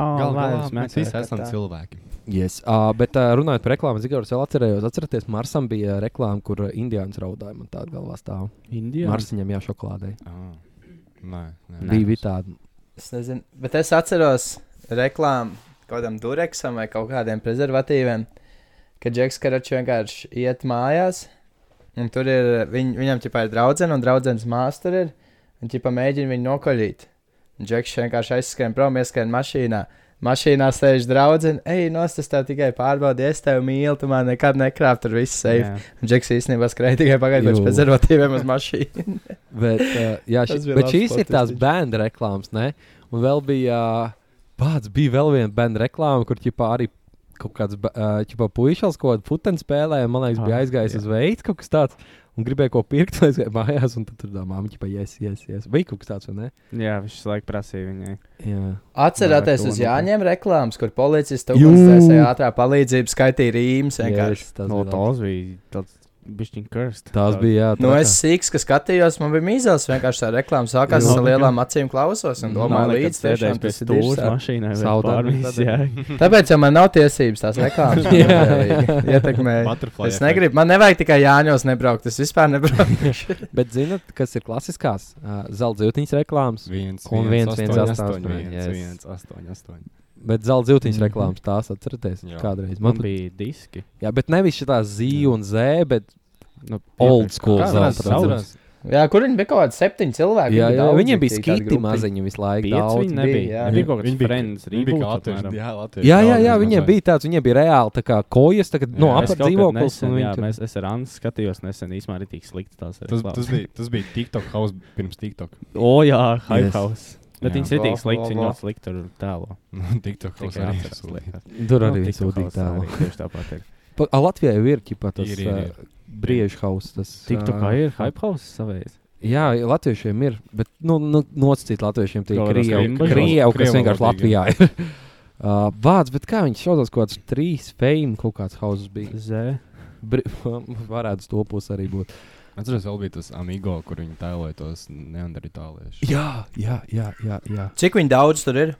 Speaker 3: Ā,
Speaker 7: Galu galā
Speaker 3: laivas
Speaker 7: mēs
Speaker 3: meklē.
Speaker 7: visi esam
Speaker 4: tā.
Speaker 7: cilvēki.
Speaker 8: Yes. Uh, bet uh, runājot par reklāmu, Zigaurs vēl atcerējos, atcerieties, Marsam bija ā, reklāma, kur ā, indiāns raudāja. Man tāda galvā stāv.
Speaker 3: Indijā.
Speaker 8: Jā. Marsiņam jā, šokolādē.
Speaker 7: Ah. Nē, nē.
Speaker 8: Bija, bija tāda.
Speaker 4: Es nezinu, bet es atceros reklāmu kaut kādam dureksam vai kaut kādiem prezervatīviem, kad Džeks Karačs vienkārši iet mājās, un tur ir, viņ, viņam ķipā ir draudzene, un draudzenes māsa tur ir, un ķipā mēģina viņu nokoļīt. Un Džeks vienkārši aizskrien prom, ieskrien mašīnā. Mašīnā sēž draudzene, ej, nostas tev tikai pārbaudi, es tevi mīlu, tu man nekad nekrāp, tur viss safe.
Speaker 3: Jā.
Speaker 4: Un Džeks īstenībā skrēja tikai pagaidu pēc
Speaker 8: Jū.
Speaker 4: prezervatīviem uz mašīnu.
Speaker 8: Bet, uh, jā, ši,
Speaker 4: Tas bija
Speaker 8: bet
Speaker 4: labs
Speaker 8: šīs ir tās
Speaker 4: statistiķis.
Speaker 8: bērnu reklāmas, ne? Un vēl bija, pats bija vēl viena bērnu reklāma, kur ķipā arī kaut kāds uh, puisis, ko putekļi spēlēja. Man liekas, bija
Speaker 3: Ah,
Speaker 8: aizgājis
Speaker 3: jā.
Speaker 8: uz veidu kaut kas tāds. Un gribēju ko pirkt, lai aizgāju mājās, un tad tur tā māmiņa ķipā jēs, jēs, jēs. Bija kaut kas tāds, vai ne?
Speaker 3: Jā, viņš visu laiku prasīja viņai.
Speaker 8: Jā.
Speaker 4: Atcerieties,
Speaker 3: Vai
Speaker 4: uz
Speaker 3: to
Speaker 4: Jāņiem reklāmas, kur policists
Speaker 8: Jū!
Speaker 4: ugunsdzēsēji ātrā palīdzība skaitīja rīmes vienkārši.
Speaker 8: Yes, tas
Speaker 3: No
Speaker 8: bija labs.
Speaker 3: tās bija tāds bišķiņ karst.
Speaker 8: Tās bija, jā.
Speaker 4: Nu,
Speaker 8: trakās.
Speaker 4: es sīks, ka skatījos, man bija mīzels, vienkārši tā reklāmas sākās
Speaker 3: Jū.
Speaker 4: ar lielām acīm klausos un domāju, līdz tiešām
Speaker 3: sēdēs pie
Speaker 4: tas ir dižs.
Speaker 3: stūra mašīnai.
Speaker 8: Saudāmi
Speaker 3: Saudāmis,
Speaker 8: tad-
Speaker 3: jā.
Speaker 4: Tāpēc jau man nav tiesības tās
Speaker 8: <laughs>
Speaker 4: reklāmas
Speaker 8: Jā.
Speaker 4: nevēlīgi ietekmēt.
Speaker 7: Butterfly
Speaker 4: Es
Speaker 7: effect.
Speaker 4: negribu, man nevajag tikai Jāņos nebraukt, es vispār nebraukšu.
Speaker 8: <laughs> Bet zinat, kas ir klasiskās uh, zelta zīmeņa reklāmas?
Speaker 7: Viens,
Speaker 8: Un viens, viens, astoņi,
Speaker 7: viens,
Speaker 8: yes.
Speaker 7: viens, astoņi, astoņi.
Speaker 8: Bet zelta zīmeņa
Speaker 3: Mhm.
Speaker 8: reklāmas tās atcerieties
Speaker 7: Jā.
Speaker 8: kādreiz. Man
Speaker 3: Man
Speaker 8: bija.
Speaker 3: bija diski.
Speaker 8: Jā, bet nevis šī tā zīme un zē, bet
Speaker 3: Nu,
Speaker 8: old
Speaker 3: iepriekš-
Speaker 8: school
Speaker 3: Kā tās
Speaker 8: zelta
Speaker 3: sauc?
Speaker 8: reklāmas.
Speaker 4: Jā, kur viņi bija kaut kādi septiņi cilvēki?
Speaker 8: Jā,
Speaker 4: viņi
Speaker 8: jā,
Speaker 4: daudz
Speaker 8: viņiem bija
Speaker 4: ritīgi, tādi
Speaker 8: skiti
Speaker 4: grupiņi.
Speaker 8: maziņi visu laiku.
Speaker 3: Pieci
Speaker 8: daudz.
Speaker 3: viņi
Speaker 4: bija,
Speaker 3: nebija.
Speaker 4: jā.
Speaker 3: Viņi bija kaut kāds friends,
Speaker 7: viņi bija kā
Speaker 3: reboot
Speaker 7: latvieši.
Speaker 3: apmēram.
Speaker 7: Jā, latvieši.
Speaker 8: Jā, jā,
Speaker 7: daudz
Speaker 8: jā
Speaker 7: vismaz
Speaker 8: viņiem
Speaker 7: vai.
Speaker 8: bija tāds, viņiem bija reāli tā kā kojas, tagad,
Speaker 7: Jā,
Speaker 8: no
Speaker 7: es
Speaker 3: Es kaut
Speaker 8: apakšas
Speaker 3: kad
Speaker 8: dzīvoklis.
Speaker 3: nesen,
Speaker 8: un
Speaker 3: Jā,
Speaker 8: viņi tur-
Speaker 3: mēs, es ar Annu skatījos nesen īstenībā arī tik slikti tās
Speaker 7: Tas,
Speaker 3: reklāmas.
Speaker 7: tas, bija, tas bija TikTok house pirms TikTok. <laughs>
Speaker 3: O, jā,
Speaker 8: Yes.
Speaker 3: High House.
Speaker 7: Jā.
Speaker 3: Bet viņas ir tik
Speaker 4: Lo,
Speaker 3: slikti,
Speaker 4: lo,
Speaker 3: viņas
Speaker 4: lo.
Speaker 3: ļoti slikti tur tēlo.
Speaker 7: TikTok house
Speaker 3: Tikai
Speaker 7: arī
Speaker 3: atceros,
Speaker 7: sūdīja.
Speaker 3: liekas.
Speaker 8: Tur
Speaker 3: Nu,
Speaker 8: arī bija
Speaker 3: TikTok
Speaker 8: sūdīga
Speaker 3: house
Speaker 8: tēla.
Speaker 3: arī Tieši tāpat ir.
Speaker 8: Pa- ā, Latvijā jau ir ķipā tas
Speaker 7: Ir, ir, ir.
Speaker 8: brīvšhaus.
Speaker 3: TikTokā ir High House savējais.
Speaker 8: Jā, latviešiem ir, bet nu, nu, nosacīt latviešiem tie
Speaker 3: Kaut kādas
Speaker 8: krievi,
Speaker 3: krimbažas.
Speaker 8: krievi, kas
Speaker 7: Krievu
Speaker 8: vienkārši
Speaker 7: valodīgi,
Speaker 8: Latvijā ir. <laughs> Uh, vārds, bet kā viņš šodien kaut kāds trīs fame kaut kāds hauses bija.
Speaker 3: Zē.
Speaker 8: Bri <laughs> varētu stopos arī būt.
Speaker 7: Atceros, vēl bija tas Amigo, kur viņi tēloja tos neandertāliešus.
Speaker 8: Jā, jā, jā, jā. jā.
Speaker 4: Cik viņi daudz tur ir?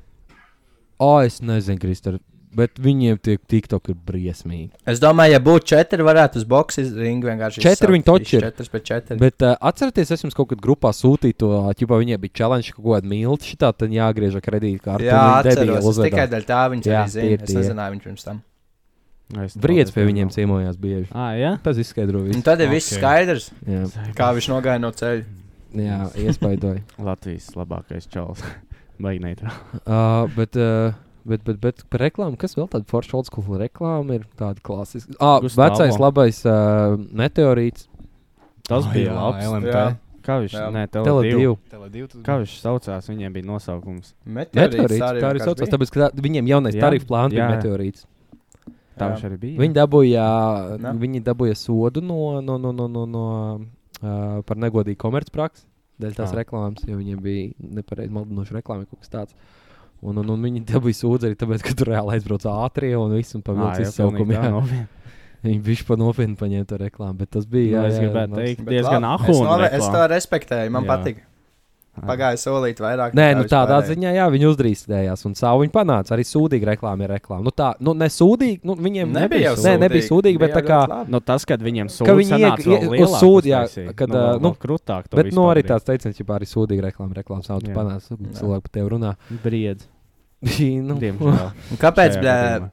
Speaker 8: O, es nezinu, Kristēn, bet viņiem tie TikTok ir briesmīgi.
Speaker 4: Es domāju, ja būtu četri, varētu uz boxa ringu vienkārši.
Speaker 8: Četri viņi
Speaker 4: izsaukt.
Speaker 8: taču ir.
Speaker 4: Visi Četri pēc četri.
Speaker 8: Bet uh, atcerieties, es jums kaut kad grupā sūtīju to, ja viņiem bija challenge kaut kāda milta, šitā tad jāgriež ar kredītkārti.
Speaker 4: jā, atceros. Es tikai dēļ tā viņš arī zina. Es nezināju viņu pirms tam.
Speaker 8: Briedz pie viņiem ciemojās bieži.
Speaker 3: Ah, jā?
Speaker 8: Tas izskaidro visu.
Speaker 4: Un tad ir viss skaidrs,
Speaker 8: Jā.
Speaker 4: kā viņš nogāja no ceļa.
Speaker 8: Jā, iespaidoja.
Speaker 3: Latvijas labākais čels. <laughs> Baigi neitrāli.
Speaker 8: uh, bet, uh, bet, bet, bet par reklāmu, kas vēl tāda forša old school reklāma ir tāda klasiska. Ah,
Speaker 3: Gustavo.
Speaker 8: vecais labais uh, meteorīts.
Speaker 3: Tas
Speaker 7: Ah,
Speaker 3: bija
Speaker 7: jā,
Speaker 3: labs.
Speaker 7: LMT.
Speaker 4: Jā.
Speaker 3: Kā viņš
Speaker 4: Jā.
Speaker 3: ne,
Speaker 8: Tele
Speaker 3: Tele2.
Speaker 8: divi.
Speaker 7: Tele divi tas
Speaker 3: Kā viņš saucās, viņiem bija nosaukums.
Speaker 8: Meteorīts, tā arī
Speaker 4: vienkārši
Speaker 8: saucās,
Speaker 4: bija.
Speaker 8: tāpēc, ka tā, viņiem jaunais
Speaker 3: Jā,
Speaker 8: tarifu plāns bija
Speaker 3: jā.
Speaker 8: meteorīts.
Speaker 3: Tā
Speaker 4: Jā.
Speaker 3: viņš arī bija.
Speaker 8: Viņi dabūja,
Speaker 4: Na.
Speaker 8: viņi dabūja sodu no, no, no, no, no, no uh, par negodīgu komercpraksi dēļ tās
Speaker 3: Ah.
Speaker 8: reklāmas, jo viņiem bija nepareizi maldinoša reklāma, kaut kas tāds. Un, un, un viņi dabūja sūdzību arī tāpēc, ka tur reāli aizbrauc ātrie un viss un pavilcis
Speaker 3: Ah,
Speaker 8: izsaukumu. jā.
Speaker 3: nu. <laughs>
Speaker 8: Viņi bija pa nopietni paņēma to reklāmu, bet tas
Speaker 3: Jā,
Speaker 8: bija. <laughs> Jā,
Speaker 3: Nu, es
Speaker 8: jā, nu,
Speaker 3: gribētu
Speaker 8: labs.
Speaker 3: teikt,
Speaker 4: Bet
Speaker 3: diezgan
Speaker 4: labi, es
Speaker 3: ahūna.
Speaker 4: nove- Es to respektēju, man
Speaker 3: Jā.
Speaker 4: patīk. Pagāja solīt vairāk.
Speaker 8: Nē,
Speaker 4: nekā
Speaker 8: nu
Speaker 4: vispārējais.
Speaker 8: tādā ziņā, jā, viņi uzdrīkstējās un savu viņi panāca. Arī sūdīga reklāma ir reklāma. Nu, tā, nu, nesūdīga, nu, viņiem
Speaker 4: Nebija jau
Speaker 8: sūdīga. Nē, nebija
Speaker 4: sūdīga,
Speaker 8: sūdīga, bet
Speaker 4: bija
Speaker 8: tā kā.
Speaker 4: ļoti labi.
Speaker 3: Nu, tas, kad viņiem
Speaker 8: Ka viņi
Speaker 3: sūdzīja,
Speaker 8: iek- ie- uz sūdu, jā, kad, ā, nu,
Speaker 3: krūtāk.
Speaker 8: Bet, nu, arī tāds teiciens, ja arī sūdīga reklāma, reklāmas auto
Speaker 3: Jā.
Speaker 8: panāca. nu, Cilvēki par tevi runā. <laughs>
Speaker 3: briedz.
Speaker 8: Bija, nu,
Speaker 3: <laughs> Diemžēl.
Speaker 4: Un Kāpēc,
Speaker 3: Šajā
Speaker 4: blē,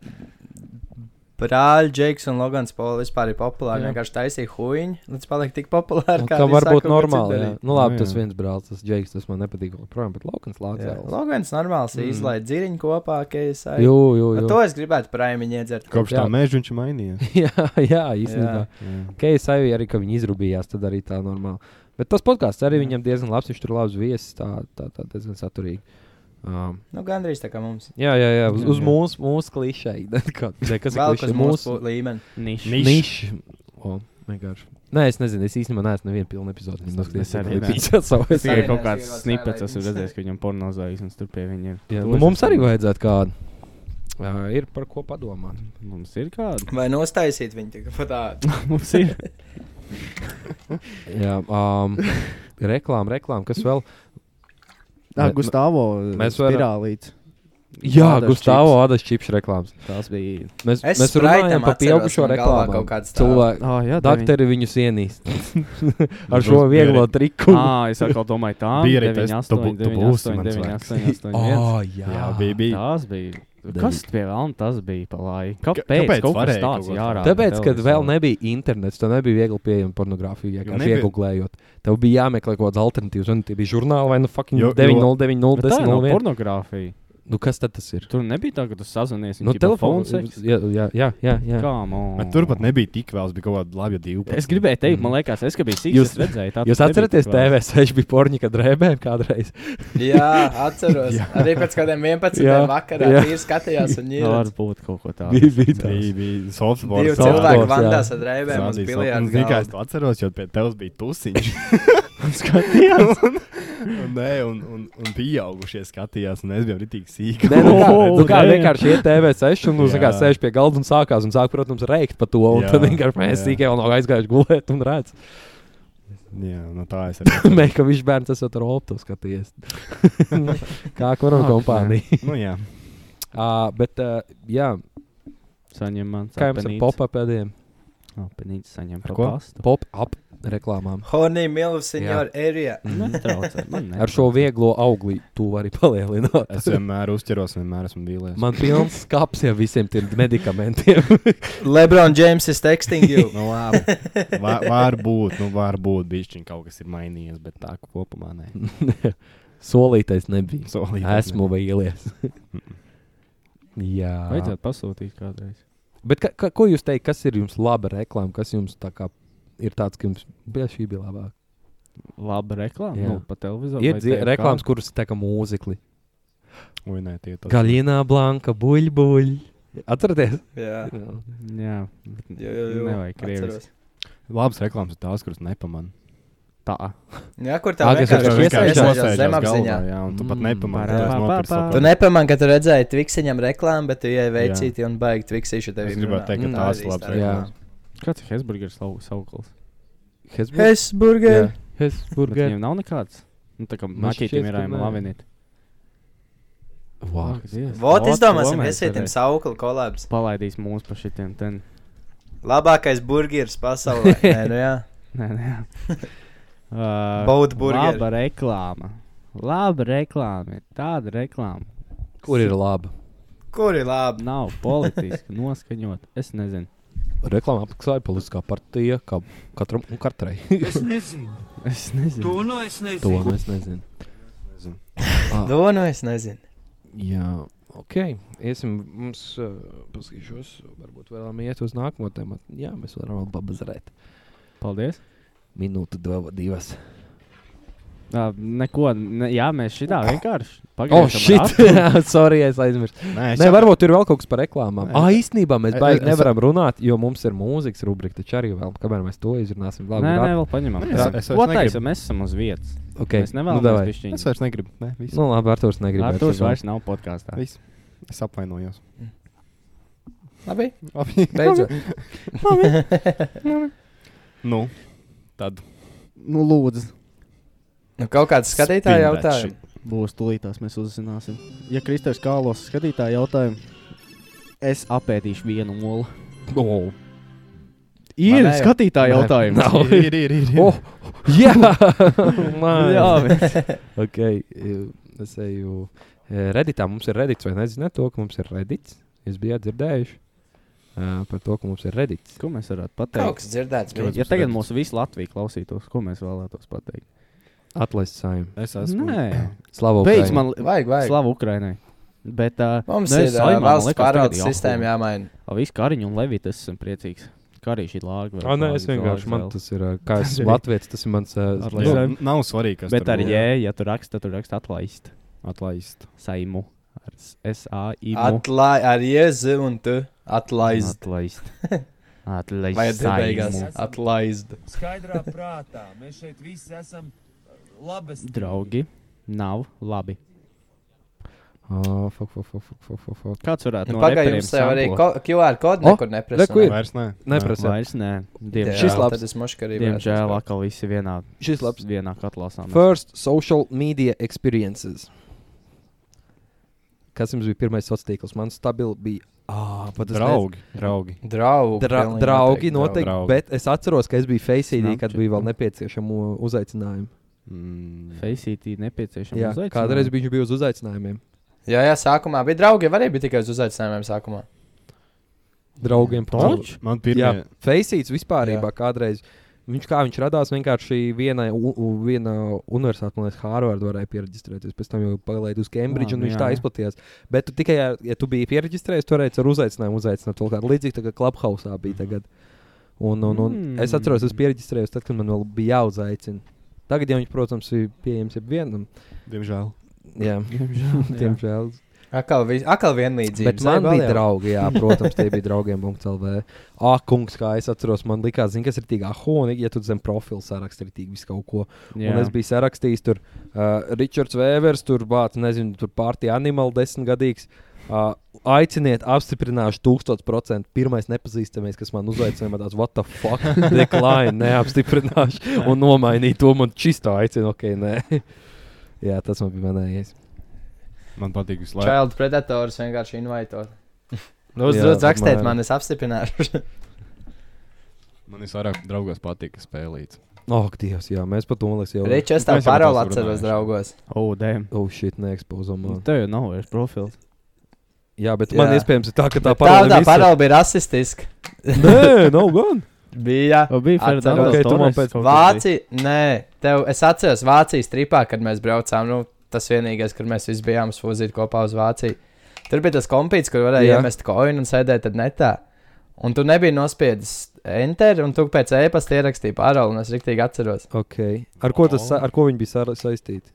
Speaker 4: brāļi, Džeks un Logans Pols vispār ir
Speaker 8: Jā.
Speaker 4: populāri? Viņi vienkārši taisīja huīņu, līdz palika tik populāri,
Speaker 8: Nu,
Speaker 4: kā
Speaker 8: Kā var būt normāli. Jā.
Speaker 4: Jā.
Speaker 8: Nu, labi,
Speaker 7: Nu,
Speaker 8: tas
Speaker 7: jā.
Speaker 8: viens brālis, tas Džeiks, tas man nepatīk. Protams, bet Laukans
Speaker 4: Jā.
Speaker 8: lācēlis.
Speaker 4: Logans normāls, mm. izlaiž dziriņu kopā, keisā.
Speaker 8: Jū, jū,
Speaker 4: Ar
Speaker 8: jū.
Speaker 4: Nu, to es gribētu prāmiņu iedzert.
Speaker 7: Kopš
Speaker 8: Jā.
Speaker 7: tā meža viņš ir
Speaker 3: <laughs>
Speaker 7: mainījies.
Speaker 8: <laughs> Jā, jā, īstenībā.
Speaker 7: Jā.
Speaker 8: Keisai arī, ka viņi izrūbījās, tad arī tā normāli. Bet tas podkāsts arī viņam diezgan labs, viņš tur labs viesis, tā, tā, tā diezgan saturīgi. Um,
Speaker 4: Nu, gandrīz tā kā mums.
Speaker 8: jā, jā, jā, uz,
Speaker 3: Jā,
Speaker 8: uz
Speaker 3: jā.
Speaker 8: mūsu, mūsu <laughs> klišēji. Nē, kas ir
Speaker 4: Vēl
Speaker 8: klišēji?
Speaker 4: uz mūsu līmeni.
Speaker 3: Nišs.
Speaker 8: niši. O, vienkārši. Nē, es nezinu, es īstenībā neesmu nevienu pilnu epizodi noskatījies.
Speaker 3: Es arī
Speaker 8: biju savā
Speaker 3: Es tikai
Speaker 4: Arī
Speaker 3: kaut
Speaker 4: neesmu
Speaker 3: kāds
Speaker 4: ievācis
Speaker 3: snipets
Speaker 4: highlights.
Speaker 3: esmu redzējis, ka viņam pornozājas un tur pie viņiem.
Speaker 8: Nu, mums arī vajadzētu kādu. Uh, ir par ko padomāt.
Speaker 3: Mums ir kāda. <laughs>
Speaker 4: Vai nostaisīt viņu tikai pat tādu?
Speaker 3: Mums ir.
Speaker 8: Jā, um, reklām, reklām, kas vēl?
Speaker 7: Tā
Speaker 8: Me-
Speaker 7: Gustavo
Speaker 8: mēs
Speaker 7: mēs
Speaker 8: varam-
Speaker 7: varam spirālīt.
Speaker 8: Jā,
Speaker 7: Ādas
Speaker 8: Gustavs, Ādas čips reklāmas.
Speaker 3: Tas bija.
Speaker 8: Mēs,
Speaker 4: Es
Speaker 8: mēs
Speaker 4: Sprite'am
Speaker 8: runājam par
Speaker 4: atceros,
Speaker 8: pieaugušo
Speaker 4: man galvā
Speaker 8: reklāmu.
Speaker 4: kaut kāds stāv.
Speaker 8: Cilvēki,
Speaker 3: Ah, jā,
Speaker 8: doktori viņus ienīst ar
Speaker 7: Mums
Speaker 8: šo
Speaker 7: bija
Speaker 8: vieglo
Speaker 7: arī-
Speaker 8: triku.
Speaker 3: Ah, es atkal domāju, tā
Speaker 7: Bija arī tas, tu bū- tu būsi mans vārds.
Speaker 3: bija.
Speaker 7: Jā, bija. bija.
Speaker 3: Tas bija. Kas pie vēlna tas bija pa laiku? Kāpēc?
Speaker 7: kāpēc
Speaker 3: Kaut kas
Speaker 7: varēja kaut
Speaker 3: tāds
Speaker 7: ko
Speaker 3: jārāda.
Speaker 8: Tāpēc, kad vēl
Speaker 3: televizorā?
Speaker 8: nebija internets, tad nebija viegli pieejama pornogrāfija.
Speaker 7: Jo
Speaker 8: Vienkārši
Speaker 7: nebija-
Speaker 8: iegūlējot, tev bija jāmeklē kaut kāds alternatīvs. Un tie bija žurnāli vai nu fucking
Speaker 7: Jo- jo-
Speaker 8: 909,
Speaker 3: Bet Nu Tā nav
Speaker 8: 010.
Speaker 3: pornogrāfija.
Speaker 8: Nu, kas tad tas ir?
Speaker 3: Tur nebija tā, ka tu sazvanies.
Speaker 8: Nu, telefons.
Speaker 3: seks.
Speaker 8: Jā, jā, jā. jā, jā.
Speaker 3: Kā
Speaker 7: Bet
Speaker 3: man?
Speaker 7: Turpat nebija tik vēls, bija kaut kāda laba divu.
Speaker 3: Es gribēju teikt, man liekas, es ka biju sīgs.
Speaker 8: Mhm. Jūs-
Speaker 3: es redzēju, tā
Speaker 8: Jūs
Speaker 3: tas nebija
Speaker 8: atceraties,
Speaker 3: tik vēl.
Speaker 8: TV6 bija porņika drēbēm kādreiz?
Speaker 4: <laughs> Jā, atceros. jā. Arī pēc kādiem 11.
Speaker 8: Jā,
Speaker 4: vakarā
Speaker 8: jā.
Speaker 4: viņi skatījās un
Speaker 3: Tā
Speaker 4: ņēma.
Speaker 3: Nu, var būt kaut kas
Speaker 8: Bija,
Speaker 3: tāds.
Speaker 8: bija tā.
Speaker 7: Bija, bija
Speaker 4: Divi
Speaker 7: softboards.
Speaker 4: cilvēki
Speaker 8: Softballs,
Speaker 4: vandās
Speaker 8: jā.
Speaker 4: ar drēbēm un
Speaker 7: Un zini, kā es
Speaker 4: biljārdu.
Speaker 7: to atceros, jo pie tevis bija
Speaker 8: <laughs>
Speaker 7: tusiņš.
Speaker 3: Skatījās.
Speaker 7: <laughs> un, nē, un, un, un pieaugušie skatījās, un es biju rītīgi sīga.
Speaker 8: Nē, nu kā,
Speaker 3: Oh,
Speaker 8: nu kā
Speaker 3: damn.
Speaker 8: vienkārši iet TV6 un nu, zini kā,
Speaker 7: Jā.
Speaker 8: sēž pie galda un sākās un sāk, protams, reikt par to. Un
Speaker 7: Jā,
Speaker 8: tad vienkārši mēs
Speaker 7: jā.
Speaker 8: tikai vēl nav aizgājuši gulēt un redz. <laughs>
Speaker 7: Jā, no tā es arī.
Speaker 8: Meika viņš bērns esat ar optu
Speaker 3: <laughs>
Speaker 8: skaties. kā korona
Speaker 3: Ak,
Speaker 8: kompānija.
Speaker 7: nu, jā.
Speaker 8: uh, bet, uh, jā,
Speaker 3: Saņem man.
Speaker 8: kā jums ar pop-upēdiem?
Speaker 3: Penīts
Speaker 7: Ar
Speaker 3: saņem par
Speaker 7: ko?
Speaker 3: pastu.
Speaker 8: Pop-up reklāmām.
Speaker 4: Honey, Milvu, senjor, area.
Speaker 3: Netraucē. man
Speaker 8: Ar šo
Speaker 3: netraucē.
Speaker 8: vieglo augli tu vari palielināt.
Speaker 7: Es vienmēr uzķeros, vienmēr esmu vīlies.
Speaker 8: Man pilns kaps jau visiem tiem <laughs> medikamentiem.
Speaker 4: Lebron James is texting
Speaker 8: <laughs>
Speaker 4: you.
Speaker 7: Nu, labi. Va- Varbūt, nu, varbūt bišķiņ kaut kas ir mainījies, bet tā kopumā nē.
Speaker 8: Solītais nebija.
Speaker 7: Solīties, nē.
Speaker 8: Esmu vīlies. Jā.
Speaker 3: Vajadzētu pasūtīt kādreiz.
Speaker 8: Bet ka, ka, ko jūs teikt, kas ir jums laba reklāma, kas jums tā kā ir tāds, ka jums bija šī bija labāka?
Speaker 3: Labi reklāma.
Speaker 8: Jā.
Speaker 3: Nu, pa televizoru.
Speaker 8: Ir
Speaker 3: vai
Speaker 8: dzie-
Speaker 3: tev
Speaker 8: reklāmas,
Speaker 3: kā?
Speaker 8: kuras tā kā mūzikli.
Speaker 7: Ui, nē, tie tas.
Speaker 8: Gaļina, blanka, buļbuļ. Atcerieties?
Speaker 4: Jā,
Speaker 3: Jā. bet
Speaker 4: jā, jā. jā.
Speaker 3: Nevajag krievis.
Speaker 4: Atceros.
Speaker 7: Labas reklāmas ir tās, kuras nepamanā.
Speaker 3: Tā.
Speaker 4: Jā, kur tā
Speaker 8: Ā, kas
Speaker 4: vienkārši
Speaker 8: vienkārši
Speaker 4: iesaistās
Speaker 7: nosēžās
Speaker 4: zemapziņā.
Speaker 7: galvā, Jā, un tu pat
Speaker 8: Mm,
Speaker 7: nepamanā,
Speaker 3: parā-
Speaker 7: ka tas
Speaker 3: pā-
Speaker 7: nopirks.
Speaker 3: pā-
Speaker 4: Tu
Speaker 7: saproti.
Speaker 4: nepamani, ka tu redzēji Twiksviņam reklāmu, bet tu ieej veicīti un baigi Twiksīšu tevi. Nu,
Speaker 7: Es gribētu teikt, ka
Speaker 8: Mm.
Speaker 7: tās ir labas
Speaker 8: Jā.
Speaker 7: reklāmas.
Speaker 3: Kāds ir Hesburgers sau- sauklis?
Speaker 8: Hesburgers.
Speaker 4: Hesburger.
Speaker 3: Bet Viņam nav nekāds. Nu, tā kā
Speaker 8: Man
Speaker 3: maķītiem ir
Speaker 8: šķiet, ka
Speaker 3: jāmaina
Speaker 8: nē.
Speaker 3: lavinīt. Vau,
Speaker 4: Vot, izdomāsim, iesietim saukli kolēbs.
Speaker 3: Palaidīs mūs pa šitiem ten. <laughs>
Speaker 4: Labākais burgeris pasaulē. Nē, nu jā.
Speaker 3: Nē, nē. Uh,
Speaker 4: Baudu burgeri.
Speaker 3: Laba reklāma. Laba reklāma. ir Tāda reklāma.
Speaker 8: Kur ir laba?
Speaker 4: Kur ir labi?
Speaker 3: Nav politiski <laughs> noskaņot. Es nezinu.
Speaker 8: Reklāmā apmaksāja politiskā partija kā katram un katrai.
Speaker 11: Es nezinu.
Speaker 3: Es nezinu.
Speaker 11: To no es nezinu.
Speaker 8: to es nezinu. Ah.
Speaker 4: To no Nu, es nezinu.
Speaker 8: <laughs> Jā, ok. Iesim, mums uh, paskatīšos, varbūt vēlamies iet uz nākamo tēmu. Jā, mēs varam vēl pabazarēt.
Speaker 3: Paldies.
Speaker 8: Minūte, div- divas.
Speaker 3: Uh, neko. Ne, jā, mēs šitā vienkārši.
Speaker 8: Oh,
Speaker 3: pagriežam
Speaker 8: shit! <laughs>
Speaker 3: ratu.
Speaker 8: Sorry, es aizmirsu. Nē,
Speaker 7: Nē, es
Speaker 8: Nē
Speaker 7: jau-
Speaker 8: varbūt tur ir vēl kaut kas par reklāmām.
Speaker 7: Nē,
Speaker 8: Ah,
Speaker 7: es-
Speaker 8: īstenībā mēs
Speaker 7: Es-
Speaker 8: baigi
Speaker 7: es-
Speaker 8: nevaram runāt, jo mums ir mūzikas rubrika, taču arī vēl, kamēr mēs to izrunāsim, labi.
Speaker 3: Nē, nē,
Speaker 8: ratu.
Speaker 3: vēl paņemam.
Speaker 7: Nē, es- es vairs
Speaker 3: Ko
Speaker 7: negribu.
Speaker 3: taisam? Mēs esam uz vietas.
Speaker 8: Ok,
Speaker 3: Mēs
Speaker 8: nu, davai.
Speaker 3: nevēlamies pišķiņu.
Speaker 7: Es vairs negribu. Nē, viss.
Speaker 8: Nu, labi, Artūrs negrib.
Speaker 3: Ar to
Speaker 8: Artūrs
Speaker 3: vairs nav podkāstā.
Speaker 7: viss. Es apvainojos. <laughs>
Speaker 4: <laughs> Labi.
Speaker 7: Labi.
Speaker 8: Beidzot.
Speaker 7: nu, tad.
Speaker 12: Nu, lūdzu.
Speaker 4: Nu, kaut kāds skatītāji
Speaker 7: Spin that
Speaker 4: jautāja.
Speaker 7: shit.
Speaker 12: Būs tūlītās, mēs uzzināsim. Ja Kristers Kālos skatītāji jautājumu, es apēdīšu vienu olu.
Speaker 8: Oh.
Speaker 12: Ir
Speaker 4: Manējo?
Speaker 12: skatītāji
Speaker 8: Nē,
Speaker 12: jautājumi.
Speaker 7: <laughs>
Speaker 8: nav.
Speaker 7: Ir, ir, ir. ir, ir.
Speaker 8: Oh, <laughs> jā, man.
Speaker 12: Jā, bet
Speaker 8: <laughs> Ok, e, es eju. e, Redditā mums ir redīts, vai nezināt to, ka mums ir redīts? Jūs bijāt dzirdējuši e, par to, ka mums ir redīts.
Speaker 3: <laughs> Ko mēs varētu
Speaker 4: Kaut
Speaker 3: pateikt?
Speaker 4: kas dzirdēts. bija.
Speaker 3: Ja tagad mūsu visu Latviju klausītos, ko mēs vēlētos pateikt?
Speaker 8: Atlaist saimē.
Speaker 7: Es esmu.
Speaker 3: Nē,
Speaker 8: Slavu.
Speaker 3: beidz man
Speaker 4: Vajag, vajag.
Speaker 3: slavu Ukrainai. Bet uh,
Speaker 4: Mums
Speaker 7: Nu,
Speaker 4: ir ā, valsts pārvaldes sistēma jāmaina.
Speaker 3: Viss Kariņš un Levitas esmu priecīgs. Kariņš ir lāga.
Speaker 8: Ah, nē, es vienkārši man tas ir. ā, <laughs> Kā es esmu Latvijas, tas ir mans. ā,
Speaker 3: Atlaist.
Speaker 8: nu,
Speaker 7: Nu, nav svarīgi, kas
Speaker 3: Bet
Speaker 7: tur
Speaker 3: ar
Speaker 7: būs.
Speaker 3: jē, ja tu raksti, tad tu raksti atlaist.
Speaker 7: Atlaist.
Speaker 3: Saimu. Ar S-A-I-M.
Speaker 4: Atlai, ar jēzu un tu atlaist.
Speaker 8: <laughs>
Speaker 3: Atlaist.
Speaker 4: Vai
Speaker 3: Atlaist.
Speaker 4: tu beigās
Speaker 3: Saimu.
Speaker 4: atlaist?
Speaker 11: Skaidrā prātā mēs šeit visi esam uh, labas
Speaker 3: Draugi, nav labi.
Speaker 8: ā, fuck, fuck, fuck, fuck, fuck, fuck, fuck.
Speaker 3: Kāds varētu
Speaker 4: Nu,
Speaker 3: no
Speaker 4: Pagaidām,
Speaker 3: reperiem
Speaker 4: jums jau arī
Speaker 3: samplo?
Speaker 4: ko- QR kodu
Speaker 8: O,
Speaker 4: nekur neprasa.
Speaker 8: reku ir.
Speaker 7: Vairs nē.
Speaker 8: Neprasē.
Speaker 3: Vairs nē.
Speaker 4: Jā,
Speaker 3: Diemžēl.
Speaker 8: labs.
Speaker 4: Tad es maškarību.
Speaker 3: Diemžēl atkal visi vienā.
Speaker 8: Šis labs.
Speaker 3: Vienā katlā sākumā.
Speaker 8: First social media experiences. Kas jums bija pirmais sociālais tīkls? Man stabili bija. Ah, pat es nezinu.
Speaker 7: Draugi. Draugi.
Speaker 4: Draugi.
Speaker 8: Dra
Speaker 4: pilnīgi
Speaker 8: draugi noteikti,
Speaker 7: draugi.
Speaker 8: draugi. bet es atceros, ka es biju Faceīdī, kad
Speaker 3: Snapchat,
Speaker 8: bija vēl
Speaker 3: jā.
Speaker 8: nepieciešama uzaicinājuma.
Speaker 7: Mm.
Speaker 3: Feisītī E nepieciešams.
Speaker 8: Jā, kādreiz viņš bija uz uzaicinājumiem.
Speaker 4: Jā, jā, sākumā bija draugi. Arī bija tikai uz uzaicinājumiem sākumā.
Speaker 8: Draugiem patīk.
Speaker 7: Man- Man
Speaker 8: Jā,
Speaker 7: pirmie.
Speaker 8: Faceīds vispār bija kādreiz. Viņš kā viņš radās vienkārši vienai u- u- vienā universitātē, man liekas, Hārvardā varēja pierakstīt. Pēc tam jau palaidu uz Cambridge,
Speaker 3: Jā,
Speaker 8: un
Speaker 3: nu
Speaker 8: viņš
Speaker 3: jā,
Speaker 8: tā
Speaker 3: jā.
Speaker 8: izplatījās. Bet tu tikai, ar- ja tu biji pierakstījis, tu varēji ar uzaicinājumu uzaicināt to kādu līdzīgu, tā kā Clubhouse bija tagad. Un, un, un mm. es atceros, es pierakstījos tad, kad man vēl bija jāuzaicina. Tagad jau viņš, protams, ir pieejams jebvienam.
Speaker 7: Diemžēl.
Speaker 8: Jā, diemžēl.
Speaker 4: Akal, vi akal vienlīdzīgi.
Speaker 8: Bet man bija draugi, jā, protams, tie bija draugiem. CLV. Ah, kungs, kā es atceros, man likās, zin, kas ir tik ahonīgi, ja tu zem profilu sārakstā ir tik visu kaut ko. Jā. Un es biju sarakstījis tur uh, Ričards Vēvers, tur bāts, nezinu, tur pārtīja animāli desmitgadīgs. Uh, aiciniet, apstiprināšu, 100% pirmais nepazīstamais, kas man uzaicināja, man tāds, what the fuck, decline, neapstiprināšu, un nomainīju to man čistā aicinu, ok, nē. <laughs> Jā, tas man bija manējais.
Speaker 7: Man patīk visu laiku.
Speaker 4: Child predators vienkārši invaitot.
Speaker 8: Jā,
Speaker 4: Lūdzu, lūdzu, Nu, rakstiet
Speaker 8: apmēram.
Speaker 4: man, es apstiprināšu.
Speaker 7: Man visvairāk draugos patīk spēlīt.
Speaker 8: Ak, Dievs, jā, mēs par to, man liekas, jau.
Speaker 4: Ričs, es tā
Speaker 7: Mēs jau par
Speaker 4: paroli
Speaker 7: to
Speaker 4: atceros,
Speaker 7: runājuši.
Speaker 4: draugos.
Speaker 3: Oh, damn.
Speaker 8: Oh, shit, neekspozamā.
Speaker 3: Tev jau nav vairs profils.
Speaker 8: Jā, bet
Speaker 4: Jā.
Speaker 8: jā. man iespējams ir Nu, tā, ka tā
Speaker 4: Bet
Speaker 8: parāda.
Speaker 4: tā paroli bija rasistiska.
Speaker 8: Nē, nav gan.
Speaker 4: Bija.
Speaker 3: O, bija Fernando.
Speaker 8: Ok, tu man pēc-
Speaker 4: Vācija, nē, tev, es atceros Vācijas tripā, kad mēs braucām. Nu, tas vienīgais, kur mēs visi bijām sūzīti kopā uz Vāciju. Tur bija tas kompīts, kur varēja
Speaker 8: Jā.
Speaker 4: iemest koinu un sēdēt tad netā. Un tu nebija nospiedis enter, un tu pēc e-pasta ierakstīji paroli, un es riktīgi atceros.
Speaker 8: Okay. Ar, ko tas, sa- ar ko viņi bija sa- saistīti?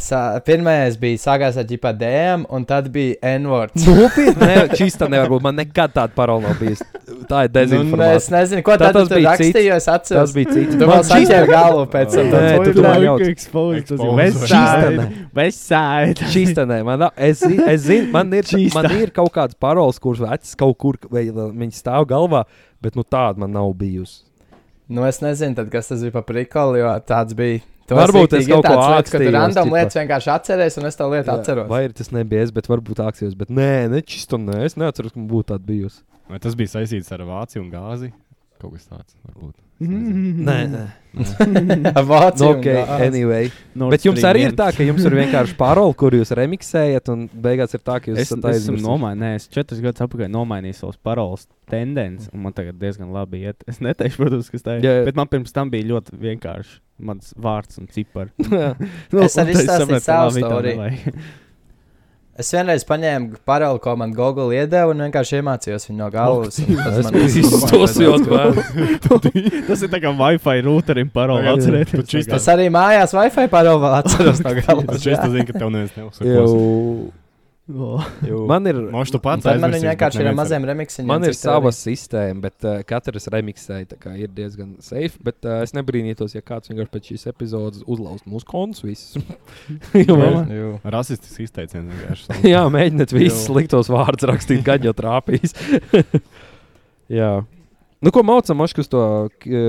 Speaker 4: Sā, pirmais bija sākās ar ģipā DM, un tad bija N-words.
Speaker 8: Nopietni, ne, čista nevar būt. Man nekad tāda parola nav bijusi. Tā ir
Speaker 4: Nu, es
Speaker 8: dezinformācija.
Speaker 4: nezinu, ko
Speaker 8: Tā
Speaker 4: tad
Speaker 8: tas
Speaker 4: tu tur
Speaker 8: bija
Speaker 4: rakstīji,
Speaker 8: cits.
Speaker 4: jo es
Speaker 8: Tas
Speaker 4: atceros.
Speaker 8: bija cits.
Speaker 4: Tu vēl saķēri galvu pēc tam.
Speaker 8: Nē, tu
Speaker 4: Oi,
Speaker 8: domā,
Speaker 4: bļauj.
Speaker 8: jau
Speaker 12: Exposed.
Speaker 7: Exposed.
Speaker 12: Westside. Westside.
Speaker 4: <laughs>
Speaker 8: Čista nē, man, nav- es, zi- es zinu, man ir, tā- man ir kaut kādas paroles, kuras vecas kaut kur, vai viņi stāv galvā, bet nu tāda man nav bijusi.
Speaker 4: Nu, es nezinu, tad, kas tas bija par prikoli, jo tāds bija. Tu
Speaker 8: varbūt es kaut ko
Speaker 4: atceros. Kad tu
Speaker 8: ākstījos,
Speaker 4: random
Speaker 8: tipa.
Speaker 4: lietas vienkārši atceries, un es tā lietu atceros. <laughs>
Speaker 8: Vai ir tas nebies, bet varbūt āksies. Bet nē, nečisto nē, es neatceros, ka man būtu tāda bijusi.
Speaker 7: Vai tas bija saistīts ar Vāciju un gāzi? Kaut kas tāds, varbūt.
Speaker 3: Mhm. <laughs>
Speaker 8: Nē, nē.
Speaker 4: Vācija
Speaker 8: Nu,
Speaker 4: un
Speaker 8: ok,
Speaker 4: gāzi.
Speaker 8: anyway.
Speaker 4: Nord
Speaker 8: Bet jums
Speaker 4: Stream
Speaker 8: arī ir
Speaker 4: viens.
Speaker 8: tā, ka jums ir vienkārši parole, kur jūs remiksējat, un beigās ir tā, ka jūs
Speaker 3: Es,
Speaker 8: esat
Speaker 3: es esmu
Speaker 8: aizmirsuši.
Speaker 3: nomainījis, četrus gadus atpakaļ nomainīju savus paroles tendences, un man tagad diezgan labi iet. <laughs> Es neteikšu, protams, kas tā ir.
Speaker 8: Jā, jā.
Speaker 3: Bet man pirms tam bija ļoti vienkārši mans vārds un cipars.
Speaker 8: <laughs> Jā.
Speaker 4: Es
Speaker 8: <laughs>
Speaker 4: arī stāstīju savu
Speaker 3: <laughs>
Speaker 4: stāstu. Es vienreiz paņēmu paroli, ko man Google iedeva, un vienkārši iemācījos viņu no
Speaker 8: Nu,
Speaker 4: galvas. un tas man
Speaker 3: izstāstījis Tas ir tā kā Wi-Fi routerim parole
Speaker 7: Jā, jā. Tu
Speaker 3: atcerēties.
Speaker 7: čist-
Speaker 4: Es arī mājās Wi-Fi paroli atceros
Speaker 8: <laughs>
Speaker 4: no galvas.
Speaker 7: Taču es to zinu, ka tev neviens
Speaker 8: Jau. Man ir.
Speaker 7: Moš, tu pats
Speaker 4: Tad
Speaker 7: aizmirsi,
Speaker 4: man viņa
Speaker 7: bet
Speaker 4: vienkārši ir ar
Speaker 7: neviens
Speaker 4: maziem
Speaker 7: arī.
Speaker 4: remiksiem.
Speaker 8: Man ir sava sistēma, bet uh, katrs remiksēja, tā kā ir diezgan safe. Bet uh, es nebrīnītos, ja kāds vienkārši pēc šīs epizodes uzlauz mūsu kontus visus. <laughs> Jo man-
Speaker 7: Rasistisks izteiciens vienkārši.
Speaker 8: <laughs> Jā, mēģiniet visus
Speaker 7: Jū.
Speaker 8: sliktos vārdus rakstīt, kad jau trāpīs. <laughs> Jā. Nu, ko maucam, Maškas, to e,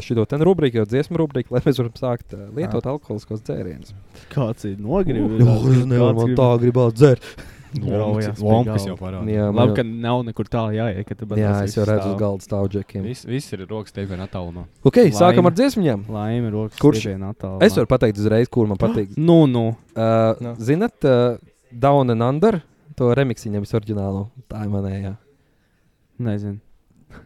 Speaker 8: šito ten rubriku, jau dziesmu rubriku, lai mēs varam sākt ā, lietot alkoholiskos dzērienus.
Speaker 3: Kāds ir nogribis?
Speaker 8: Jā, man tā gribās dzert.
Speaker 7: Lomkas- lomkas jau parāda.
Speaker 8: Jā, man
Speaker 3: Labi,
Speaker 8: jau-
Speaker 3: ka nav nekur tālu jāiet. ka tu pat
Speaker 8: Jā,
Speaker 3: tās
Speaker 8: es jau
Speaker 3: visas
Speaker 8: redzu uz
Speaker 3: stāv.
Speaker 8: galda stāvģekiem.
Speaker 7: Viss, viss ir rokas teipienā attālumā.
Speaker 8: Ok, Laime. sākam
Speaker 3: Laime.
Speaker 8: ar dziesmām.
Speaker 3: Laime, rokas
Speaker 8: Kurš?
Speaker 3: tiepienā attālumā.
Speaker 8: Es varu pateikt uzreiz, kur man patīk.
Speaker 3: nu, nu.
Speaker 8: Uh,
Speaker 4: Nu.
Speaker 8: no. Zinat, uh, Down and Under, to remixiņa visu oriģinālu. Tā ir manējā.
Speaker 3: Nezinu.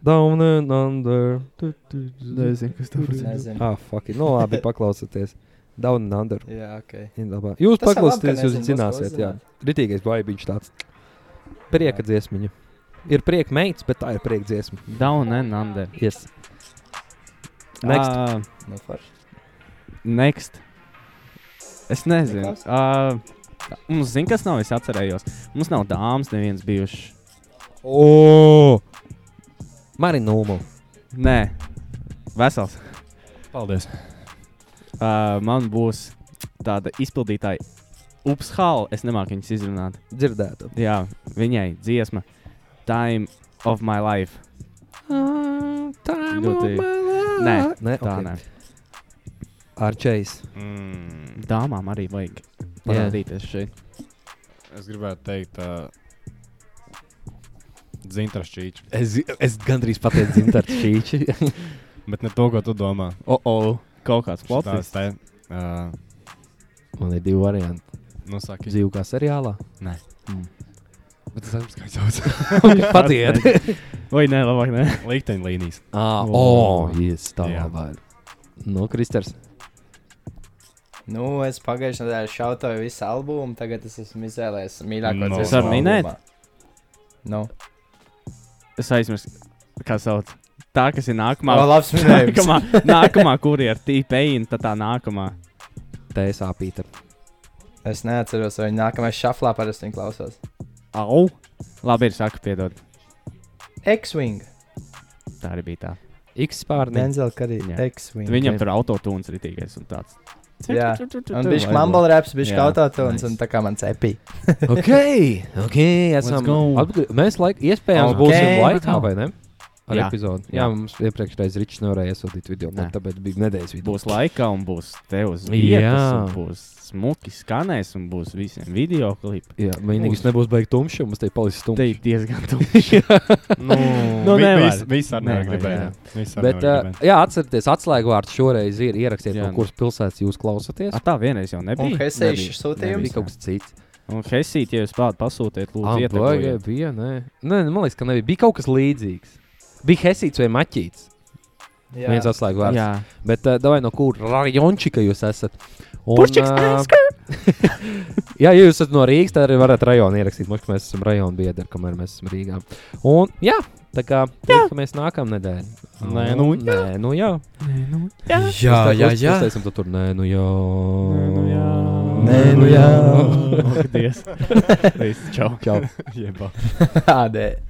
Speaker 8: Down and Under. Tu, tu, tu.
Speaker 3: Nezinu, kas tas ir.
Speaker 4: Nezinu.
Speaker 8: Ah, fuck. it. Nu, <laughs> labi, paklausieties. Down and Under.
Speaker 4: Jā, ok.
Speaker 8: Ir labā. Jūs
Speaker 4: Tas ir labi, ka
Speaker 8: paklausieties, jūs
Speaker 4: nezinu,
Speaker 8: zināsiet,
Speaker 4: būs
Speaker 8: jā.
Speaker 4: uzzināt.
Speaker 8: Ritīgais baibiņš tāds. Prieka dziesmiņa. Ir prieka meits, bet tā ir prieka dziesma.
Speaker 3: Down and under.
Speaker 8: Yes. Next.
Speaker 3: Uh,
Speaker 4: Nu, forši.
Speaker 3: next. Es nezinu.
Speaker 4: Neklaus?
Speaker 3: Uh, mums zina, kas nav. Es atcerējos. Mums nav dāmas, neviens bijuši.
Speaker 8: O! Marinūmu.
Speaker 3: Nē, vesels.
Speaker 7: Paldies.
Speaker 3: Uh, man būs tāda izpildītāja. Ups, hal, es nemāku viņas izrunāt.
Speaker 8: Dzirdētu.
Speaker 3: Jā, viņai dziesma. Time of my life. Ļoti. Nē,
Speaker 8: Nē,
Speaker 3: tā
Speaker 8: ok.
Speaker 3: nē.
Speaker 8: Arčējs.
Speaker 7: Mm,
Speaker 3: Dāmām arī vajag parādīties <laughs> šeit.
Speaker 7: es gribētu teikt, uh, dzintrašķīči.
Speaker 8: Es, es gandrīz pateicu, zinu, ar šīči. <laughs>
Speaker 7: Bet ne to, ko tu domā.
Speaker 3: O, o, kaut kāds
Speaker 7: Tās
Speaker 3: plotis.
Speaker 7: te. Uh,
Speaker 8: Man ir divi varianti.
Speaker 7: nu, saki.
Speaker 8: Dzīvu kā seriālā.
Speaker 7: Nē.
Speaker 8: Mm.
Speaker 7: Bet es esmu skaidrs. <laughs>
Speaker 8: Patiet.
Speaker 3: Vai nē, labāk nē.
Speaker 7: Likteņlīnijas.
Speaker 8: Ah,
Speaker 3: O.
Speaker 8: oh, yes, tā
Speaker 7: Jā.
Speaker 8: labāk. Nu, Kristers.
Speaker 4: Nu, es pagājušajā nedēļā šautoju visu albumu, tagad es esmu izvēlējies mīļāko
Speaker 7: No.
Speaker 4: dziesmu.
Speaker 7: Es varu
Speaker 3: minēt?
Speaker 4: albumā. Nu,
Speaker 3: Es aizmirsu, kā sauc. Tā, kas ir nākamā.
Speaker 4: Ā, labs
Speaker 3: <laughs>
Speaker 4: minējums.
Speaker 3: nākamā, nākamā kurija ar tīpeinu, tad tā nākamā.
Speaker 8: TSA Pīter.
Speaker 4: es neatceros, vai viņa nākamajā šaflā parasti viņu klausos.
Speaker 3: Au! Labi, ir saka, piedod.
Speaker 4: X-Wing.
Speaker 3: Tā arī bija tā.
Speaker 8: X pārnēs.
Speaker 4: Denzela arī.
Speaker 3: Jā.
Speaker 4: X-Wing.
Speaker 3: Viņam tur autotūns ritīgais un tāds.
Speaker 4: <laughs> Jā. Un
Speaker 3: Tu
Speaker 4: viņš
Speaker 3: vaibo.
Speaker 4: bija mumble raps, viņš bija
Speaker 3: Jā,
Speaker 4: autotons
Speaker 3: nice.
Speaker 4: un tā kā man cepī.
Speaker 8: Ok, ok, esam.
Speaker 3: go.
Speaker 8: Atgr- mēs laik, iespējams
Speaker 4: Ok,
Speaker 8: okay, būsim laikā,
Speaker 3: atkal.
Speaker 8: vai ne? Ar
Speaker 3: Jā.
Speaker 8: jā. epizodu. Jā, jā,
Speaker 3: Jā.
Speaker 8: mums iepriekšējais Ričs nevarēja iesūtīt video,
Speaker 3: Nē.
Speaker 8: bet tāpēc bija nedēļas video.
Speaker 3: Būs laikā, un būs te uz
Speaker 8: Jā.
Speaker 3: vietas, un būs smuki skanēs, un būs visiem video klipi.
Speaker 8: Jā, vienīgais nebūs baigts tumšs, mums te paliks
Speaker 3: Te
Speaker 8: stumjš.
Speaker 3: ir diezgan <laughs> tuvu.
Speaker 7: Nu,
Speaker 3: Nu,
Speaker 7: vi-
Speaker 3: nevar.
Speaker 7: vis- Viss ar
Speaker 3: Nevar,
Speaker 7: nevar gribēt. Viss ar
Speaker 8: <laughs> Bet,
Speaker 7: nevar
Speaker 8: uh,
Speaker 7: gribēt.
Speaker 8: jā, atcerieties, atslēgvārds šoreiz ir ierakstiet,
Speaker 3: Jā,
Speaker 8: no
Speaker 3: nu.
Speaker 8: kuras pilsētas jūs klausāties.
Speaker 3: Ah, Tā vienreiz jau
Speaker 4: Un
Speaker 3: nebija.
Speaker 4: Hesīšu
Speaker 8: Nē, bija
Speaker 4: sūtījums.
Speaker 8: kaut kas cits.
Speaker 3: Un Hesīt, ja jūs pāri pasūtiet, lūdzu,
Speaker 8: Ā, baigā
Speaker 3: ieteikiet.
Speaker 8: bija, nē. nē, man liekas, ka nebija. Bija kaut kas līdzīgs. Bija Hesīts vai Maķīts. Jā. Viens atslēgvārds.
Speaker 3: Jā,
Speaker 8: Bet uh, vai no kuras rajončika jūs esat? Un, ā, <laughs> jā, ja jūs esat no Rīgas, tad arī varat rajonu ierakstīt. Mums, ka mēs esam rajonu biedri, kamēr mēs esam Rīgā. Un, jā, tā kā tiekamies nākamnedēļ.
Speaker 7: Nē, nu
Speaker 8: jā. Nē, nu jā.
Speaker 4: Jā, jā, jā.
Speaker 8: Uztaisim to tur. Nē, nu jā. Nē,
Speaker 3: nu jā.
Speaker 4: Nē, nu jā.
Speaker 3: <laughs>
Speaker 4: <laughs>
Speaker 3: Paldies. Oh, Viss, čau.
Speaker 8: Čau.
Speaker 7: <laughs> Jebā.
Speaker 4: Tādēļ.